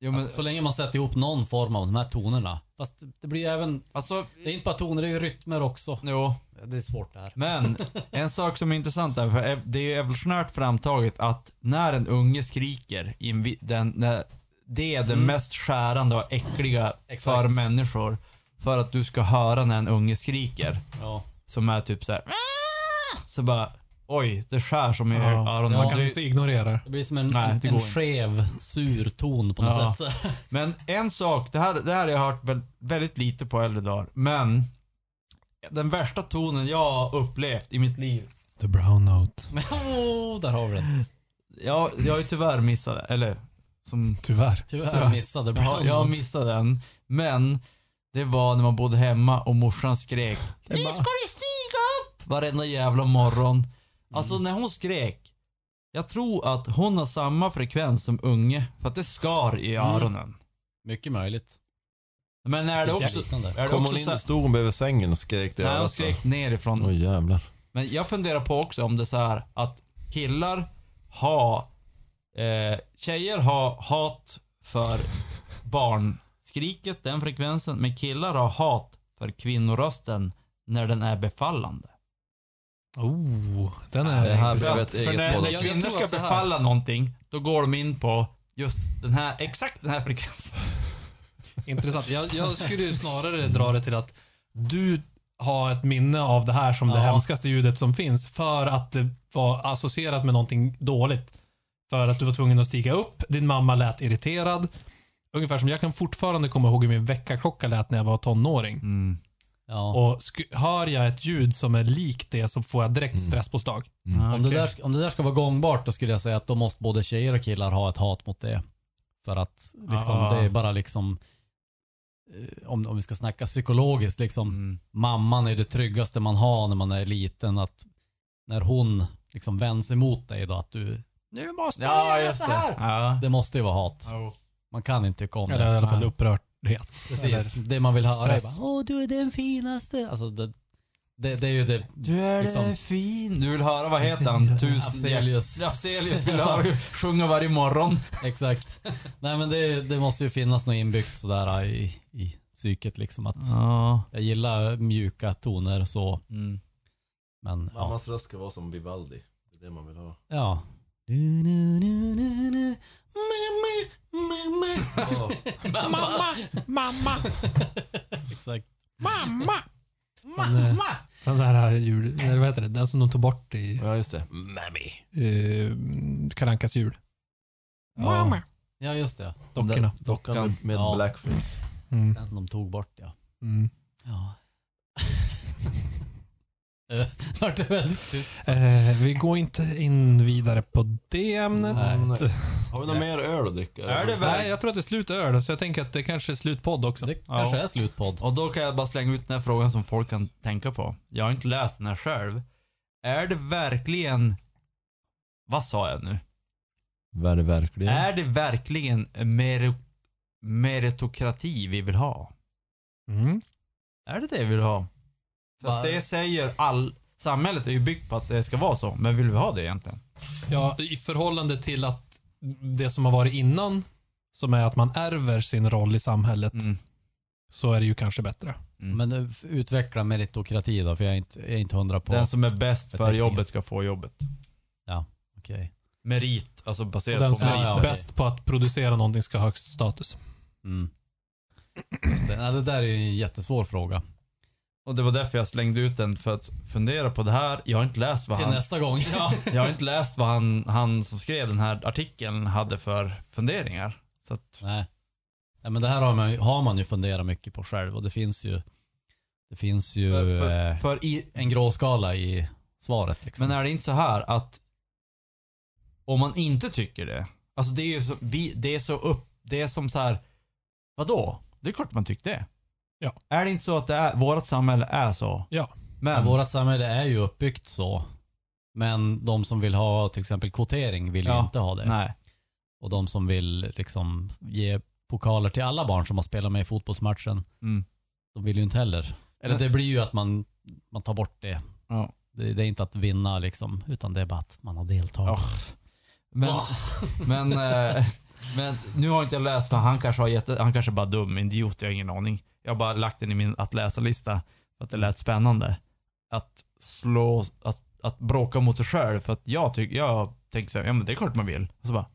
A: jo, men,
D: Så länge man sätter ihop någon form av de här tonerna. Fast det blir ju även...
A: alltså,
D: Det är inte bara toner, det är ju rytmer också.
A: jo.
D: Det är svårt det här.
A: Men en sak som är intressant där, för ev- det är ju evolutionärt framtaget att när en unge skriker, i en vi- den, när, det är det
D: Mm.
A: mest skärande och äckliga
D: Exakt.
A: för människor. För att du ska höra när en unge skriker.
D: Ja.
A: Som är typ så här. "Ah!" Så bara, oj, det skär som i
C: Ja.
A: öronen.
C: Man
D: Ja,
C: kan inte ignorera det.
D: Det blir som en,
A: Nej, det
D: en
A: går inte.
D: skev, sur ton på något
A: Ja.
D: sätt.
A: Men en sak, det här, det här har jag hört väl- väldigt lite på äldre dagar, men den värsta tonen jag har upplevt i mitt liv.
C: The brown note.
D: Men, oh, där har vi den.
A: Jag, jag har ju tyvärr missat, eller som
C: Tyvärr.
D: Tyvärr missade
A: Ja,
D: Brown
A: jag
D: Note.
A: missade den. Men det var när man bodde hemma och morsan skrek Nu ska du stiga upp! Varenda jävla morgon. Alltså när hon skrek. Jag tror att hon har samma frekvens som unge. För att det skar i
D: Mm.
A: öronen.
D: Mycket möjligt.
A: Men är det
D: Finns
A: också...
D: liknande.
A: Är det
E: Kom
A: också
E: hon in
A: så
E: och
A: här,
E: stod hon bredvid sängen och skrek det
A: nej, hon
E: örat, va?
A: skrek nerifrån.
E: Oj jävlar.
A: Men jag funderar på också om det är så här att killar har... Eh, tjejer har hat för barnskriket, den frekvensen. Men killar har hat för kvinnorösten när den är befallande.
C: Oh, den
E: Det
C: är...
E: här
A: För,
E: blev
A: att,
E: ett
A: för
E: eget
A: när,
E: mål.
A: när
D: Jag- jag
A: kvinnor
D: tror
A: ska
D: att så här-
A: befalla någonting, då går de in på just den här, exakt den här frekvensen.
C: Intressant. Jag, jag skulle ju snarare dra det till att du har ett minne av det här som det
D: Ja.
C: hemskaste ljudet som finns för att det var associerat med någonting dåligt. För att du var tvungen att stiga upp, din mamma lät irriterad. Ungefär som jag kan fortfarande komma ihåg hur min väckarklocka lät när jag var tonåring.
D: Mm. Ja.
C: Och sku- hör jag ett ljud som är likt det så får jag direkt
D: Mm.
C: stresspåslag.
D: Om, det där, om det där ska vara gångbart då skulle jag säga att då måste både tjejer och killar ha ett hat mot det. För att liksom,
A: Ah.
D: det är bara liksom, eh, om, om vi ska snacka psykologiskt, liksom,
A: Mm.
D: mamman är det tryggaste man har när man är liten. Att när hon liksom vänds emot dig då att du, nu måste du
A: Ja,
D: göra
A: just
D: så
A: det.
D: här.
A: Ja.
D: Det måste ju vara hat.
A: Ja.
D: Man kan inte tycka om
C: Eller i
D: det.
C: alla fall upprördhet.
D: Precis. Det man vill höra är
C: stress.
D: bara, åh du är den finaste. Alltså, det, det, det är ju det
A: Du är eh,
D: Liksom.
A: fin. Du vill höra, vad heter han? Tusen
D: Afzelius.
A: Afzelius vill höra sjunga varje morgon.
D: Exakt. Nej men det, det måste ju finnas något inbyggt sådär i, i psyket liksom att
A: Ja.
D: jag gillar mjuka toner så
A: Mm.
D: men ja.
E: Mammas röst ska vara som Vivaldi. Det är det man vill ha.
D: ja. Du, nu, nu, nu, nu. Mamma, mamma.
C: Mamma! Mamma!
D: Exakt.
C: Mamma! Mamma! Den där äh, jul... Eller vad heter det? Den som de tog bort i
E: Ja just det. Mammy.
C: eh, Karankas jul.
A: Mamma.
D: Ja just det.
C: Dockorna.
E: Dockan med
D: Ja.
E: blackface.
C: Mm.
D: Den de tog bort ja.
C: Mm.
D: Ja. Eh, Vart det väldigt tyst.
C: Eh, vi går inte in vidare på det ämnet.
D: Nej.
E: Har vi någon mer öl att dricka?
A: Är det
C: Nej,
A: väl?
C: jag tror att det är slut öl, så jag tänker att det kanske är slut podd också.
D: Det kanske är slutpodd.
A: Och då kan jag bara slänga ut den här frågan som folk kan tänka på. Jag har inte läst den här själv. Är det verkligen... Vad sa jag nu?
E: Vad är det verkligen?
A: Är det verkligen mer, meritokrati vi vill ha?
C: Mm.
A: Är det det vi vill ha? För att
D: Va-
A: det säger all... Samhället är ju byggt på att det ska vara så, men vill vi ha det egentligen?
C: Ja, i förhållande till att det som har varit innan, som är att man ärver sin roll i samhället,
A: Mm.
C: så är det ju kanske bättre.
D: Men eh, f- utveckla meritokrati då för jag är inte, jag är inte hundra på.
A: Den som är bäst för
D: Förteckningen.
A: jobbet ska få jobbet.
D: Okej.
A: Merit, alltså baserat
C: Och den
A: på
C: som
A: merit.
D: Ja, ja,
C: är
D: okej.
C: bäst på att producera någonting ska ha högst status.
D: Mm. Just det. Nej, det där är ju en jättesvår fråga.
A: Och det var därför jag slängde ut den, för att fundera på det här. Jag har inte läst vad
D: Till
A: han...
D: nästa gång.
A: Jag har inte läst vad han, han som skrev den här artikeln hade för funderingar. Så att,
D: Nej. Nej, men det här har man, ju- har man ju funderat mycket på själv och det finns ju Det finns ju
A: För-
D: eh,
A: För i,
D: en gråskala i svaret. Liksom.
A: men är det inte så här att om man inte tycker det, alltså det är ju så, vi, det är så upp, det är som så här, vadå? Det är klart man tyckte det.
C: Ja.
A: Är det inte så att det är, vårat samhälle är så?
C: Ja.
A: Men,
D: Ja, vårt samhälle är ju uppbyggt så. Men de som vill ha till exempel kvotering vill ju
A: Ja,
D: inte ha det.
A: nej.
D: Och de som vill liksom ge pokaler till alla barn som har spelat med i fotbollsmatchen,
A: Mm.
D: de vill ju inte heller. Eller det blir ju att man, man tar bort det.
A: Ja.
D: det. Det är inte att vinna liksom, utan det är bara att man har
A: Ja.
D: deltagit.
A: Men, men, eh, men nu har inte jag läst för han kanske har jätte, han kanske är bara dum, idiot, jag har ingen aning. Jag har bara lagt den i min att läsa-lista för att det lät spännande. Att slå, att, att bråka mot sig själv för att jag tycker, jag tänker så här, ja men det är klart man vill. Och så bara,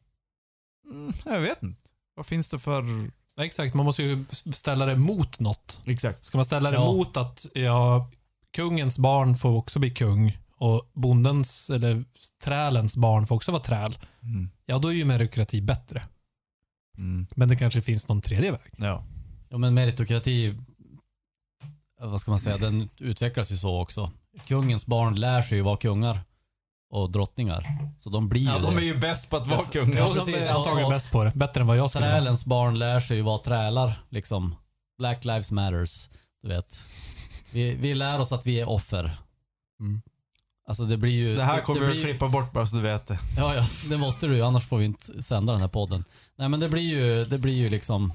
A: mm, jag vet inte. Vad finns det för,
C: Nej, exakt, man måste ju ställa det mot något.
A: exakt.
C: Ska man ställa det
D: Ja.
C: mot att ja, kungens barn får också bli kung och bondens eller trälens barn får också vara träl.
A: Mm.
C: Ja, då är ju meritokrati bättre.
A: Mm.
C: Men det kanske finns någon tredje väg.
A: Ja.
D: Ja, men meritokrati, vad ska man säga, den utvecklas ju så också. Kungens barn lär sig ju vara kungar och drottningar. Så de blir ju
A: ja, de
D: det.
A: är ju bäst på att vara
D: Ja,
A: kungar.
D: de precis.
C: är antagligen
D: Ja.
C: bäst på det. Bättre än vad jag skulle vara.
D: Trälens barn lär sig ju vara trälar, liksom. Black lives matters, du vet. Vi, vi lär oss att vi är offer.
E: Mm.
D: Alltså det blir ju...
A: Det här kommer jag
D: blir-
A: att klippa bort bara så du vet det.
D: Ja, ja, det måste du ju, annars får vi inte sända den här podden. Nej men det blir ju, det blir ju liksom...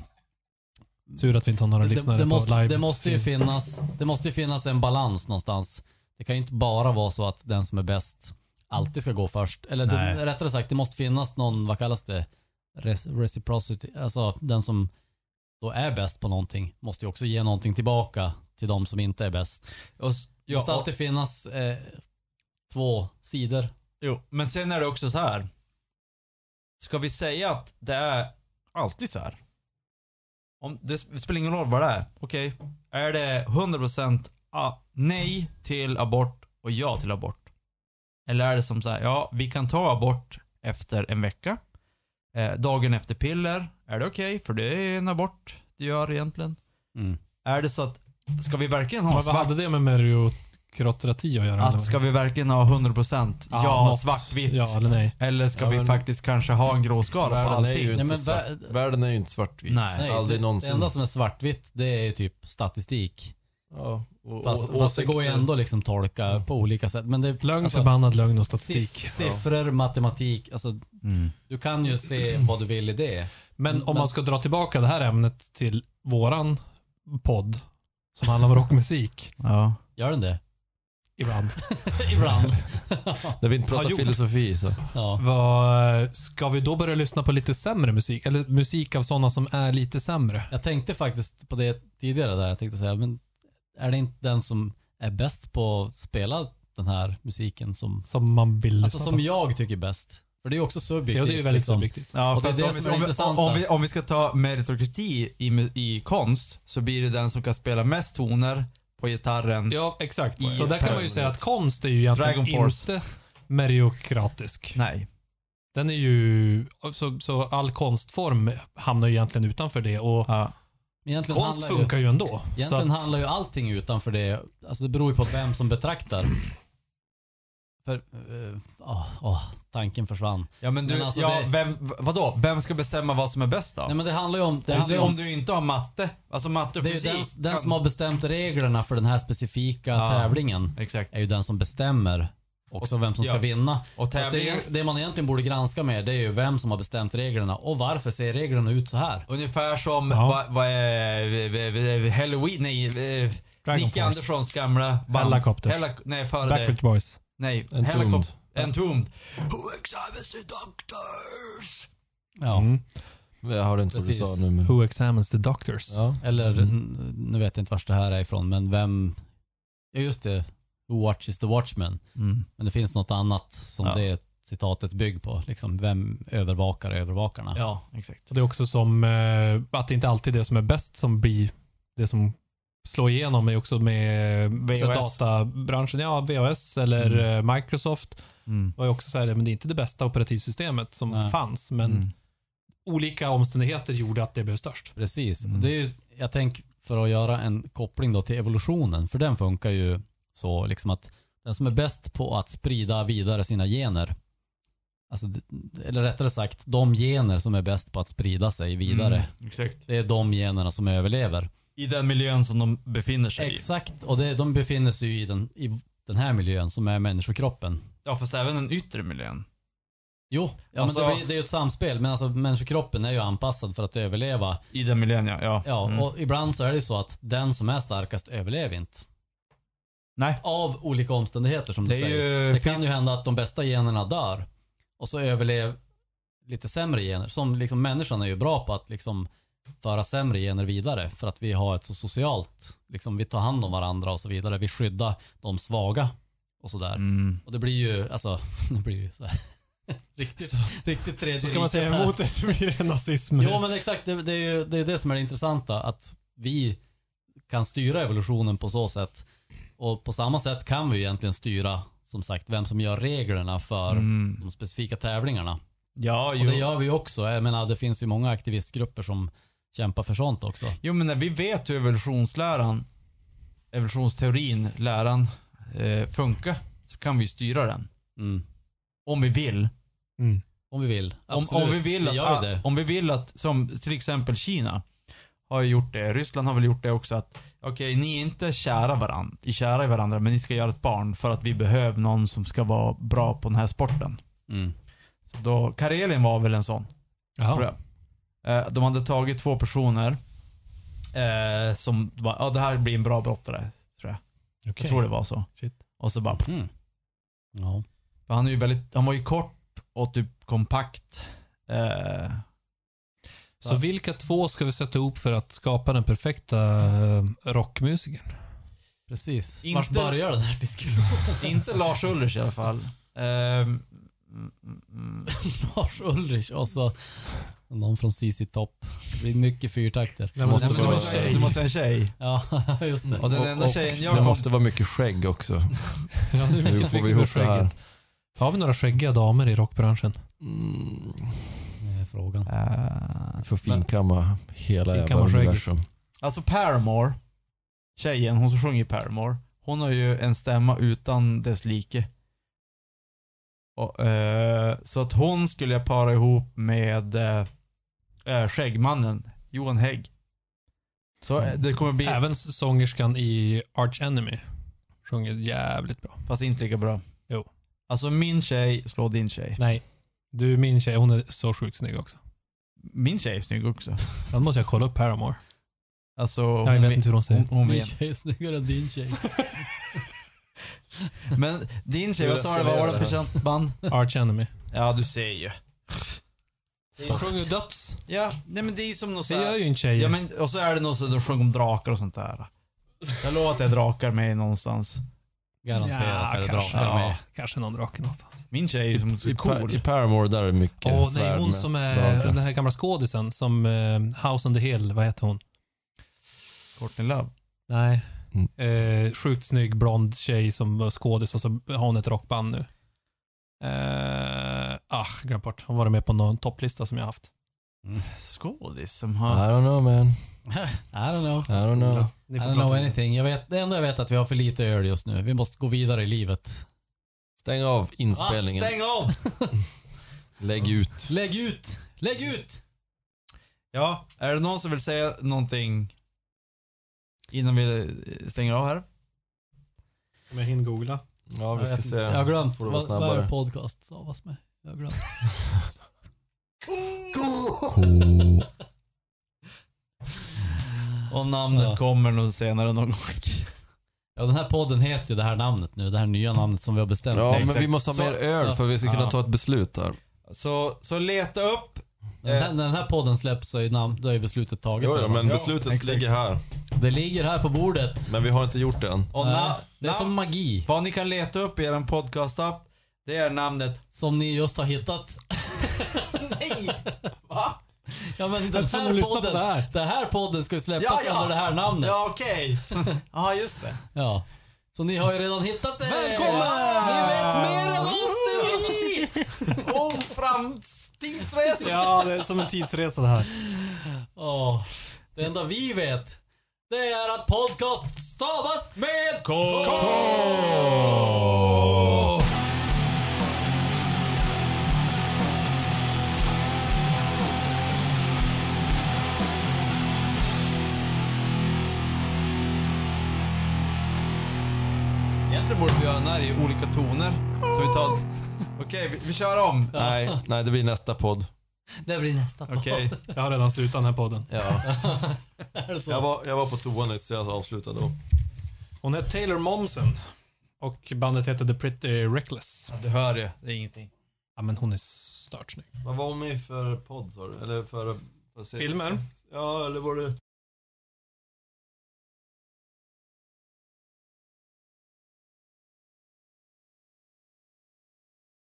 C: Tur att vi inte har några
D: Det,
C: lyssnare
D: det,
C: på
D: måste,
C: live.
D: det, måste ju finnas, det måste ju finnas en balans någonstans. Det kan ju inte bara vara så att den som är bäst alltid ska gå först. Eller
A: Nej.
D: det, rättare sagt, det måste finnas någon, vad kallas det? Res, reciprocity. Alltså den som då är bäst på någonting måste ju också ge någonting tillbaka till de som inte är bäst.
A: Och, s-
D: Det måste
A: ja, och,
D: alltid finnas eh, två sidor.
A: Jo, men sen är det också så här. Ska vi säga att det är alltid så här? Om, det sp- spelar ingen roll vad det är. Okej, är det 100% a- nej till abort och ja till abort? Eller är det som så här, ja, vi kan ta abort efter en vecka. Eh, dagen efter piller, är det okej? för det är en abort det gör egentligen. Är det så att, ska vi verkligen ha
C: Vad vad hade det med meritokrati att göra? eller?
A: Att ska vi verkligen ha 100% ja,
C: något.
A: svartvitt?
C: Ja eller nej.
A: Eller ska
E: Ja,
A: vi
E: men-
A: faktiskt kanske ha en gråskala på
E: Världen är
A: allting?
E: ju
D: Nej,
E: inte,
D: men
E: svart,
D: vär-
E: världen är ju inte svartvit.
A: Nej.
D: Nej,
E: Aldrig
D: det,
E: någonsin.
D: det enda som är svartvitt det är ju typ statistik.
E: Ja, och,
D: Fast,
E: och,
D: fast det går ju
E: åsikter.
D: ändå liksom tolka på olika sätt. Men det
C: Lögn,
D: alltså,
C: förbannad lögn och statistik.
D: siff- Siffror, matematik, alltså
A: Mm.
D: du kan ju se vad du vill i det.
C: Men om
D: Men-
C: man ska dra tillbaka det här ämnet till våran podd som handlar om rockmusik
A: Ja.
D: Gör den det?
C: ibland.
D: Ibland.
E: När vi inte
C: Har
E: pratar
C: gjort.
E: filosofi så.
D: ja.
C: Vad, ska vi då börja lyssna på lite sämre musik? Eller musik av sådana som är lite sämre?
D: Jag tänkte faktiskt på det tidigare där. Jag tänkte säga, men är det inte den som är bäst på att spela den här musiken som,
C: Som man vill
D: alltså,
C: lyssna
D: som
C: på?
D: jag tycker är bäst? För det är ju också subjektivt.
C: Ja, det är ju väldigt
D: liksom.
C: subjektivt.
A: Ja,
D: Och
A: för
D: det är
A: att
D: det
A: om, vi-
D: som är
A: om, vi,
D: intressant,
A: om,
D: va?
A: vi, om vi ska ta meritokrati i, mu- i konst så blir det den som kan spela mest toner på gitarren.
C: Ja, exakt.
A: I-
C: Så där kan man ju säga att konst är ju egentligen
A: Dragon Force.
C: inte meritokratisk.
A: Nej.
C: Den är ju... Så, så all konstform hamnar ju egentligen utanför det och
A: Ja.
D: Egentligen
C: konst
D: handlar ju-
C: funkar ju ändå. Så
D: Egentligen
C: att,
D: handlar ju allting utanför det, alltså det beror ju på vem som betraktar. För, eh, åh, åh, tanken försvann.
A: Ja men du,
D: Men alltså
A: ja,
D: det-
A: vem, v- vadå? Vem ska bestämma vad som är bäst då?
D: Nej men det handlar ju om... Det
A: Det
D: handlar ju om,
A: om du inte har matte, alltså matte och
D: det är ju
A: fysik.
D: den, den
A: kan-
D: som har bestämt reglerna för den här specifika
A: Ja.
D: tävlingen
A: Exakt.
D: är ju den som bestämmer också vem som ska
A: ja.
D: vinna.
A: Och
D: Så att
A: tävlingen,
D: Det, det man egentligen borde granska mer det är ju vem som har bestämt reglerna och varför ser reglerna ut så här?
A: ungefär som,
C: Ja.
A: vad, vad är, v- v- v- Halloween, nej, eh,
C: Dragon
A: Nicke
C: Force.
A: Anderssons gamla band.
C: Hellacopters.
A: Hella- nej, före det.
C: Backstreet Boys.
A: Nej,
E: En
A: helikopter.
E: tomd.
A: En tomd. Who examines the doctors?
D: Ja.
C: Mm.
E: Jag hörde inte
D: Precis.
E: vad du sa nu. Men,
C: Who examines the doctors?
E: ja.
D: Eller,
C: Mm.
D: n- nu vet jag inte vart det här är ifrån, men vem... Ja just det, who watches the watchman? Men det finns något annat som
A: Mm. Ja.
D: det citatet bygger på. Liksom, vem övervakar övervakarna?
A: Ja, exakt.
C: Och det är också som eh, att det inte alltid är det som är bäst som blir det som slår igenom är också med eh,
A: VHS.
C: så databranschen. Ja, VHS eller eh, Microsoft
E: Mm.
C: var ju också så här, men det är inte det bästa operativsystemet som
D: Nej.
C: fanns,
E: Mm.
C: men olika omständigheter gjorde att det blev störst.
D: Precis.
A: Mm.
D: Det är ju, jag tänker, för att göra en koppling då till evolutionen. För den funkar ju så liksom att den som är bäst på att sprida vidare sina gener, alltså, d- eller rättare sagt de gener som är bäst på att sprida sig vidare,
A: Mm, exakt.
D: det är de generna som överlever.
A: I den miljön som de befinner sig i.
D: Exakt, och det, de befinner sig ju i den, i den här miljön som är människokroppen.
A: Ja, fast även den yttre miljön.
D: Jo, ja,
A: Alltså-
D: men det, blir, det är ju ett samspel, men alltså människokroppen är ju anpassad för att överleva.
A: I den miljön, ja. ja.
D: Ja,
A: Mm.
D: och ibland så är det ju så att den som är starkast överlever inte.
A: Nej.
D: Av olika omständigheter som du
A: Det är
D: säger.
A: ju...
D: Det kan ju hända att de bästa generna dör och så överlever lite sämre gener. Som liksom människan är ju bra på att liksom föra sämre gener vidare för att vi har ett så socialt, liksom vi tar hand om varandra och så vidare. Vi skyddar de svaga och sådär.
A: Mm.
D: Och det blir ju, alltså, det blir ju så här. Riktigt,
C: Så-
D: riktigt tredje
C: Så ska man
D: riket
C: säga
D: här.
C: emot det så blir det nazism.
D: Jo men exakt, det, det är ju det, är det som är det intressanta. Att vi kan styra evolutionen på så sätt. Och på samma sätt kan vi ju egentligen styra, som sagt, vem som gör reglerna för
A: Mm.
D: de specifika tävlingarna.
A: Ja,
D: Och
A: jo.
D: det gör vi ju också. Jag menar, det finns ju många aktivistgrupper som kämpar för sånt också.
A: Jo, men när vi vet hur evolutionsläran, evolutionsteorin, läran, eh, funkar, så kan vi styra den.
D: Mm.
A: Om vi vill.
C: Mm.
D: Om vi vill.
A: Om,
D: Absolut.
A: om, vi vill
D: det gör
A: att,
D: vi det.
A: om vi vill att, som till exempel Kina, har ju gjort det. Ryssland har väl gjort det också att, okej, ni är inte kära varandra, kära i varandra, men ni ska göra ett barn för att vi behöver någon som ska vara bra på den här sporten.
D: Mm.
A: Så då, Karelien var väl en sån. tror
C: Jaha.
A: jag. Eh, De hade tagit två personer eh, som bara, ja det här blir en bra brottare. Jag
C: Okej.
A: tror det var så.
C: Shit.
A: Och så bara,
D: Mm. Ja.
A: för han, är ju väldigt, han var ju kort och typ kompakt. Eh,
C: Så vilka två ska vi sätta ihop för att skapa den perfekta eh, rockmusikern?
D: Precis.
A: Inte-
D: Vart börjar den här diskussionen?
A: inte Lars Ulrich i alla fall. Eh, mm, mm, mm.
D: Lars Ulrich och så någon från CC Top. Det blir mycket fyrtakter.
C: Det måste
A: Nej, men du
C: vara en
A: måste-
C: tjej.
A: Du måste ha en tjej.
D: Ja, just det.
A: Och den enda
E: och
A: tjejen jag
E: det
A: kom-
E: måste vara mycket skägg också.
C: Ja, det är
E: Hur
C: mycket
E: får vi ihop
C: viktigt med
E: det här?
C: skägget. Har vi några skäggiga damer i rockbranschen?
E: Mm,
D: Det är frågan.
A: Eh,
E: vi får finkamma hela jävla
C: Finkamma skägget.
E: universum.
A: Alltså Paramore, tjejen, hon som sjunger Paramore, hon har ju en stämma utan dess like. Och, eh, så att hon skulle jag para ihop med eh, eh, skäggmannen, Johan Hägg. Så eh, det kommer bli,
C: Även s- sångerskan i Arch Enemy sjunger jävligt bra.
A: fast inte lika bra.
C: Jo.
A: Alltså min tjej slår din tjej.
C: Nej. Du, min tjej, hon är så sjukt snygg också.
A: Min tjej är snygg också.
C: Den måste jag kolla upp Paramore.
A: Alltså,
C: Jag
A: hon
C: vet
A: vin-
C: inte hur hon ser
A: hon,
C: ut.
A: hon
D: Min
A: vet.
D: tjej är snyggare än din tjej.
A: Men din tjej, vad sa du,
E: Jag
A: vad var det för
E: älskar det
A: känt band?
C: Arch Enemy.
A: Ja, du ser ju.
C: Hon sjunger döds.
A: Ja, nej men det är ju som något
C: Det
A: så här-
C: gör ju en tjej.
A: Ja, men, och så är det någon som de sjunger om drakar och sånt där. Jag lovar att det är drakar med någonstans.
D: Garanterat är det
C: kanske.
D: bra.
A: Ja.
D: Med.
C: Kanske någon drake någonstans.
A: Min tjej är ju som typ så
E: I, pa, I
A: cool.
E: Paramore där är mycket
C: Åh nej,
E: svärd
C: hon
E: med
C: som är
E: dagar.
C: den här gamla skådisen som eh, House on the Hill, vad heter hon?
A: Courtney Love.
C: Nej.
E: Mm.
C: Eh, sjukt snygg blond tjej som var skådis och så har hon ett rockband nu. Eh, ah, glöm bort. Hon var med på någon topplista som jag haft. Mm.
A: Skådis som
E: I
A: har...
E: don't know man.
D: I don't know.
E: I don't know.
D: I
C: Ni får
D: don't
C: prata
D: know
C: om det.
D: anything. Jag vet, det enda jag vet är att vi har för lite öl just nu. Vi måste gå vidare i livet.
E: Stäng av inspelningen.
D: Ah, stäng av!
E: Lägg ut.
D: Lägg ut! Lägg ut!
A: Ja, är det någon som vill säga någonting innan vi eh, stänger av här?
C: Om jag hinner googla.
E: Ja, vi
D: jag,
E: ska
D: vet
E: se.
D: inte. jag har glömt.
E: Får du vara
D: Vad, vad är
E: snabbare.
D: det podcast stavas med? Jag har glömt.
A: Och namnet
D: Ja.
A: kommer nog senare någon gång.
D: Ja, den här podden heter ju det här namnet nu. Det här nya namnet som vi har bestämt.
E: Ja, men
A: exakt.
E: vi måste ha
A: Så-
E: mer öl för vi ska kunna
A: Ja.
E: ta ett beslut här.
A: Så, så leta upp. eh,
D: När den här- när den här podden släpps så är, namn, då är beslutet taget.
E: Jo, ja,
D: redan.
E: men beslutet
A: exakt.
E: ligger här.
D: Det ligger här på bordet.
E: Men vi har inte gjort det än.
A: Och
D: Nej,
A: na-
D: det är
A: na-
D: som magi.
A: Vad ni kan leta upp i er podcastapp, det är namnet...
D: Som ni just har hittat.
A: Nej!
D: Ja, men den
C: Eftersom de
D: här
C: lyssnar på
D: podden.
C: det här.
D: Den här podden ska ju släppas
A: Ja, ja.
D: under det här namnet. Ja.
A: Ja, okej. Ja, just det.
D: Så ni har ju redan hittat det.
A: Välkomna!
D: Ni vet mer än oss, det är vi!
A: Om framtidsresor.
C: Ja, det är som en tidsresa det här.
D: Åh, det enda vi vet det är att podcast stavas med K.
A: Egentligen borde vi göra den här i olika toner. Så vi tar... Okej, vi, vi kör om.
E: Nej, nej, det blir nästa podd.
D: Det blir nästa podd.
A: Okej.
C: Jag har redan slutat den här podden.
E: Ja.
D: Är det så?
E: Jag, var, jag var på toa nyss, så jag avslutade då.
C: Hon är Taylor Momsen. Och bandet heter The Pretty Reckless.
A: Du hör ju, det är ingenting.
C: Ja, men hon är stört snygg.
E: Vad var hon med i för podd sa du? Eller för... för serie?
C: Filmer?
E: Ja, eller var det...